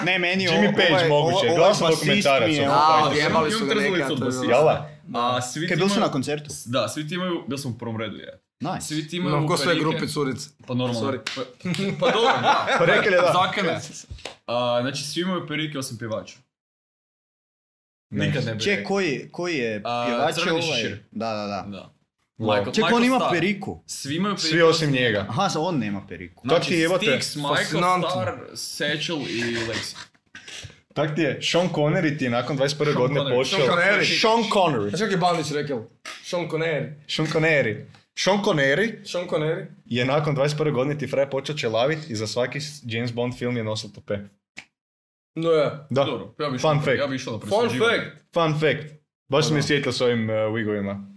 Speaker 1: Ne, meni je
Speaker 3: Jimmy
Speaker 1: ovo-
Speaker 3: Page
Speaker 1: ovaj-
Speaker 3: moguće,
Speaker 1: ovaj- ovaj
Speaker 3: glas
Speaker 1: basist
Speaker 3: dokumentarac,
Speaker 1: mi je,
Speaker 3: ono.
Speaker 1: ovaj-
Speaker 2: A,
Speaker 3: Fighters.
Speaker 2: odjebali pa su ga
Speaker 4: Imam
Speaker 2: neka,
Speaker 4: trzalicu
Speaker 2: to je
Speaker 4: od
Speaker 2: bilo.
Speaker 3: Jala?
Speaker 4: A svi ti
Speaker 1: Kaj bil sam
Speaker 4: imaju-
Speaker 1: na koncertu?
Speaker 4: Da, svi ti imaju, bio sam u prvom redu, je.
Speaker 1: Nice.
Speaker 4: Svi ti imaju
Speaker 2: Imam ko sve
Speaker 4: luperike.
Speaker 2: grupe curice.
Speaker 4: Pa normalno.
Speaker 2: Sorry.
Speaker 4: Pa, pa dobro, da.
Speaker 3: Pa rekli je da.
Speaker 4: Zakane. A, znači, svi imaju perike osim pjevača.
Speaker 3: Ne.
Speaker 4: Nikad ne bi
Speaker 1: Če,
Speaker 4: rekao.
Speaker 1: koji, koji je
Speaker 4: A,
Speaker 1: pjevač je
Speaker 4: Crveni
Speaker 1: ovaj?
Speaker 4: šešir.
Speaker 1: Da, da, da.
Speaker 4: Da.
Speaker 3: Wow.
Speaker 4: Michael-
Speaker 1: Ček, on
Speaker 4: Michael
Speaker 1: ima
Speaker 4: Starr.
Speaker 1: periku.
Speaker 4: Svi imaju
Speaker 3: Svi osim njega.
Speaker 1: Aha, za- on nema periku.
Speaker 4: Znači,
Speaker 3: Kak ti jebate?
Speaker 4: Styx, Michael,
Speaker 2: Fascinantno.
Speaker 4: Star, Satchel i Lexi.
Speaker 3: Tak ti je, Sean Connery ti je nakon 21. godine
Speaker 4: Connery.
Speaker 3: počeo...
Speaker 2: Sean Connery.
Speaker 3: Sean Connery.
Speaker 2: Znaš kak je Bandić rekao? Sean Connery.
Speaker 3: Sean Connery. Sean Connery
Speaker 2: Sean Connery?
Speaker 3: je nakon 21. godine ti frajer počeo čelavit i za svaki James Bond film je nosil tope.
Speaker 2: No ja.
Speaker 3: Da,
Speaker 4: Dobro, ja bi išao,
Speaker 3: fun
Speaker 4: na-
Speaker 3: fact.
Speaker 4: ja bi išao na
Speaker 2: Fun
Speaker 4: presuđivanje.
Speaker 2: fact.
Speaker 3: Fun fact. Baš sam mi sjetio s ovim uh, wigovima. eh,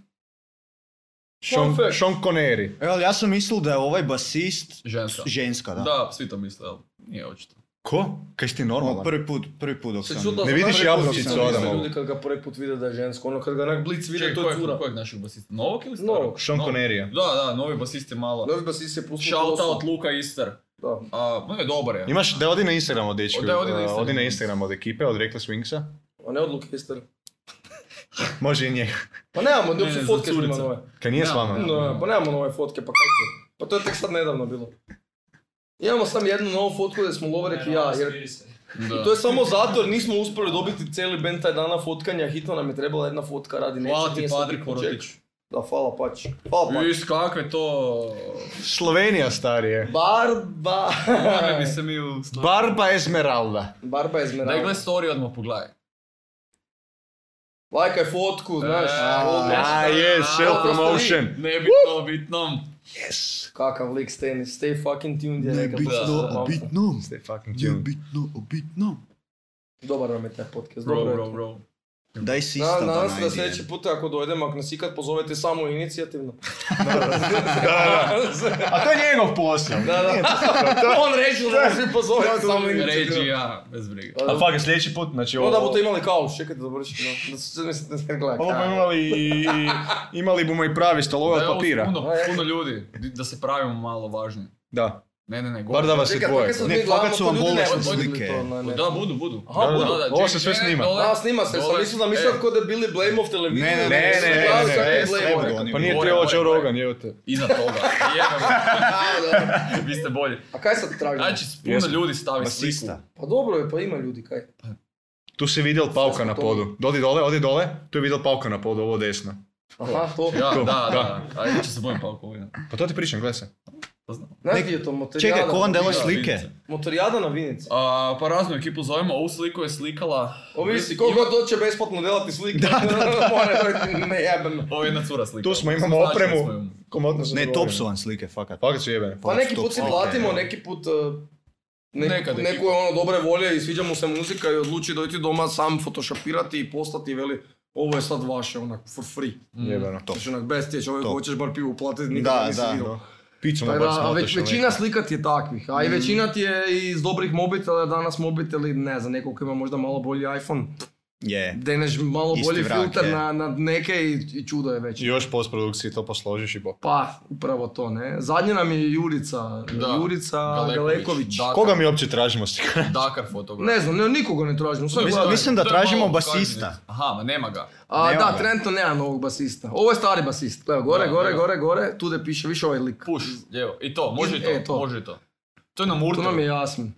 Speaker 3: Sean,
Speaker 2: fact.
Speaker 3: Sean Connery.
Speaker 1: Evo, ja sam mislil da je ovaj basist
Speaker 4: Ženska.
Speaker 1: ženska, da.
Speaker 4: Da, svi to misle, ali nije očito.
Speaker 3: Ko? Kaj si ti
Speaker 1: Ono,
Speaker 3: normalan?
Speaker 1: prvi put, prvi put dok
Speaker 4: Se
Speaker 1: sam...
Speaker 4: čudilo
Speaker 3: Ne
Speaker 4: sam
Speaker 3: vidiš
Speaker 4: prvi put
Speaker 3: jabučicu
Speaker 4: sam mislio.
Speaker 3: Adamovu?
Speaker 2: Ljudi kad ga prvi put vide da je žensko, ono kad ga onak blic vide,
Speaker 4: Čekaj,
Speaker 2: to je
Speaker 4: kojeg,
Speaker 2: cura.
Speaker 4: kojeg našeg basista? Novog ili
Speaker 2: Novog.
Speaker 4: starog?
Speaker 3: Sean Connery.
Speaker 4: Da, da, novi basist je malo.
Speaker 2: Novi basist je pustio
Speaker 4: Shout
Speaker 2: kosu.
Speaker 4: out Luka Ister.
Speaker 2: Da.
Speaker 4: A, no je dobar je.
Speaker 3: Imaš, da odi na Instagram od dečki.
Speaker 4: O, da, odi na
Speaker 3: uh,
Speaker 4: Instagram.
Speaker 3: Odi na Instagram od ekipe, od Reckless Wingsa.
Speaker 2: A ne odluke ister.
Speaker 3: Može i njega.
Speaker 2: Pa nemamo,
Speaker 4: Ne,
Speaker 2: ne,
Speaker 4: ne,
Speaker 2: su
Speaker 4: za
Speaker 2: fotke snima
Speaker 4: curica.
Speaker 2: nove.
Speaker 3: Kaj nije
Speaker 4: Da.
Speaker 3: s vama?
Speaker 4: Da.
Speaker 2: No, pa nemamo nove fotke, pa kaj ti? Pa to je tek sad nedavno bilo. Imamo sam jednu novu fotku da smo Lovrek i ja, jer
Speaker 4: Da.
Speaker 2: to je samo zato jer nismo uspjeli dobiti cijeli band taj dana fotkanja, hitno nam je trebala jedna fotka radi nečeg,
Speaker 4: Hvala ti,
Speaker 2: nije sad
Speaker 4: Padre
Speaker 2: bitno,
Speaker 4: Korotić.
Speaker 2: ček. Da, hvala pač. Hvala pač.
Speaker 4: Is, kakve to...
Speaker 3: Slovenija, starije.
Speaker 2: Barba.
Speaker 4: Kakve bi se mi u...
Speaker 3: Barba Esmeralda.
Speaker 2: Barba je zmerala.
Speaker 4: Daj, gle story odmah pogledaj.
Speaker 2: Lajkaj fotku, znaš.
Speaker 4: E,
Speaker 2: odmah.
Speaker 3: A, yes, self-promotion.
Speaker 4: Nebitno, bitno.
Speaker 2: Kakav lik, stay, stay fucking tuned je rekao.
Speaker 4: bitno,
Speaker 2: Da, da, da.
Speaker 1: bitnom.
Speaker 3: Stay fucking tuned.
Speaker 1: bitno, o bitnom.
Speaker 2: Dobar vam je taj podcast,
Speaker 4: Bro,
Speaker 2: dobro je
Speaker 4: bro,
Speaker 2: to.
Speaker 4: bro.
Speaker 1: Daj sista
Speaker 2: Na,
Speaker 1: da
Speaker 2: nadam se da
Speaker 1: najde.
Speaker 2: sljedeći put ako dojdem, ako nas ikad pozovete samo inicijativno.
Speaker 3: Da, da. A to je njegov posao.
Speaker 2: Da, da. On reći da nas vi pozovete samo inicijativno.
Speaker 4: Ređija, bez briga.
Speaker 3: A fuck, sljedeći put, znači ovo...
Speaker 2: Pa Onda budete imali kauč, čekajte da vršim, no. Da se ne se ne gleda.
Speaker 3: Ovo bomo imali, imali bomo i pravi
Speaker 2: Pa,
Speaker 3: stolove
Speaker 4: Da
Speaker 3: od
Speaker 4: je ovo
Speaker 3: papira.
Speaker 4: Puno, puno ljudi, di- da se pravimo malo važni.
Speaker 3: Da.
Speaker 4: Ne, ne, ne,
Speaker 3: Bar da vas je
Speaker 2: Čekaj,
Speaker 3: dvoje.
Speaker 2: fakat sam
Speaker 1: Ne,
Speaker 2: mi glavno,
Speaker 1: fakat su
Speaker 2: to
Speaker 1: vam
Speaker 2: ljudi ne
Speaker 1: bolesne
Speaker 2: odbili
Speaker 1: slike.
Speaker 2: to, na- ne.
Speaker 4: Da, budu, budu.
Speaker 2: Aha,
Speaker 3: Da, da,
Speaker 2: budu.
Speaker 3: da. Ovo se
Speaker 4: čekaj,
Speaker 3: sve
Speaker 4: ne,
Speaker 3: snima.
Speaker 4: dole-
Speaker 2: A, snima se, sam
Speaker 4: dole-
Speaker 2: mislio da
Speaker 4: e,
Speaker 2: mišljam kod je Billy Blame of televiziji.
Speaker 1: Ne, ne,
Speaker 3: Ne, ne,
Speaker 2: Sve
Speaker 3: ne, ne,
Speaker 2: glavno kod je
Speaker 3: ne,
Speaker 2: Blame
Speaker 1: ne,
Speaker 2: of.
Speaker 1: ne, ne.
Speaker 3: Pa nije
Speaker 4: Gore,
Speaker 3: trebao
Speaker 4: gore,
Speaker 3: Joe
Speaker 4: gore.
Speaker 3: Rogan, jebote.
Speaker 4: Iza toga, jebem,
Speaker 2: Da, da.
Speaker 4: vi ste bolji.
Speaker 2: A kaj sad tražimo?
Speaker 4: Znači, puno
Speaker 3: Jesmo.
Speaker 4: ljudi stavi sliku.
Speaker 1: Basista.
Speaker 2: Pa dobro je, pa ima ljudi, kaj.
Speaker 3: Tu si vidjel pauka na
Speaker 2: to.
Speaker 3: podu. Dodi dole, odi dole. Tu je vidjel pauka na podu, ovo desno.
Speaker 2: Aha, to.
Speaker 4: Ja,
Speaker 3: To,
Speaker 4: da, da.
Speaker 3: da.
Speaker 4: Ajde, će se bojim pa oko ovdje.
Speaker 3: Pa to ti pričam, gledaj se.
Speaker 4: To znam.
Speaker 2: Znaš gdje je to motorijada?
Speaker 1: Čekaj, ko vam delaj
Speaker 4: Da,
Speaker 1: slike?
Speaker 4: vidim
Speaker 2: Motorijada na Vinici.
Speaker 4: A, pa raznu ekipu zovemo, ovu sliku je slikala...
Speaker 2: Ovisi, koliko god će besplatno delati slike. Da, da, da. ne jebeno.
Speaker 4: Ovo je jedna cura slika.
Speaker 3: Tu smo, imamo
Speaker 4: Znači,
Speaker 3: opremu.
Speaker 4: smo imamo.
Speaker 3: Komotno se
Speaker 1: Ne,
Speaker 3: dogovorimo.
Speaker 1: top su vam slike, fakat.
Speaker 3: Fakat su jebene.
Speaker 2: Pa neki
Speaker 1: Top
Speaker 2: put si
Speaker 1: slike.
Speaker 2: platimo, neki put... eh, Nek,
Speaker 4: Nekad je
Speaker 2: neko je ono dobre volje i sviđa mu se muzika i odluči dojti doma sam fotošopirati i postati i veli ovo je sad vaše, onak, for free.
Speaker 3: Jebeno.
Speaker 1: To.
Speaker 2: Znači, onak, bez tje, čovjek
Speaker 1: To.
Speaker 2: hoćeš bar pivu platiti, nikad
Speaker 1: Da,
Speaker 2: nisi
Speaker 1: da.
Speaker 2: vidio.
Speaker 3: Picu na
Speaker 2: Tako Pa da,
Speaker 3: bac
Speaker 2: a već,
Speaker 3: motaš,
Speaker 2: većina
Speaker 3: onaj.
Speaker 2: slika ti je takvih, a i
Speaker 1: Mm.
Speaker 2: većina ti je iz dobrih mobitela, danas mobiteli, ne znam, neko ko ima možda malo bolji iPhone,
Speaker 1: Je.
Speaker 2: deneš malo
Speaker 1: Isti
Speaker 2: bolji
Speaker 1: vrak,
Speaker 2: filter
Speaker 1: je.
Speaker 2: na, na neke i, i čudo je već.
Speaker 3: I još postprodukciji to posložiš i bo.
Speaker 2: Pa, upravo to, ne. Zadnje nam je Jurica,
Speaker 4: Da.
Speaker 2: Jurica Galeković.
Speaker 4: Dakar,
Speaker 3: Koga mi uopće tražimo slika?
Speaker 4: Dakar fotograf.
Speaker 2: Ne znam, ne, nikoga ne tražimo, sve
Speaker 4: Mislim-
Speaker 2: gledam.
Speaker 1: Mislim da
Speaker 4: to je
Speaker 1: tražimo
Speaker 4: malo
Speaker 1: basista.
Speaker 4: kažnjivo. Aha, ma nema ga.
Speaker 2: A,
Speaker 1: nema
Speaker 2: da,
Speaker 1: ga.
Speaker 2: trenutno nema novog basista. Ovo je stari basist, gledaj, gore,
Speaker 4: Da,
Speaker 2: gore,
Speaker 4: nema.
Speaker 2: gore, gore, tu da piše više ovaj lik.
Speaker 4: Puš, evo, i to, može i to,
Speaker 2: E, to.
Speaker 4: može i to. To je na
Speaker 2: To
Speaker 4: Murtu.
Speaker 2: nam je Jasmin.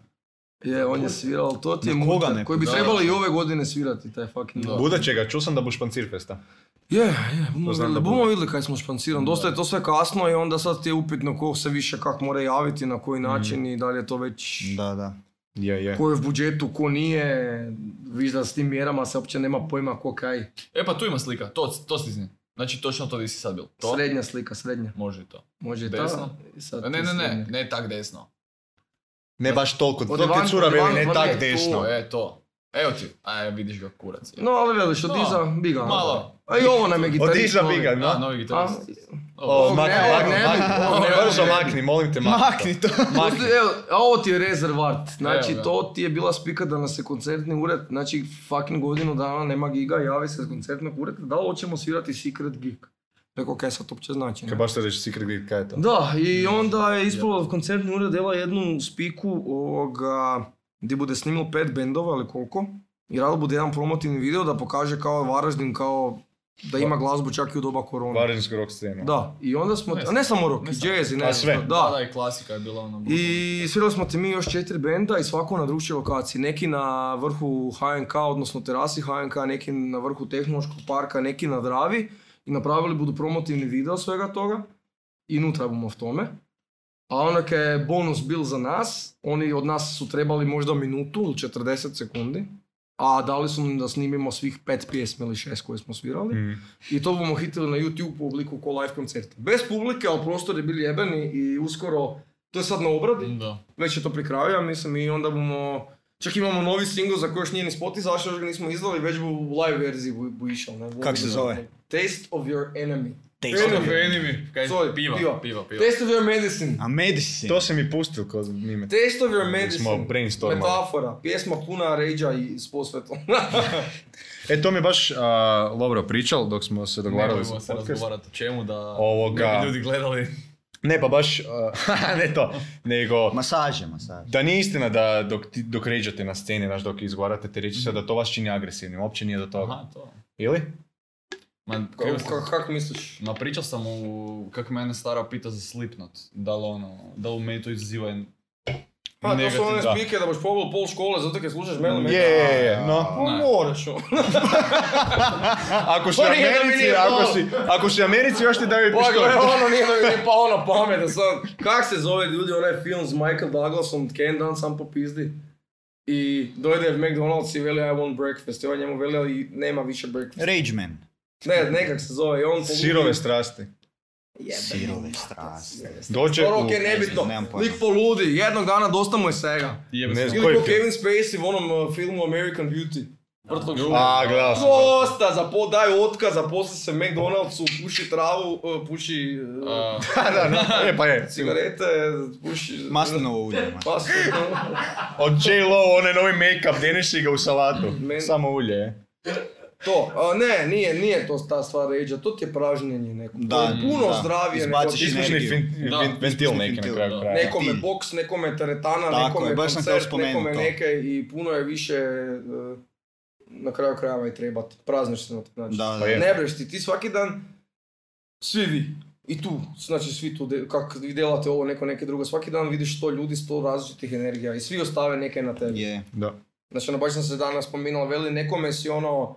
Speaker 2: Je, on je svirao, ali to ti je
Speaker 1: Na koga
Speaker 2: muter
Speaker 1: ne-
Speaker 2: koji bi
Speaker 4: da.
Speaker 2: trebalo i ove godine svirati, taj fucking
Speaker 4: Da.
Speaker 3: Buda će ga, čuo sam da buš pancirfesta.
Speaker 2: Je, je, bomo
Speaker 3: znam
Speaker 2: vidjeli,
Speaker 3: da
Speaker 2: bomo
Speaker 3: bude.
Speaker 2: vidjeli kaj smo španciran. Dosta je to sve kasno i onda sad ti je upitno ko se više kak mora javiti, na koji način i da li je to već...
Speaker 1: Da, da.
Speaker 3: Je, je.
Speaker 2: Ko je v budžetu, ko nije, viš da s tim mjerama se uopće nema pojma ko kaj.
Speaker 4: E pa tu ima slika, to, to stizni. Znači točno to di si sad bil. To?
Speaker 2: Srednja slika, srednja.
Speaker 4: Može i to.
Speaker 2: Može i ta.
Speaker 4: Desno?
Speaker 2: i sad
Speaker 4: Ne, ne,
Speaker 2: ti
Speaker 4: ne, ne,
Speaker 2: srednja.
Speaker 4: ne tak desno.
Speaker 3: Ne baš toliko, to
Speaker 2: Od
Speaker 3: ti
Speaker 2: van-
Speaker 3: cura
Speaker 2: od van
Speaker 3: veli, ne
Speaker 2: vrne
Speaker 3: tak
Speaker 2: tu,
Speaker 4: Tu,
Speaker 3: desno.
Speaker 4: e, to. Evo ti, a vidiš ga kurac.
Speaker 2: No, ali veliš, od
Speaker 4: No,
Speaker 2: iza biga.
Speaker 4: malo.
Speaker 2: A i ovo nam je ono. gitarist.
Speaker 3: Od iza
Speaker 2: novi.
Speaker 3: biga,
Speaker 4: A,
Speaker 3: no.
Speaker 4: novi
Speaker 2: A,
Speaker 4: gitarist.
Speaker 3: O,
Speaker 2: Ovog
Speaker 3: makni,
Speaker 2: ne, ovog
Speaker 3: makni,
Speaker 2: ne bi-
Speaker 3: makni.
Speaker 2: ovog ne bi-
Speaker 3: Brzo makni, molim te makni.
Speaker 1: Makni to.
Speaker 3: Makni.
Speaker 2: Evo, a ovo ti je rezervat. Znači,
Speaker 4: Pa Evo ga.
Speaker 2: to ti je bila spika da nas je koncertni ured, znači, fucking godinu dana nema giga, javi se s koncertnog ureda, da li hoćemo svirati Secret Gig. Rekao, kaj sad uopće znači? ne?
Speaker 3: Kaj baš te reći Secret Grid, kaj je to?
Speaker 2: Da, i onda je ispalo koncertni ured dela jednu spiku ovoga, gdje bude snimilo pet bendova ili koliko, i radilo bude jedan promotivni video da pokaže kao Varaždin, kao da ima glazbu čak i u doba korona.
Speaker 3: Varaždinsku rock scenu.
Speaker 2: Da, i onda smo,
Speaker 4: Ne
Speaker 2: a ne samo rock,
Speaker 4: ne
Speaker 2: i
Speaker 4: samo.
Speaker 2: jazz i ne
Speaker 3: Pa
Speaker 2: znam
Speaker 3: sve.
Speaker 2: šta,
Speaker 4: Da, da, i klasika je bila ono.
Speaker 2: i svirali smo ti mi još četiri benda i svako na drugčoj lokaciji. Neki na vrhu HNK, odnosno terasi HNK, neki na vrhu tehnološkog parka, neki na Dravi. I napravili budu promotivni video svega toga. I nutra bomo v tome. A onak je bonus bil za nas. Oni od nas su trebali možda minutu ili 40 sekundi. A dali su nam da snimimo svih pet pjesmi ili šest koje smo svirali.
Speaker 3: Mm.
Speaker 2: I to bomo hitili na YouTube u obliku ko live koncerta. Bez publike, ali prostor je bil jebeni i uskoro, to je sad na obradi,
Speaker 4: Da.
Speaker 2: već je to pri kraju, ja mislim, i onda bomo... Čak imamo novi single za koji još nije ni spot izašao, još ga nismo izdali, već bo u live verziji bu, bu išao. Ne?
Speaker 1: Kak se zove?
Speaker 2: Taste of your enemy.
Speaker 1: taste
Speaker 2: Enemy.
Speaker 1: of it.
Speaker 3: enemy.
Speaker 4: Kaj,
Speaker 2: Sorry, piva.
Speaker 4: piva, piva, piva, piva.
Speaker 2: Taste of your medicine.
Speaker 1: A medicine.
Speaker 3: To si mi pustil kod mime.
Speaker 2: Taste of your
Speaker 3: Mi
Speaker 2: medicine.
Speaker 3: smo brainstormali.
Speaker 2: Metafora. Pjesma puna ređa i s posvetom.
Speaker 3: E, to mi je baš a, Lovro pričal dok smo se dogovarali za
Speaker 4: Nemojmo se
Speaker 3: podcast.
Speaker 4: razgovarati o čemu da
Speaker 3: Ovoga.
Speaker 4: ne bi ljudi gledali.
Speaker 3: Ne, pa baš, a, ne to, nego...
Speaker 1: Masaže, masaže.
Speaker 3: Da nije istina da dok, ti- dok ređate na sceni, znaš, dok izgovarate te riječi, sad da to vas čini agresivnim, uopće nije do toga.
Speaker 4: Aha, to.
Speaker 3: Ili?
Speaker 4: Ma, krivo sam.
Speaker 2: Kako kak misliš?
Speaker 4: Ma pričao sam u, kak mene stara pita za Slipknot, da li ono, da li u meni to izaziva
Speaker 2: Pa to su
Speaker 3: Negativ,
Speaker 2: one
Speaker 3: da.
Speaker 2: spike da boš pobol pol škole zato kaj slušaš Melon
Speaker 3: Je, je, je, no.
Speaker 2: Pa moraš ono.
Speaker 3: Ako si u
Speaker 2: Pa nije da mi
Speaker 3: Americi,
Speaker 2: nije
Speaker 3: ako
Speaker 2: to.
Speaker 3: si, ako si u Americi, još ti daju i
Speaker 2: Pa gle,
Speaker 3: pištolj.
Speaker 2: ono nije da mi je pao na pamet, da sad, kak se zove ljudi onaj film s Michael Douglasom, Ken Dan sam popizdi. I dojde u McDonald's i veli I want breakfast, i on njemu veli i nema više breakfast.
Speaker 1: Rage man.
Speaker 2: Ne, nekak se zove, i on pogodi.
Speaker 3: Sirove strasti.
Speaker 1: Sirove strasti.
Speaker 3: Dođe
Speaker 2: Ono
Speaker 3: u...
Speaker 2: okej, nebitno,
Speaker 1: nemam pojma.
Speaker 2: lik poludi, jednog dana dosta mu je svega.
Speaker 4: Jebe
Speaker 3: Ne
Speaker 4: se.
Speaker 3: znam.
Speaker 2: Ili
Speaker 3: Koji
Speaker 2: ko
Speaker 3: film?
Speaker 2: Kevin Spacey u onom uh, filmu American Beauty. Vrtlog žuga.
Speaker 3: A, gledao sam.
Speaker 2: Dosta, za po, daju otkaz, zaposli se McDonald'su, puši travu, uh, puši uh,
Speaker 4: A,
Speaker 3: Da, da, da, e, pa je.
Speaker 2: cigarete, puši...
Speaker 1: Maslinovo ulje. ma.
Speaker 2: Maslinovo.
Speaker 3: Od J. Lo, onaj novi make-up, deneši ga u salatu.
Speaker 2: Men-
Speaker 3: Samo ulje, je.
Speaker 2: To, a, ne, nije, nije to ta stvar ređa, to ti je pražnjenje neko.
Speaker 1: Da,
Speaker 2: to je puno
Speaker 1: da.
Speaker 2: zdravije
Speaker 1: Izbaciš
Speaker 2: nego ti-
Speaker 1: ne-
Speaker 3: Ispušni
Speaker 1: Energiju.
Speaker 3: fin-
Speaker 4: Da,
Speaker 3: vin- ventil neki na
Speaker 1: ventil,
Speaker 3: kraju
Speaker 4: da.
Speaker 3: kraja.
Speaker 2: Nekome
Speaker 1: ti.
Speaker 2: boks, nekome teretana,
Speaker 1: Tako
Speaker 2: nekome
Speaker 1: je, baš sam htio
Speaker 2: koncert,
Speaker 1: spomenut
Speaker 2: nekome
Speaker 1: to.
Speaker 2: neke i puno je više e, na kraju krajeva i trebat. Prazniš se na taj način.
Speaker 1: Da,
Speaker 3: Pa
Speaker 1: da.
Speaker 3: je.
Speaker 2: Ne breš ti, ti svaki dan, svi vi, i tu, znači svi tu, de- kak vi delate ovo, neko neke drugo, svaki dan vidiš sto ljudi, sto različitih energija i svi ostave neke na tebi.
Speaker 1: Je.
Speaker 3: Da.
Speaker 2: Znači, ono, baš sam se danas spominala, veli, nekome si ono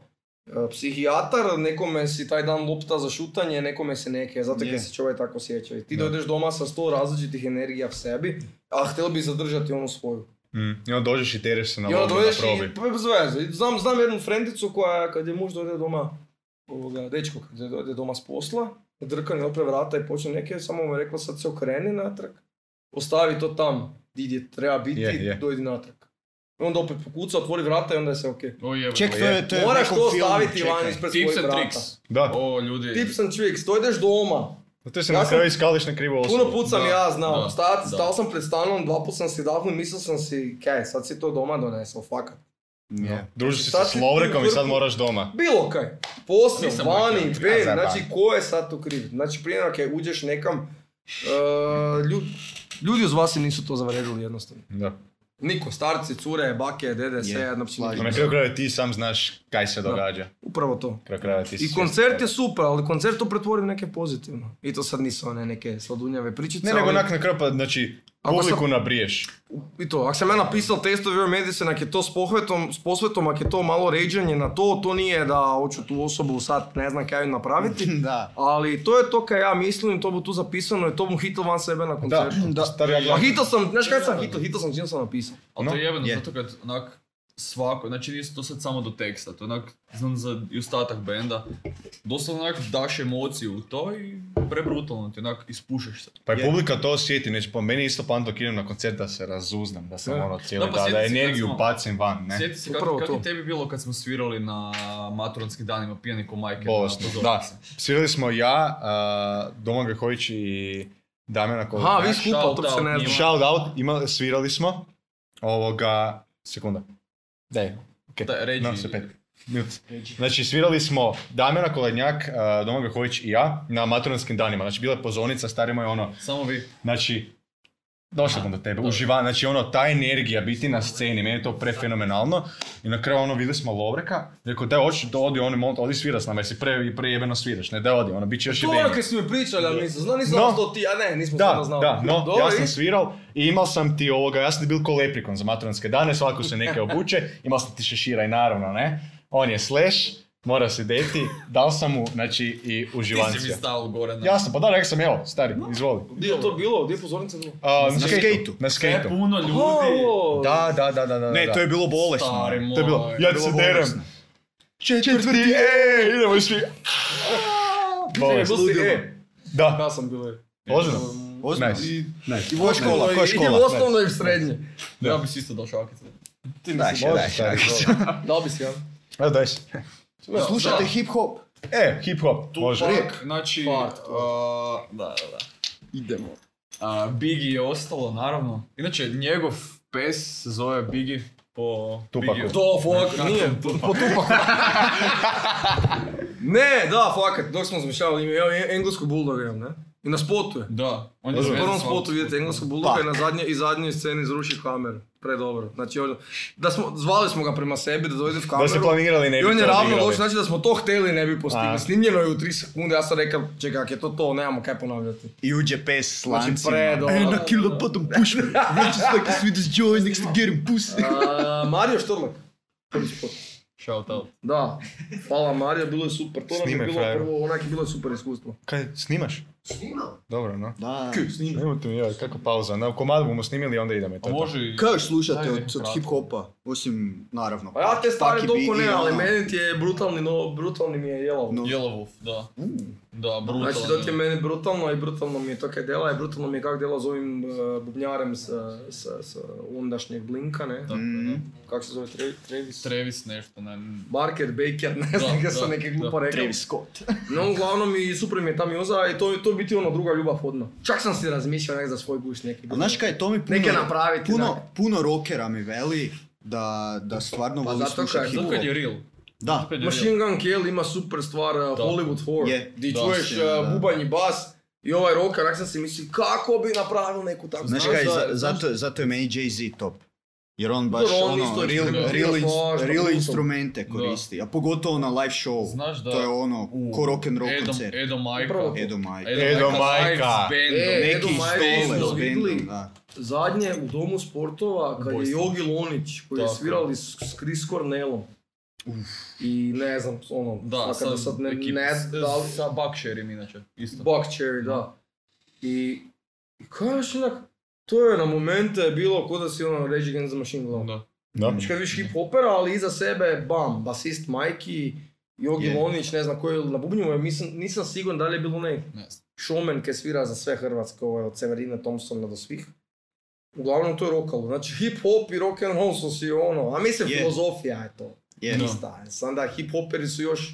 Speaker 2: e, psihijatar, nekome si taj dan lopta za šutanje, nekome si neke, zato
Speaker 1: Je.
Speaker 2: kaj se čovjek tako sjeća. I ti
Speaker 3: Da.
Speaker 2: dođeš doma sa sto različitih energija v sebi, a htjel bi zadržati onu svoju.
Speaker 3: Mm. I onda dođeš i tereš se na
Speaker 2: I onda
Speaker 3: lovu na
Speaker 2: dođeš
Speaker 3: probi.
Speaker 2: i pa bez veze. I Znam, znam jednu frendicu koja, kad je muž dojde doma, ovoga, dečko, kad je dojde doma s posla, drka ne opre vrata i počne neke, samo mu je rekla sad se okreni natrag, ostavi to tam, di je treba biti,
Speaker 3: Je, je.
Speaker 2: dojdi natrag. I onda opet pokuca, otvori vrata i onda je sve okej.
Speaker 4: o jebe.
Speaker 1: Ček, to je, to je u
Speaker 2: Moraš
Speaker 1: nekom
Speaker 2: to
Speaker 1: filmu,
Speaker 2: staviti
Speaker 1: čekaj.
Speaker 2: van ispred
Speaker 4: Tips
Speaker 2: svojih
Speaker 4: and
Speaker 2: vrata.
Speaker 4: tricks.
Speaker 3: Da.
Speaker 4: O, ljudi.
Speaker 2: Tips and tricks, to ideš doma.
Speaker 3: Pa Te se
Speaker 2: Ja
Speaker 3: na
Speaker 2: sam-
Speaker 3: kraju iskališ na krivu osobu.
Speaker 2: Puno put sam
Speaker 4: da,
Speaker 2: ja znao,
Speaker 4: da,
Speaker 2: Stajat-
Speaker 4: da.
Speaker 2: stao sam pred stanom, dva put sam si dahnul, mislio sam si, kaj, sad si to doma donesao, fakat.
Speaker 1: Je.
Speaker 3: Družiš se
Speaker 2: Sad
Speaker 3: s
Speaker 2: si
Speaker 3: Lovrekom
Speaker 2: ti
Speaker 3: i
Speaker 2: u
Speaker 3: sad
Speaker 2: vrhu.
Speaker 3: moraš doma.
Speaker 2: Bilo kaj, posao,
Speaker 4: Nisam
Speaker 2: vani,
Speaker 4: rekao,
Speaker 2: ben,
Speaker 3: ja zajebam.
Speaker 2: znači ko je sad tu kriv? Znači prije nego kaj uđeš nekam, ljudi, ljudi uz vas se nisu to zavredili jednostavno.
Speaker 3: Da.
Speaker 2: Niko, starci, cure, bake, dede, sve
Speaker 1: Je,
Speaker 2: jedno znači, uopće
Speaker 1: slažem
Speaker 2: nije
Speaker 3: A
Speaker 1: se.
Speaker 3: na kraju krajeva ti sam znaš kaj se događa.
Speaker 2: bitno. Upravo to.
Speaker 3: Na kraju krajeva ti si
Speaker 2: I
Speaker 3: svjestan
Speaker 2: koncert je
Speaker 3: toga.
Speaker 2: super, ali koncert to pretvori u neke pozitivno. I to sad nisu one neke sladunjave pričice.
Speaker 3: Ne, nego
Speaker 2: ali-
Speaker 3: nak na kraju pa, znači,
Speaker 2: Ako sam-
Speaker 3: publiku nabriješ.
Speaker 2: I to, ako sam ja napisao test of your medicine, ako je to s pohvetom, s posvetom, ako je to malo ređanje na to, to nije da hoću tu osobu sad ne znam kaj napraviti.
Speaker 1: Da.
Speaker 2: Ali to je to kaj ja mislim, to bu tu zapisano i to bu hitao van sebe na
Speaker 3: Da,
Speaker 2: koncertu.
Speaker 3: da. Stari, ja
Speaker 2: Pa
Speaker 3: gledam-
Speaker 2: hitao sam, znaš kaj sam hitao? Hitao sam čim sam napisao.
Speaker 4: Ali to je jebeno,
Speaker 1: je.
Speaker 4: zato kad onak svako, znači nisu to sad samo do teksta, to je onak, znam za i ostatak benda, doslovno onak daš emociju u to i prebrutalno ti onak ispušeš se.
Speaker 3: Pa i
Speaker 1: Je.
Speaker 3: publika to osjeti, neće pa meni je isto panto idem na koncert da se razuznam, da sam
Speaker 2: Da.
Speaker 3: ono cijeli
Speaker 4: Da, pa
Speaker 3: dan, da
Speaker 4: sjeti se kad
Speaker 3: energiju
Speaker 4: smo-
Speaker 3: bacim van, ne?
Speaker 4: Sjeti se kako
Speaker 2: Upravo
Speaker 4: kak
Speaker 2: to.
Speaker 4: je tebi bilo kad smo svirali na maturonskim danima pijani ko majke. na
Speaker 3: Bolesno, da.
Speaker 4: pozornici?
Speaker 3: Svirali smo ja, a, Doman Grehović i Damjana Kovač.
Speaker 2: Aha, vi skupa,
Speaker 4: shout
Speaker 2: to bi se
Speaker 4: out
Speaker 2: ne
Speaker 4: njima.
Speaker 2: znam.
Speaker 3: Shout out, ima, svirali smo, ovoga, sekunda, daj, okej,
Speaker 4: Da, ređi.
Speaker 3: no, sve pet. Minut. Znači, svirali smo Damjana Kolednjak, uh, Domagoj Hović i ja na maturanskim danima. Znači, bila je pozonica, starima je ono,
Speaker 4: Samo vi.
Speaker 3: znači, došao sam do tebe,
Speaker 4: dobro.
Speaker 3: uživa, znači ono, ta energija biti na sceni, meni je to prefenomenalno. I na kraju ono, vidjeli smo Lovreka, rekao, daj, oči, da odi, on je mol- odi svira s nama, jesi pre, prejebeno sviraš, ne, daj, odi, ono, bit će još
Speaker 2: To
Speaker 3: jebenije.
Speaker 2: ono kaj si mi pričali, ali nisam znao, nisam
Speaker 3: No.
Speaker 2: znao to ti, a ne, nismo stvarno
Speaker 3: Da,
Speaker 2: znali.
Speaker 3: da, no,
Speaker 2: Dobro,
Speaker 3: ja sam
Speaker 2: i-
Speaker 3: sviral i imao sam ti ovoga, ja sam bil ko leprikon za maturanske dane, svako se neke obuče, imao sam ti šešira i naravno, ne, on je slash, mora se deti, dao sam mu, znači, i
Speaker 4: Ti si mi
Speaker 3: uživancija.
Speaker 4: stao gore na...
Speaker 3: Jasno, pa da, rekao sam, evo, stari, izvoli.
Speaker 2: Gdje je to bilo? Gdje je pozornica bilo?
Speaker 3: A,
Speaker 1: Na
Speaker 3: skateu,
Speaker 1: skateu.
Speaker 3: Na skateu.
Speaker 4: Puno ljudi.
Speaker 2: Ovo-
Speaker 3: Da, da, da, da, da.
Speaker 1: Ne,
Speaker 3: da.
Speaker 1: to je bilo bolesno.
Speaker 4: Stari moj.
Speaker 3: To je bilo, ja ti se
Speaker 1: Bilo bolesno.
Speaker 3: derem. Četvrti, e, idemo i svi.
Speaker 2: Čekaj,
Speaker 3: Bolest.
Speaker 2: bilo si,
Speaker 3: ono.
Speaker 2: e,
Speaker 3: Da,
Speaker 2: ja sam bilo. e.
Speaker 3: ozbiljno.
Speaker 1: Ozbiljno.
Speaker 3: Nice.
Speaker 1: I-
Speaker 2: I
Speaker 1: Koja
Speaker 2: u
Speaker 1: škola,
Speaker 2: osnovnoj,
Speaker 1: koja
Speaker 2: I
Speaker 1: škola?
Speaker 2: u osnovnoj i u srednje.
Speaker 4: Ja bi si isto došao akice.
Speaker 1: Daj, še,
Speaker 3: Može,
Speaker 1: daj, še,
Speaker 3: stari,
Speaker 1: daj.
Speaker 3: izvoli.
Speaker 2: Da li bi si ja?
Speaker 3: Evo, daj si.
Speaker 1: Slušate hip hop?
Speaker 3: E, hip hop, može.
Speaker 4: Tupac, znači, a, da, da, da.
Speaker 2: Idemo.
Speaker 4: A, Biggie je ostalo, naravno. Inače, njegov pes se zove Biggie po
Speaker 3: Tupacu.
Speaker 4: Biggiju.
Speaker 2: To, fuck, nije.
Speaker 4: Tupacu.
Speaker 2: Ne, da, fakat, dok smo zamišljali ime, evo, en- englesku bulldoga imam, ne? I na spotu je.
Speaker 4: Da, on je
Speaker 2: U
Speaker 4: zvezda
Speaker 2: prvom
Speaker 4: svakog
Speaker 2: spotu vidite
Speaker 4: sporta.
Speaker 2: engleskog bulldoga i
Speaker 1: Fuck.
Speaker 2: na zadnje, i zadnjoj sceni izruši kameru. Predobro. Znači, ono, da smo, zvali smo ga prema sebi da dođe u
Speaker 3: Da ste
Speaker 2: kameru.
Speaker 3: planirali ne
Speaker 2: I
Speaker 3: bi
Speaker 2: on je
Speaker 3: to
Speaker 2: ravno
Speaker 3: odigrali.
Speaker 2: došao, znači da smo to htjeli ne bi
Speaker 3: A.
Speaker 2: postigli. Snimljeno je u 3 sekunde, ja sam rekao, čekaj, ako je to to, nemamo kaj ponavljati.
Speaker 1: I uđe pes s
Speaker 2: Znači,
Speaker 1: lancima. E,
Speaker 2: predobro.
Speaker 1: And I kill the bottom push me. Reaches like the sweetest joy next to get him pussy.
Speaker 2: A, Mario Štorlak. Prvi spot.
Speaker 4: Shout out.
Speaker 2: Da, hvala Marija, bilo je super. To nam je
Speaker 3: Snimaj,
Speaker 2: bilo
Speaker 3: frajeru.
Speaker 2: prvo, onak je bilo super iskustvo.
Speaker 3: Kaj, snimaš? Snimam. Dobro, no.
Speaker 1: Da.
Speaker 2: Snimaj.
Speaker 3: Nemojte mi, joj, kakva pauza. Na komad bomo snimili, onda idemo i to.
Speaker 4: A
Speaker 3: je to.
Speaker 4: može i...
Speaker 1: Kaj još slušate od, od
Speaker 4: kratko.
Speaker 1: hip hopa? Osim, naravno.
Speaker 2: Pa ja te stvari
Speaker 1: Taki
Speaker 2: toliko
Speaker 1: bi i
Speaker 2: ne, ali
Speaker 1: ono.
Speaker 2: meni ti je brutalni, no, brutalni mi je jelo.
Speaker 1: No.
Speaker 4: Yellow Wolf, da.
Speaker 1: Mm.
Speaker 4: Da, brutalno.
Speaker 2: Znači, to ti je meni brutalno i brutalno mi je to kaj dela i brutalno mi je kak dela s ovim eh, bubnjarem s, s, s ondašnjeg Blinka, ne?
Speaker 4: Tako, da.
Speaker 1: Mm.
Speaker 2: Kak se zove, Tre- Travis?
Speaker 4: Travis nešto, ne.
Speaker 2: Barker, Baker, ne
Speaker 4: Da,
Speaker 2: znam kaj
Speaker 4: da,
Speaker 2: sam neke glupo
Speaker 4: da.
Speaker 2: rekao.
Speaker 1: Travis Scott.
Speaker 2: No, uglavnom i super mi je ta muza i to, to je biti ono druga ljubav odmah. Čak sam si razmišljao nek za svoj guš neki.
Speaker 1: A znaš kaj, to mi puno...
Speaker 2: Neke napraviti,
Speaker 1: Puno,
Speaker 2: da.
Speaker 1: puno rockera mi veli da, da stvarno
Speaker 2: Pa
Speaker 1: voli
Speaker 2: zato
Speaker 1: slušati
Speaker 2: kaj,
Speaker 1: hip
Speaker 4: Zato
Speaker 1: hop.
Speaker 4: kad je real.
Speaker 1: Da.
Speaker 4: Zato kad je real.
Speaker 2: Machine Gun Kelly ima super stvar eh, Hollywood Horror.
Speaker 1: Je,
Speaker 2: Di
Speaker 4: da,
Speaker 2: čuješ
Speaker 1: istina,
Speaker 2: eh,
Speaker 1: da.
Speaker 2: bubanj i bas i ovaj rocker, onak sam si misli kako bi napravio neku takvu
Speaker 1: Znaš kaj, za- zato, zato je meni Jay-Z top. Jer on baš
Speaker 2: Dobro, on isto
Speaker 1: ono,
Speaker 2: je
Speaker 1: real,
Speaker 2: isto
Speaker 1: real, ins-
Speaker 2: baš pa na
Speaker 1: real
Speaker 2: putu.
Speaker 1: instrumente koristi. A pogotovo na live show.
Speaker 4: Znaš da-
Speaker 1: To je ono, ko rock'n'roll koncert.
Speaker 4: Edo Majka.
Speaker 2: Upravo to.
Speaker 1: Edo Majka.
Speaker 3: Edo Majka.
Speaker 4: s bandom.
Speaker 2: E, Edo
Speaker 1: Neki
Speaker 2: Majka
Speaker 1: stole
Speaker 2: isto
Speaker 1: s
Speaker 2: vidjeli.
Speaker 1: bendom, da.
Speaker 2: Zadnje u domu sportova kad je
Speaker 4: Ubojstvo.
Speaker 2: Jogi Lonić koji je
Speaker 4: Tako.
Speaker 2: svirali s, s Chris Cornellom. I ne znam, ono,
Speaker 4: Da,
Speaker 2: fakat da
Speaker 4: sa,
Speaker 2: sad ne,
Speaker 4: ekipa-
Speaker 2: ne
Speaker 4: s-
Speaker 2: da li,
Speaker 4: sa Bucksherim inače, isto.
Speaker 2: Buck Cherry, da. I, i kaj još onak, to je na momente bilo ko da si ono Rage Against the Machine gledao.
Speaker 4: Da.
Speaker 3: Da?
Speaker 2: Znači kad vidiš hip hopera, ali iza sebe, bam, basist Majki, Jogi
Speaker 1: Je.
Speaker 2: Lonić, ne znam koji je na bubnju, jer mislim, nisam siguran da li je bilo onaj
Speaker 4: Ne znam.
Speaker 2: showman koji svira za sve Hrvatske, ovaj, od Severina Thompsona do svih. Uglavnom to je rokalo, znači hip hop i rock and roll su si ono, a mislim
Speaker 1: Je.
Speaker 2: filozofija je to,
Speaker 1: Je.
Speaker 4: No.
Speaker 2: ista. Sam da hip hoperi su još,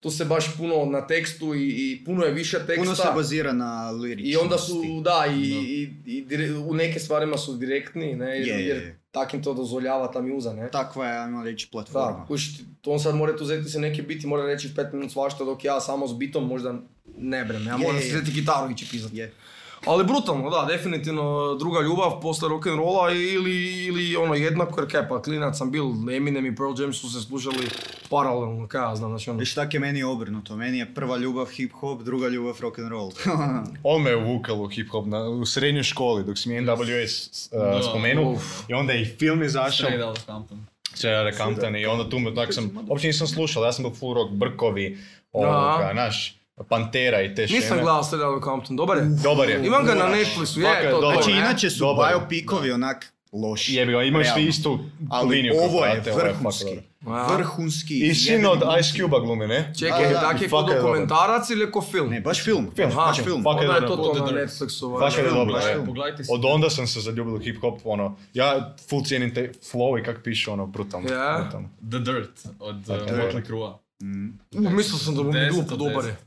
Speaker 2: tu se baš puno na tekstu i, i puno je više teksta.
Speaker 1: Puno se bazira na liričnosti.
Speaker 2: I onda su, da, i,
Speaker 4: Da.
Speaker 2: i, i dire- u neke stvarima su direktni, ne, jer,
Speaker 1: Je, je,
Speaker 2: jer
Speaker 1: je.
Speaker 2: takim to dozvoljava ta muza, ne.
Speaker 1: Takva je, ajmo reći,
Speaker 2: Da,
Speaker 1: platforma.
Speaker 2: kuš, on sad mora tu uzeti se neki bit i mora reći 5 minut svašta dok ja samo s bitom možda ne brem, ja
Speaker 1: Je,
Speaker 2: moram
Speaker 1: je,
Speaker 2: se
Speaker 1: je.
Speaker 2: uzeti gitaru i pisati.
Speaker 1: Je.
Speaker 2: Ali brutalno, da, definitivno druga ljubav posle rock'n'rolla ili, ili ono jednako, jer kaj pa klinac sam bil, Eminem i Pearl Jam su se slušali paralelno, kaj ja znam, znači ono.
Speaker 1: Viš tak je meni obrnuto, meni je prva ljubav hip hop, druga ljubav Znači, rock and roll.
Speaker 3: On me je uvukal u hip-hop na, u srednjoj školi, dok si mi NWS uh,
Speaker 4: Da.
Speaker 3: spomenuo. I onda je i film izašao,
Speaker 4: Straight Outta Compton.
Speaker 2: Hmm.
Speaker 3: Čera Compton, i onda tu me, tak sam, uopće nisam slušao, ja sam bio full rock, Brkovi, ovoga, naš, Pantera i te šeme.
Speaker 5: Nisam gledao Straight Outta Compton, dobar je.
Speaker 3: Dobar je.
Speaker 5: Imam ga na Netflixu,
Speaker 3: Fakat
Speaker 5: je, to
Speaker 3: dobar.
Speaker 5: to,
Speaker 1: Znači
Speaker 5: ne?
Speaker 1: inače su
Speaker 3: Dobar je.
Speaker 1: biopikovi onak loši.
Speaker 3: Jebi ga, imaš ti
Speaker 1: Realno.
Speaker 3: istu
Speaker 1: Ali
Speaker 3: liniju. koju
Speaker 1: ovo je
Speaker 3: prate, ovo fakat
Speaker 1: vrhunski.
Speaker 3: dobro.
Speaker 5: Aha.
Speaker 1: vrhunski.
Speaker 3: I sin
Speaker 1: jebeni
Speaker 3: od
Speaker 1: glumci.
Speaker 3: Ice Cube-a glumi, ne?
Speaker 1: Da,
Speaker 5: Čekaj,
Speaker 1: da,
Speaker 5: tak je
Speaker 3: i
Speaker 5: ko
Speaker 3: fuck je dobar.
Speaker 5: dokumentarac ili ko film?
Speaker 1: Ne, baš film.
Speaker 3: Aha.
Speaker 1: baš film.
Speaker 3: Fakat
Speaker 5: Onda je to
Speaker 3: dobro.
Speaker 5: to na
Speaker 4: Potter.
Speaker 5: Netflixu. ovaj.
Speaker 3: Fakat je dobro,
Speaker 4: Baš,
Speaker 3: je.
Speaker 4: Pogledajte si.
Speaker 3: Od onda sam se zaljubil u hip-hop, ono, ja full cijenim te flow i kak piše, ono, brutalno.
Speaker 5: Ja.
Speaker 3: brutalno.
Speaker 4: The Dirt od uh,
Speaker 3: Tako je.
Speaker 4: Motley Crue.
Speaker 5: U, Mislio sam da mu je
Speaker 4: 10 od
Speaker 5: glup, dobar je.
Speaker 4: 10.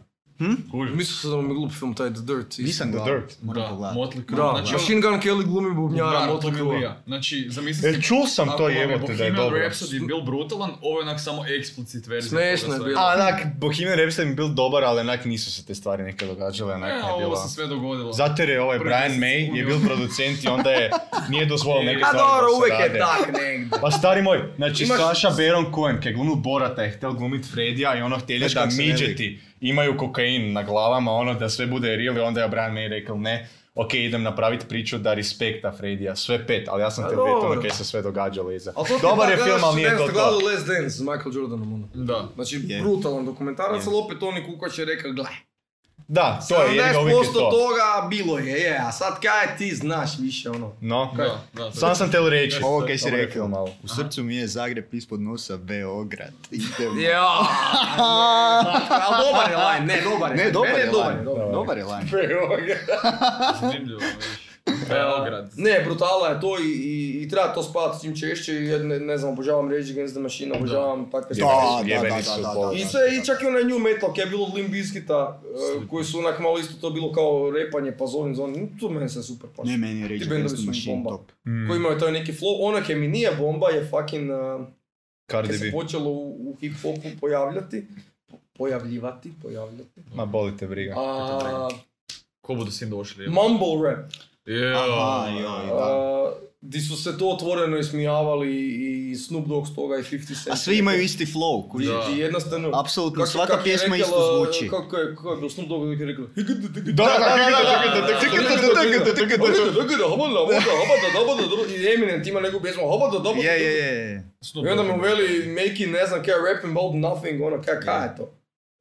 Speaker 4: Kužiš.
Speaker 5: Mislio sam da mu je glup film, taj The Dirt. isto.
Speaker 1: Nisam
Speaker 3: The
Speaker 1: gledao,
Speaker 3: Dirt.
Speaker 1: moram
Speaker 4: Da,
Speaker 1: pogledati.
Speaker 4: Motley Crue.
Speaker 5: Da,
Speaker 4: Znači,
Speaker 3: ono-
Speaker 5: Machine Gun Kelly glumi bubnjara,
Speaker 4: Bubnjara,
Speaker 5: Motley Crue.
Speaker 4: Znači, zamisli
Speaker 3: E, čul sam
Speaker 4: ako
Speaker 3: to
Speaker 4: vam je
Speaker 3: jebote da je
Speaker 4: Bohemian
Speaker 3: dobro.
Speaker 4: Rhapsody je bil brutalan, ovo je onak samo eksplicit verzija.
Speaker 5: Smešno
Speaker 4: toga
Speaker 5: je
Speaker 4: svega.
Speaker 5: bilo.
Speaker 3: A, onak, Bohemian Rhapsody mi je bil dobar, ali onak nisu se te stvari neke događale, onak
Speaker 4: E,
Speaker 3: je
Speaker 4: ovo
Speaker 3: bilo.
Speaker 4: se sve dogodilo.
Speaker 3: Zato jer je ovaj
Speaker 4: Prvi
Speaker 3: Brian
Speaker 4: mjesec
Speaker 3: May je
Speaker 4: unio.
Speaker 3: bio producent i onda je, nije dozvolio neke
Speaker 4: A
Speaker 3: stvari
Speaker 5: E, dobro,
Speaker 3: da se
Speaker 5: uvijek je
Speaker 3: rade.
Speaker 5: tak negdje.
Speaker 3: Pa stari moj, znači
Speaker 5: Imaš-
Speaker 3: Saša Baron Cohen, kaj je glumio Borata, je htio glumit Fredija i ono htjeli
Speaker 1: Znaš
Speaker 3: da
Speaker 1: kak se ne
Speaker 3: midgeti imaju kokain na glavama, ono da sve bude real i onda je Brian May rekao ne, ok, idem napraviti priču da respekta Fredija, sve pet, ali ja sam te
Speaker 5: dobro.
Speaker 3: vidjeti ono kaj se sve događalo iza.
Speaker 2: Al to ti
Speaker 3: Dobar
Speaker 2: pa
Speaker 3: je film,
Speaker 2: gledaš,
Speaker 3: ali nije
Speaker 2: ne
Speaker 3: to
Speaker 2: znam,
Speaker 3: to.
Speaker 2: gledao Last Dance s Michael Jordanom, ono.
Speaker 4: Da.
Speaker 2: Znači,
Speaker 1: Je.
Speaker 2: brutalan dokumentarac,
Speaker 3: Je.
Speaker 2: ali opet oni kukač je rekao, gle,
Speaker 3: Da, to je, jer ga uvijek je
Speaker 2: 70%
Speaker 3: to.
Speaker 2: toga bilo je, je, a sad kaj ti znaš više, ono.
Speaker 3: No,
Speaker 4: Da, da.
Speaker 3: sam sam te reći.
Speaker 1: Ovo kaj si
Speaker 3: Dobar je
Speaker 1: rekao,
Speaker 3: film, ali-
Speaker 1: u srcu mi je Zagreb ispod nosa, Beograd. Idemo.
Speaker 2: Ja, ali dobar je line, ne, dobar je.
Speaker 1: Ne, dobar
Speaker 2: Meni
Speaker 1: je
Speaker 2: dobar
Speaker 1: line.
Speaker 2: dobar.
Speaker 1: Dobar je line.
Speaker 4: Zanimljivo, vidiš. Beograd.
Speaker 2: Ne, brutala je to i, i, i treba to spavati s njim češće i ja ne, ne znam, obožavam Rage Against the Machine, obožavam takve
Speaker 1: Da,
Speaker 2: stvari.
Speaker 1: da, da,
Speaker 3: Jebeni
Speaker 1: da,
Speaker 3: su
Speaker 1: da,
Speaker 3: po-
Speaker 1: da.
Speaker 2: I sve, i čak i onaj new metal koji je bilo od Limp Bizkita, eh, koji su onak malo isto to bilo kao repanje pa zovem zvonim, to meni se super paši.
Speaker 1: Ne, meni je Rage
Speaker 2: Ti bendovi
Speaker 1: Against the
Speaker 2: su mi
Speaker 1: Machine
Speaker 2: bomba.
Speaker 1: top.
Speaker 3: Mm.
Speaker 2: Koji imaju taj neki flow, ono kaj mi nije bomba je fucking, eh, kad
Speaker 3: Cardi
Speaker 2: se
Speaker 3: B.
Speaker 2: počelo u, u hip-hopu pojavljati, pojavljivati, pojavljati,
Speaker 3: Ma boli te
Speaker 1: E,
Speaker 3: briga.
Speaker 2: a,
Speaker 4: Ko budu s tim došli?
Speaker 2: mumble rap,
Speaker 4: Jeo.
Speaker 1: Aha, joj, da.
Speaker 2: a, di su se to otvoreno ismijavali i Snoop Dogg s toga i 50 Cent.
Speaker 1: A svi imaju isti flow, kuži.
Speaker 4: Da.
Speaker 2: I jednostavno,
Speaker 1: Apsolutno,
Speaker 2: Kako-
Speaker 1: svaka
Speaker 2: kako je
Speaker 1: pjesma
Speaker 2: rekla-
Speaker 1: isto zvuči.
Speaker 2: Kako je, kako je bio Snoop Dogg uvijek je rekao
Speaker 3: Da, da,
Speaker 2: I Eminem ima neku pjesmu "Hobada, dobada,
Speaker 1: Je, je, je.
Speaker 2: dobada." I onda mu veli Making ne znam kaj rap about nothing ono kaj kaj je to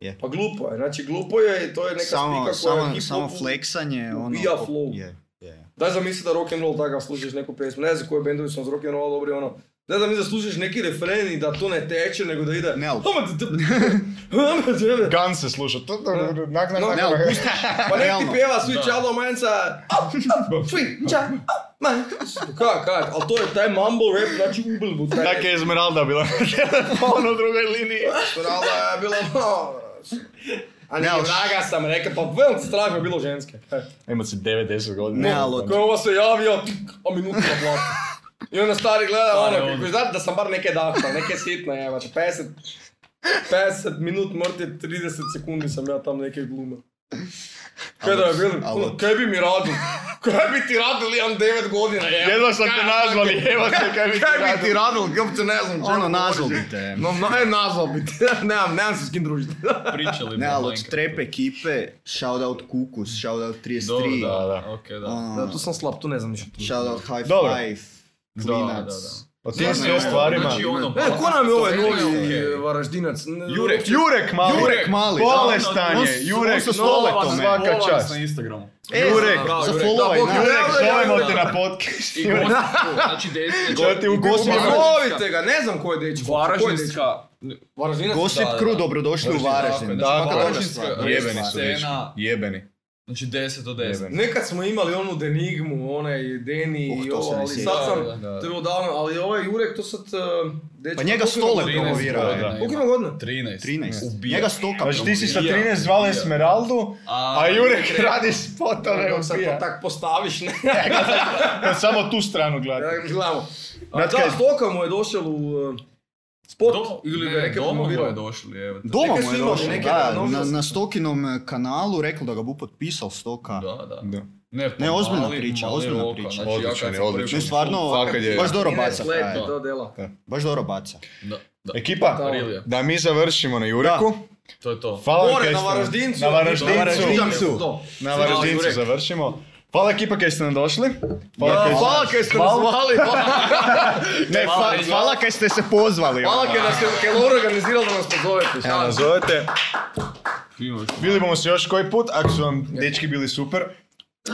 Speaker 1: Je.
Speaker 2: Pa glupo je, znači glupo je i to je neka
Speaker 1: Samo,
Speaker 2: spika koja
Speaker 1: samo,
Speaker 2: hip-hopu-
Speaker 1: samo fleksanje, ono...
Speaker 2: ubija flow.
Speaker 1: Je, je.
Speaker 2: Daj zamisli da rock and roll takav slušaš neku pjesmu, ne znam koje bendovi su s rock and roll dobri ono Daj da mi da slušaš neki refren i da to ne teče nego da ide
Speaker 1: Ne, ali-
Speaker 2: Ne,
Speaker 3: Gun se sluša. To- to- Nak, nak, nak,
Speaker 1: Ne,
Speaker 3: nak.
Speaker 1: ali pusti,
Speaker 2: Pa nek ti
Speaker 1: Realno.
Speaker 2: pjeva svi čalo manca, svi čalo manca. Ka, ka, ali to je taj mumble rap, znači ubilbu. Taj
Speaker 3: Nak je Esmeralda bila na telefonu u drugoj liniji.
Speaker 2: Esmeralda je bila, no, A ne,
Speaker 1: Ne, ali-
Speaker 2: vraga sam rekao, pa velim ti strah me bilo ženske. E,
Speaker 3: Ima se 9-10 godina.
Speaker 1: Ne, ali-
Speaker 2: Ko je ovo se javio, tik, a minutu na blatu. I onda stari gleda,
Speaker 4: Stari
Speaker 2: ono,
Speaker 4: on.
Speaker 2: kako znate da sam bar neke dahtal, neke sitne, evo, 50, 50 minut mrtje, 30 sekundi sam ja tam neke glume. Kaj da je bilo?
Speaker 1: ali-
Speaker 2: Ono, Kaj bi mi radil? Kaj bi ti radil, imam 9 godina, evo.
Speaker 3: Jedva sam te nazvali, evo te kaj bi ti
Speaker 2: Kaj bi ti
Speaker 3: radio.
Speaker 2: radil, kako te ne znam čemu
Speaker 1: Ono, nazval
Speaker 2: govoriš.
Speaker 1: bi te.
Speaker 2: No, no, je nazval bi te, nemam, nemam se s kim družiti.
Speaker 4: Pričali
Speaker 1: Ne,
Speaker 4: bi
Speaker 1: ali
Speaker 4: malenka.
Speaker 1: od trep ekipe, shoutout Kukus, shoutout
Speaker 4: Dobro,
Speaker 1: 33,
Speaker 4: da,
Speaker 3: da.
Speaker 4: da. Okej, da.
Speaker 1: ono,
Speaker 2: sam slab, tu ne znam ništa.
Speaker 1: shoutout High
Speaker 3: Dobro.
Speaker 1: Five,
Speaker 4: Da, da,
Speaker 1: Klinac.
Speaker 4: da.
Speaker 3: O
Speaker 4: Ne,
Speaker 3: tim
Speaker 4: ne,
Speaker 3: sve
Speaker 4: ovo,
Speaker 3: stvarima.
Speaker 4: Znači ono,
Speaker 2: E, ko nam je ovaj
Speaker 4: Stvarno
Speaker 2: novi
Speaker 4: okej.
Speaker 2: eh, varaždinac? N-
Speaker 4: Jurek.
Speaker 3: Jurek mali.
Speaker 1: Jurek mali, da.
Speaker 3: Bolestan
Speaker 1: On
Speaker 3: je.
Speaker 1: s- on
Speaker 3: Jurek
Speaker 1: sa
Speaker 3: s
Speaker 1: stoletom,
Speaker 3: stoletom.
Speaker 1: e.
Speaker 3: Svaka
Speaker 4: Follow nas
Speaker 3: čast.
Speaker 4: na Instagramu.
Speaker 1: E,
Speaker 3: Jurek,
Speaker 1: za
Speaker 2: Jurek,
Speaker 1: followaj,
Speaker 2: da,
Speaker 1: na.
Speaker 3: Jurek,
Speaker 2: Evo,
Speaker 3: zovemo
Speaker 4: evo,
Speaker 3: te
Speaker 4: da.
Speaker 3: na podcast.
Speaker 4: I gost, znači desni.
Speaker 3: Čo ti u
Speaker 1: gost-
Speaker 3: gostu?
Speaker 2: Zovite ga, ne znam ko je dečko.
Speaker 4: Varaždinska.
Speaker 2: Varaždinac?
Speaker 1: Gossip
Speaker 4: Da, da.
Speaker 1: Crew, dobrodošli u Varaždin.
Speaker 4: Tako je, znači,
Speaker 1: Svaka dobra
Speaker 4: Varaždinska
Speaker 1: stvar.
Speaker 3: Jebeni su
Speaker 4: Scena.
Speaker 3: dečki. Jebeni.
Speaker 4: Znači 10 do 10.
Speaker 3: Jebeni.
Speaker 2: Nekad smo imali onu Denigmu, onaj Deni
Speaker 1: Uh,
Speaker 2: i
Speaker 1: to se
Speaker 2: ovo,
Speaker 1: ne
Speaker 2: ali
Speaker 1: sjećam.
Speaker 2: sad sam,
Speaker 3: da,
Speaker 4: Da,
Speaker 3: da.
Speaker 2: to je bilo davno, ali ovaj Jurek to sad... eh, dečko,
Speaker 1: Pa njega
Speaker 2: koliko ima
Speaker 1: stole
Speaker 2: godina?
Speaker 4: 13
Speaker 1: promovira.
Speaker 4: godina
Speaker 3: da.
Speaker 4: ima.
Speaker 2: Koliko ima godina?
Speaker 4: 13.
Speaker 1: 13.
Speaker 4: Ubija.
Speaker 1: Njega stoka
Speaker 3: Znači ti si sa
Speaker 4: Ubija.
Speaker 3: 13 zvala Esmeraldu, a Jurek
Speaker 4: Jurek-
Speaker 3: radi spotove
Speaker 2: Dok sad to
Speaker 3: ubija.
Speaker 2: tak postaviš, ne?
Speaker 3: Samo tu stranu gleda.
Speaker 2: Ja gledamo. A,
Speaker 3: Znate
Speaker 2: Da,
Speaker 3: kaj-
Speaker 2: Stoka mu je došel u eh, spot
Speaker 4: Do,
Speaker 2: ili
Speaker 4: ili
Speaker 2: ga je neka
Speaker 4: doma mu je
Speaker 2: promovirao.
Speaker 4: došli, evo. te.
Speaker 1: Doma
Speaker 2: Neke
Speaker 1: mu
Speaker 2: su
Speaker 1: je
Speaker 2: imali,
Speaker 1: došao,
Speaker 2: neke
Speaker 1: da,
Speaker 2: da,
Speaker 1: na,
Speaker 2: novine
Speaker 1: na Stokinom eh, kanalu rekao da ga bu potpisao Stoka.
Speaker 4: Da, da.
Speaker 3: Da.
Speaker 4: Ne,
Speaker 1: Ne, ozbiljna priča, ozbiljna
Speaker 4: oka,
Speaker 1: priča.
Speaker 4: znači, ja kad
Speaker 3: Odličan je,
Speaker 4: sam prvi
Speaker 3: odličan
Speaker 1: Ne,
Speaker 4: put-
Speaker 1: stvarno,
Speaker 3: Fakat je.
Speaker 1: baš dobro
Speaker 2: 13
Speaker 1: baca.
Speaker 2: let
Speaker 1: frajer.
Speaker 2: je to dela.
Speaker 1: Baš dobro baca.
Speaker 4: Da, da.
Speaker 3: Ekipa,
Speaker 4: Rilija.
Speaker 3: da mi završimo na Jureku.
Speaker 4: To je to.
Speaker 3: Hvala vam
Speaker 2: Gore,
Speaker 3: kaj
Speaker 2: na
Speaker 3: ste nam-
Speaker 2: Varaždincu.
Speaker 3: Na
Speaker 2: Na
Speaker 3: Varaždincu.
Speaker 2: Varaždincu. To.
Speaker 3: Na
Speaker 4: Hvala,
Speaker 3: Varaždincu
Speaker 4: Jurek.
Speaker 3: završimo. Hvala ekipa kaj ste nam došli.
Speaker 2: Da,
Speaker 3: kaj ste-
Speaker 2: Hvala kaj ste nas zvali. pa-
Speaker 3: Ne, hvala,
Speaker 1: Hvala, hvala kaj ste se pozvali.
Speaker 2: Hvala
Speaker 1: ono.
Speaker 2: kaj nas je kaj je organiziralo da nas pozovete.
Speaker 3: Evo nas zovete. Bili bomo se još koji put, ako su vam dečki bili super,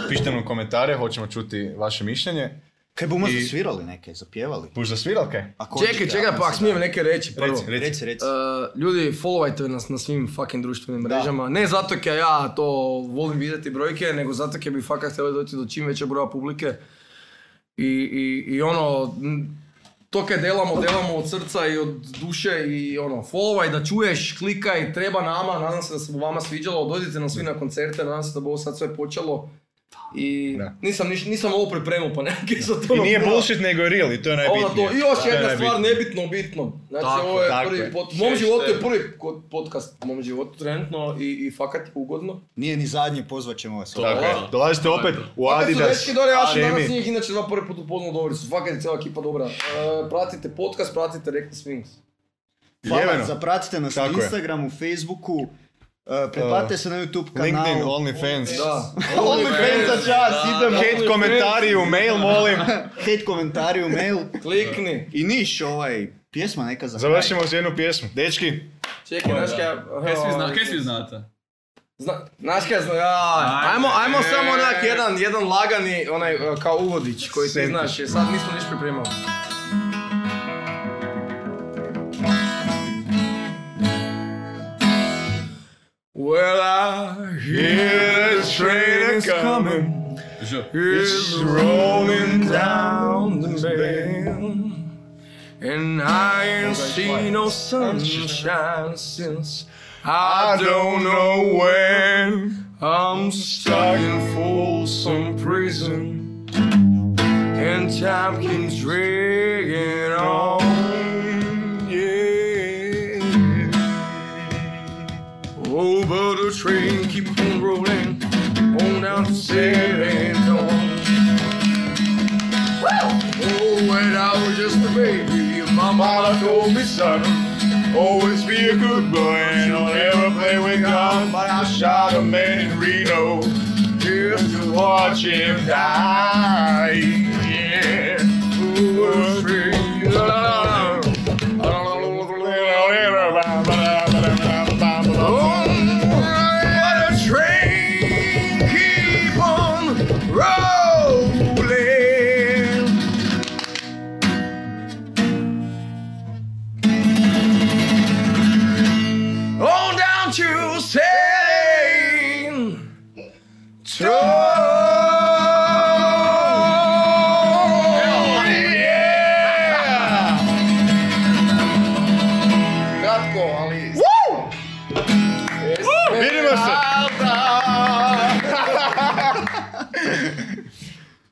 Speaker 3: pišite nam komentare, hoćemo čuti vaše mišljenje.
Speaker 1: Kaj bumo
Speaker 3: I-
Speaker 1: svirali neke, zapjevali?
Speaker 3: Buš za sviralke?
Speaker 1: Ako
Speaker 2: Čekaj,
Speaker 1: hoćete,
Speaker 2: čekaj,
Speaker 1: ako
Speaker 2: pa
Speaker 1: se
Speaker 2: ako smijem
Speaker 1: da.
Speaker 2: neke reći prvo.
Speaker 3: Reci, reci.
Speaker 1: Reci, reci.
Speaker 2: E, ljudi, followajte nas na svim fucking društvenim mrežama. Ne zato kaj ja to volim vidjeti brojke, nego zato kaj bi fakat htjeli doći do čim većeg broja publike. I, i, i ono, m, to kaj delamo, delamo od srca i od duše i ono, followaj da čuješ, klikaj, treba nama, nadam se da se vama sviđalo, dođite nam svi na koncerte, nadam se da bo ovo sad sve počelo. I
Speaker 3: Da.
Speaker 2: nisam, niš- nisam ovo pripremio pa nekaj za to.
Speaker 3: I nije
Speaker 2: napravio.
Speaker 3: bullshit, nego je real i to je
Speaker 2: Ono
Speaker 3: najbitnije.
Speaker 2: to, i još
Speaker 3: To je
Speaker 2: jedna stvar,
Speaker 3: najbitnije.
Speaker 2: nebitno, bitno. Znači,
Speaker 4: Tako
Speaker 2: ovo je
Speaker 3: je, tako
Speaker 2: prvi
Speaker 3: je.
Speaker 2: pod... mom
Speaker 4: Šešte.
Speaker 2: životu je prvi ko- podcast u mom životu trenutno i, i fakat je ugodno.
Speaker 1: Nije ni zadnje, pozvat ćemo vas.
Speaker 3: Tako je.
Speaker 4: Hvala.
Speaker 3: Dakle, Dolazite opet u
Speaker 2: Fakat su
Speaker 3: Adidas,
Speaker 2: dečki dobri, ja sam danas
Speaker 3: Šemi.
Speaker 2: njih inače dva prvi put upoznao dobri su, fakat je cijela ekipa dobra. E, pratite podcast, pratite Reckless Wings.
Speaker 1: Hvala,
Speaker 3: Jebeno.
Speaker 1: zapratite nas na
Speaker 3: Tako je.
Speaker 1: Instagramu, Facebooku, e, pretplatite se na YouTube
Speaker 3: LinkedIn,
Speaker 1: kanalu.
Speaker 3: OnlyFans.
Speaker 2: Da.
Speaker 1: OnlyFans za čas, idemo.
Speaker 3: Hate komentari u mail, molim.
Speaker 1: Hate komentari u mail.
Speaker 2: Klikni.
Speaker 1: I niš ovaj, pjesma neka za kraj.
Speaker 3: Završimo s jednu pjesmu. Dečki,
Speaker 2: Čekaj, znaš kaj...
Speaker 4: Kaj svi zna- kaj svi znate?
Speaker 2: Zna, znaš kaj zna, ja, ajmo, ajmo samo onak jedan, jedan lagani, onaj, e, kao uvodić koji ti
Speaker 3: Senti.
Speaker 2: znaš, jer sad nismo niš pripremali. Well, I hear the train is coming
Speaker 4: Ž.
Speaker 2: is rolling down the bay. And I ain't seen no sunshine since I don't know when. I'm stuck in Folsom Prison, and time keeps dragging on. Yeah. Oh, but the train keep on rolling on down to San Antonio. Oh, when I was just a baby, my mama told me, son, always be a good boy and don't ever play with God. But I shot a man in Reno just to watch him die. Yeah. Ooh, a tree. La, la, la.
Speaker 8: Kratko, ali...
Speaker 3: Vidimo se!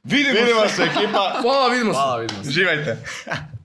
Speaker 3: Vidimo se ekipa,
Speaker 2: Hvala, vidimo se.
Speaker 4: Hvala, vidimo se.
Speaker 3: živajte!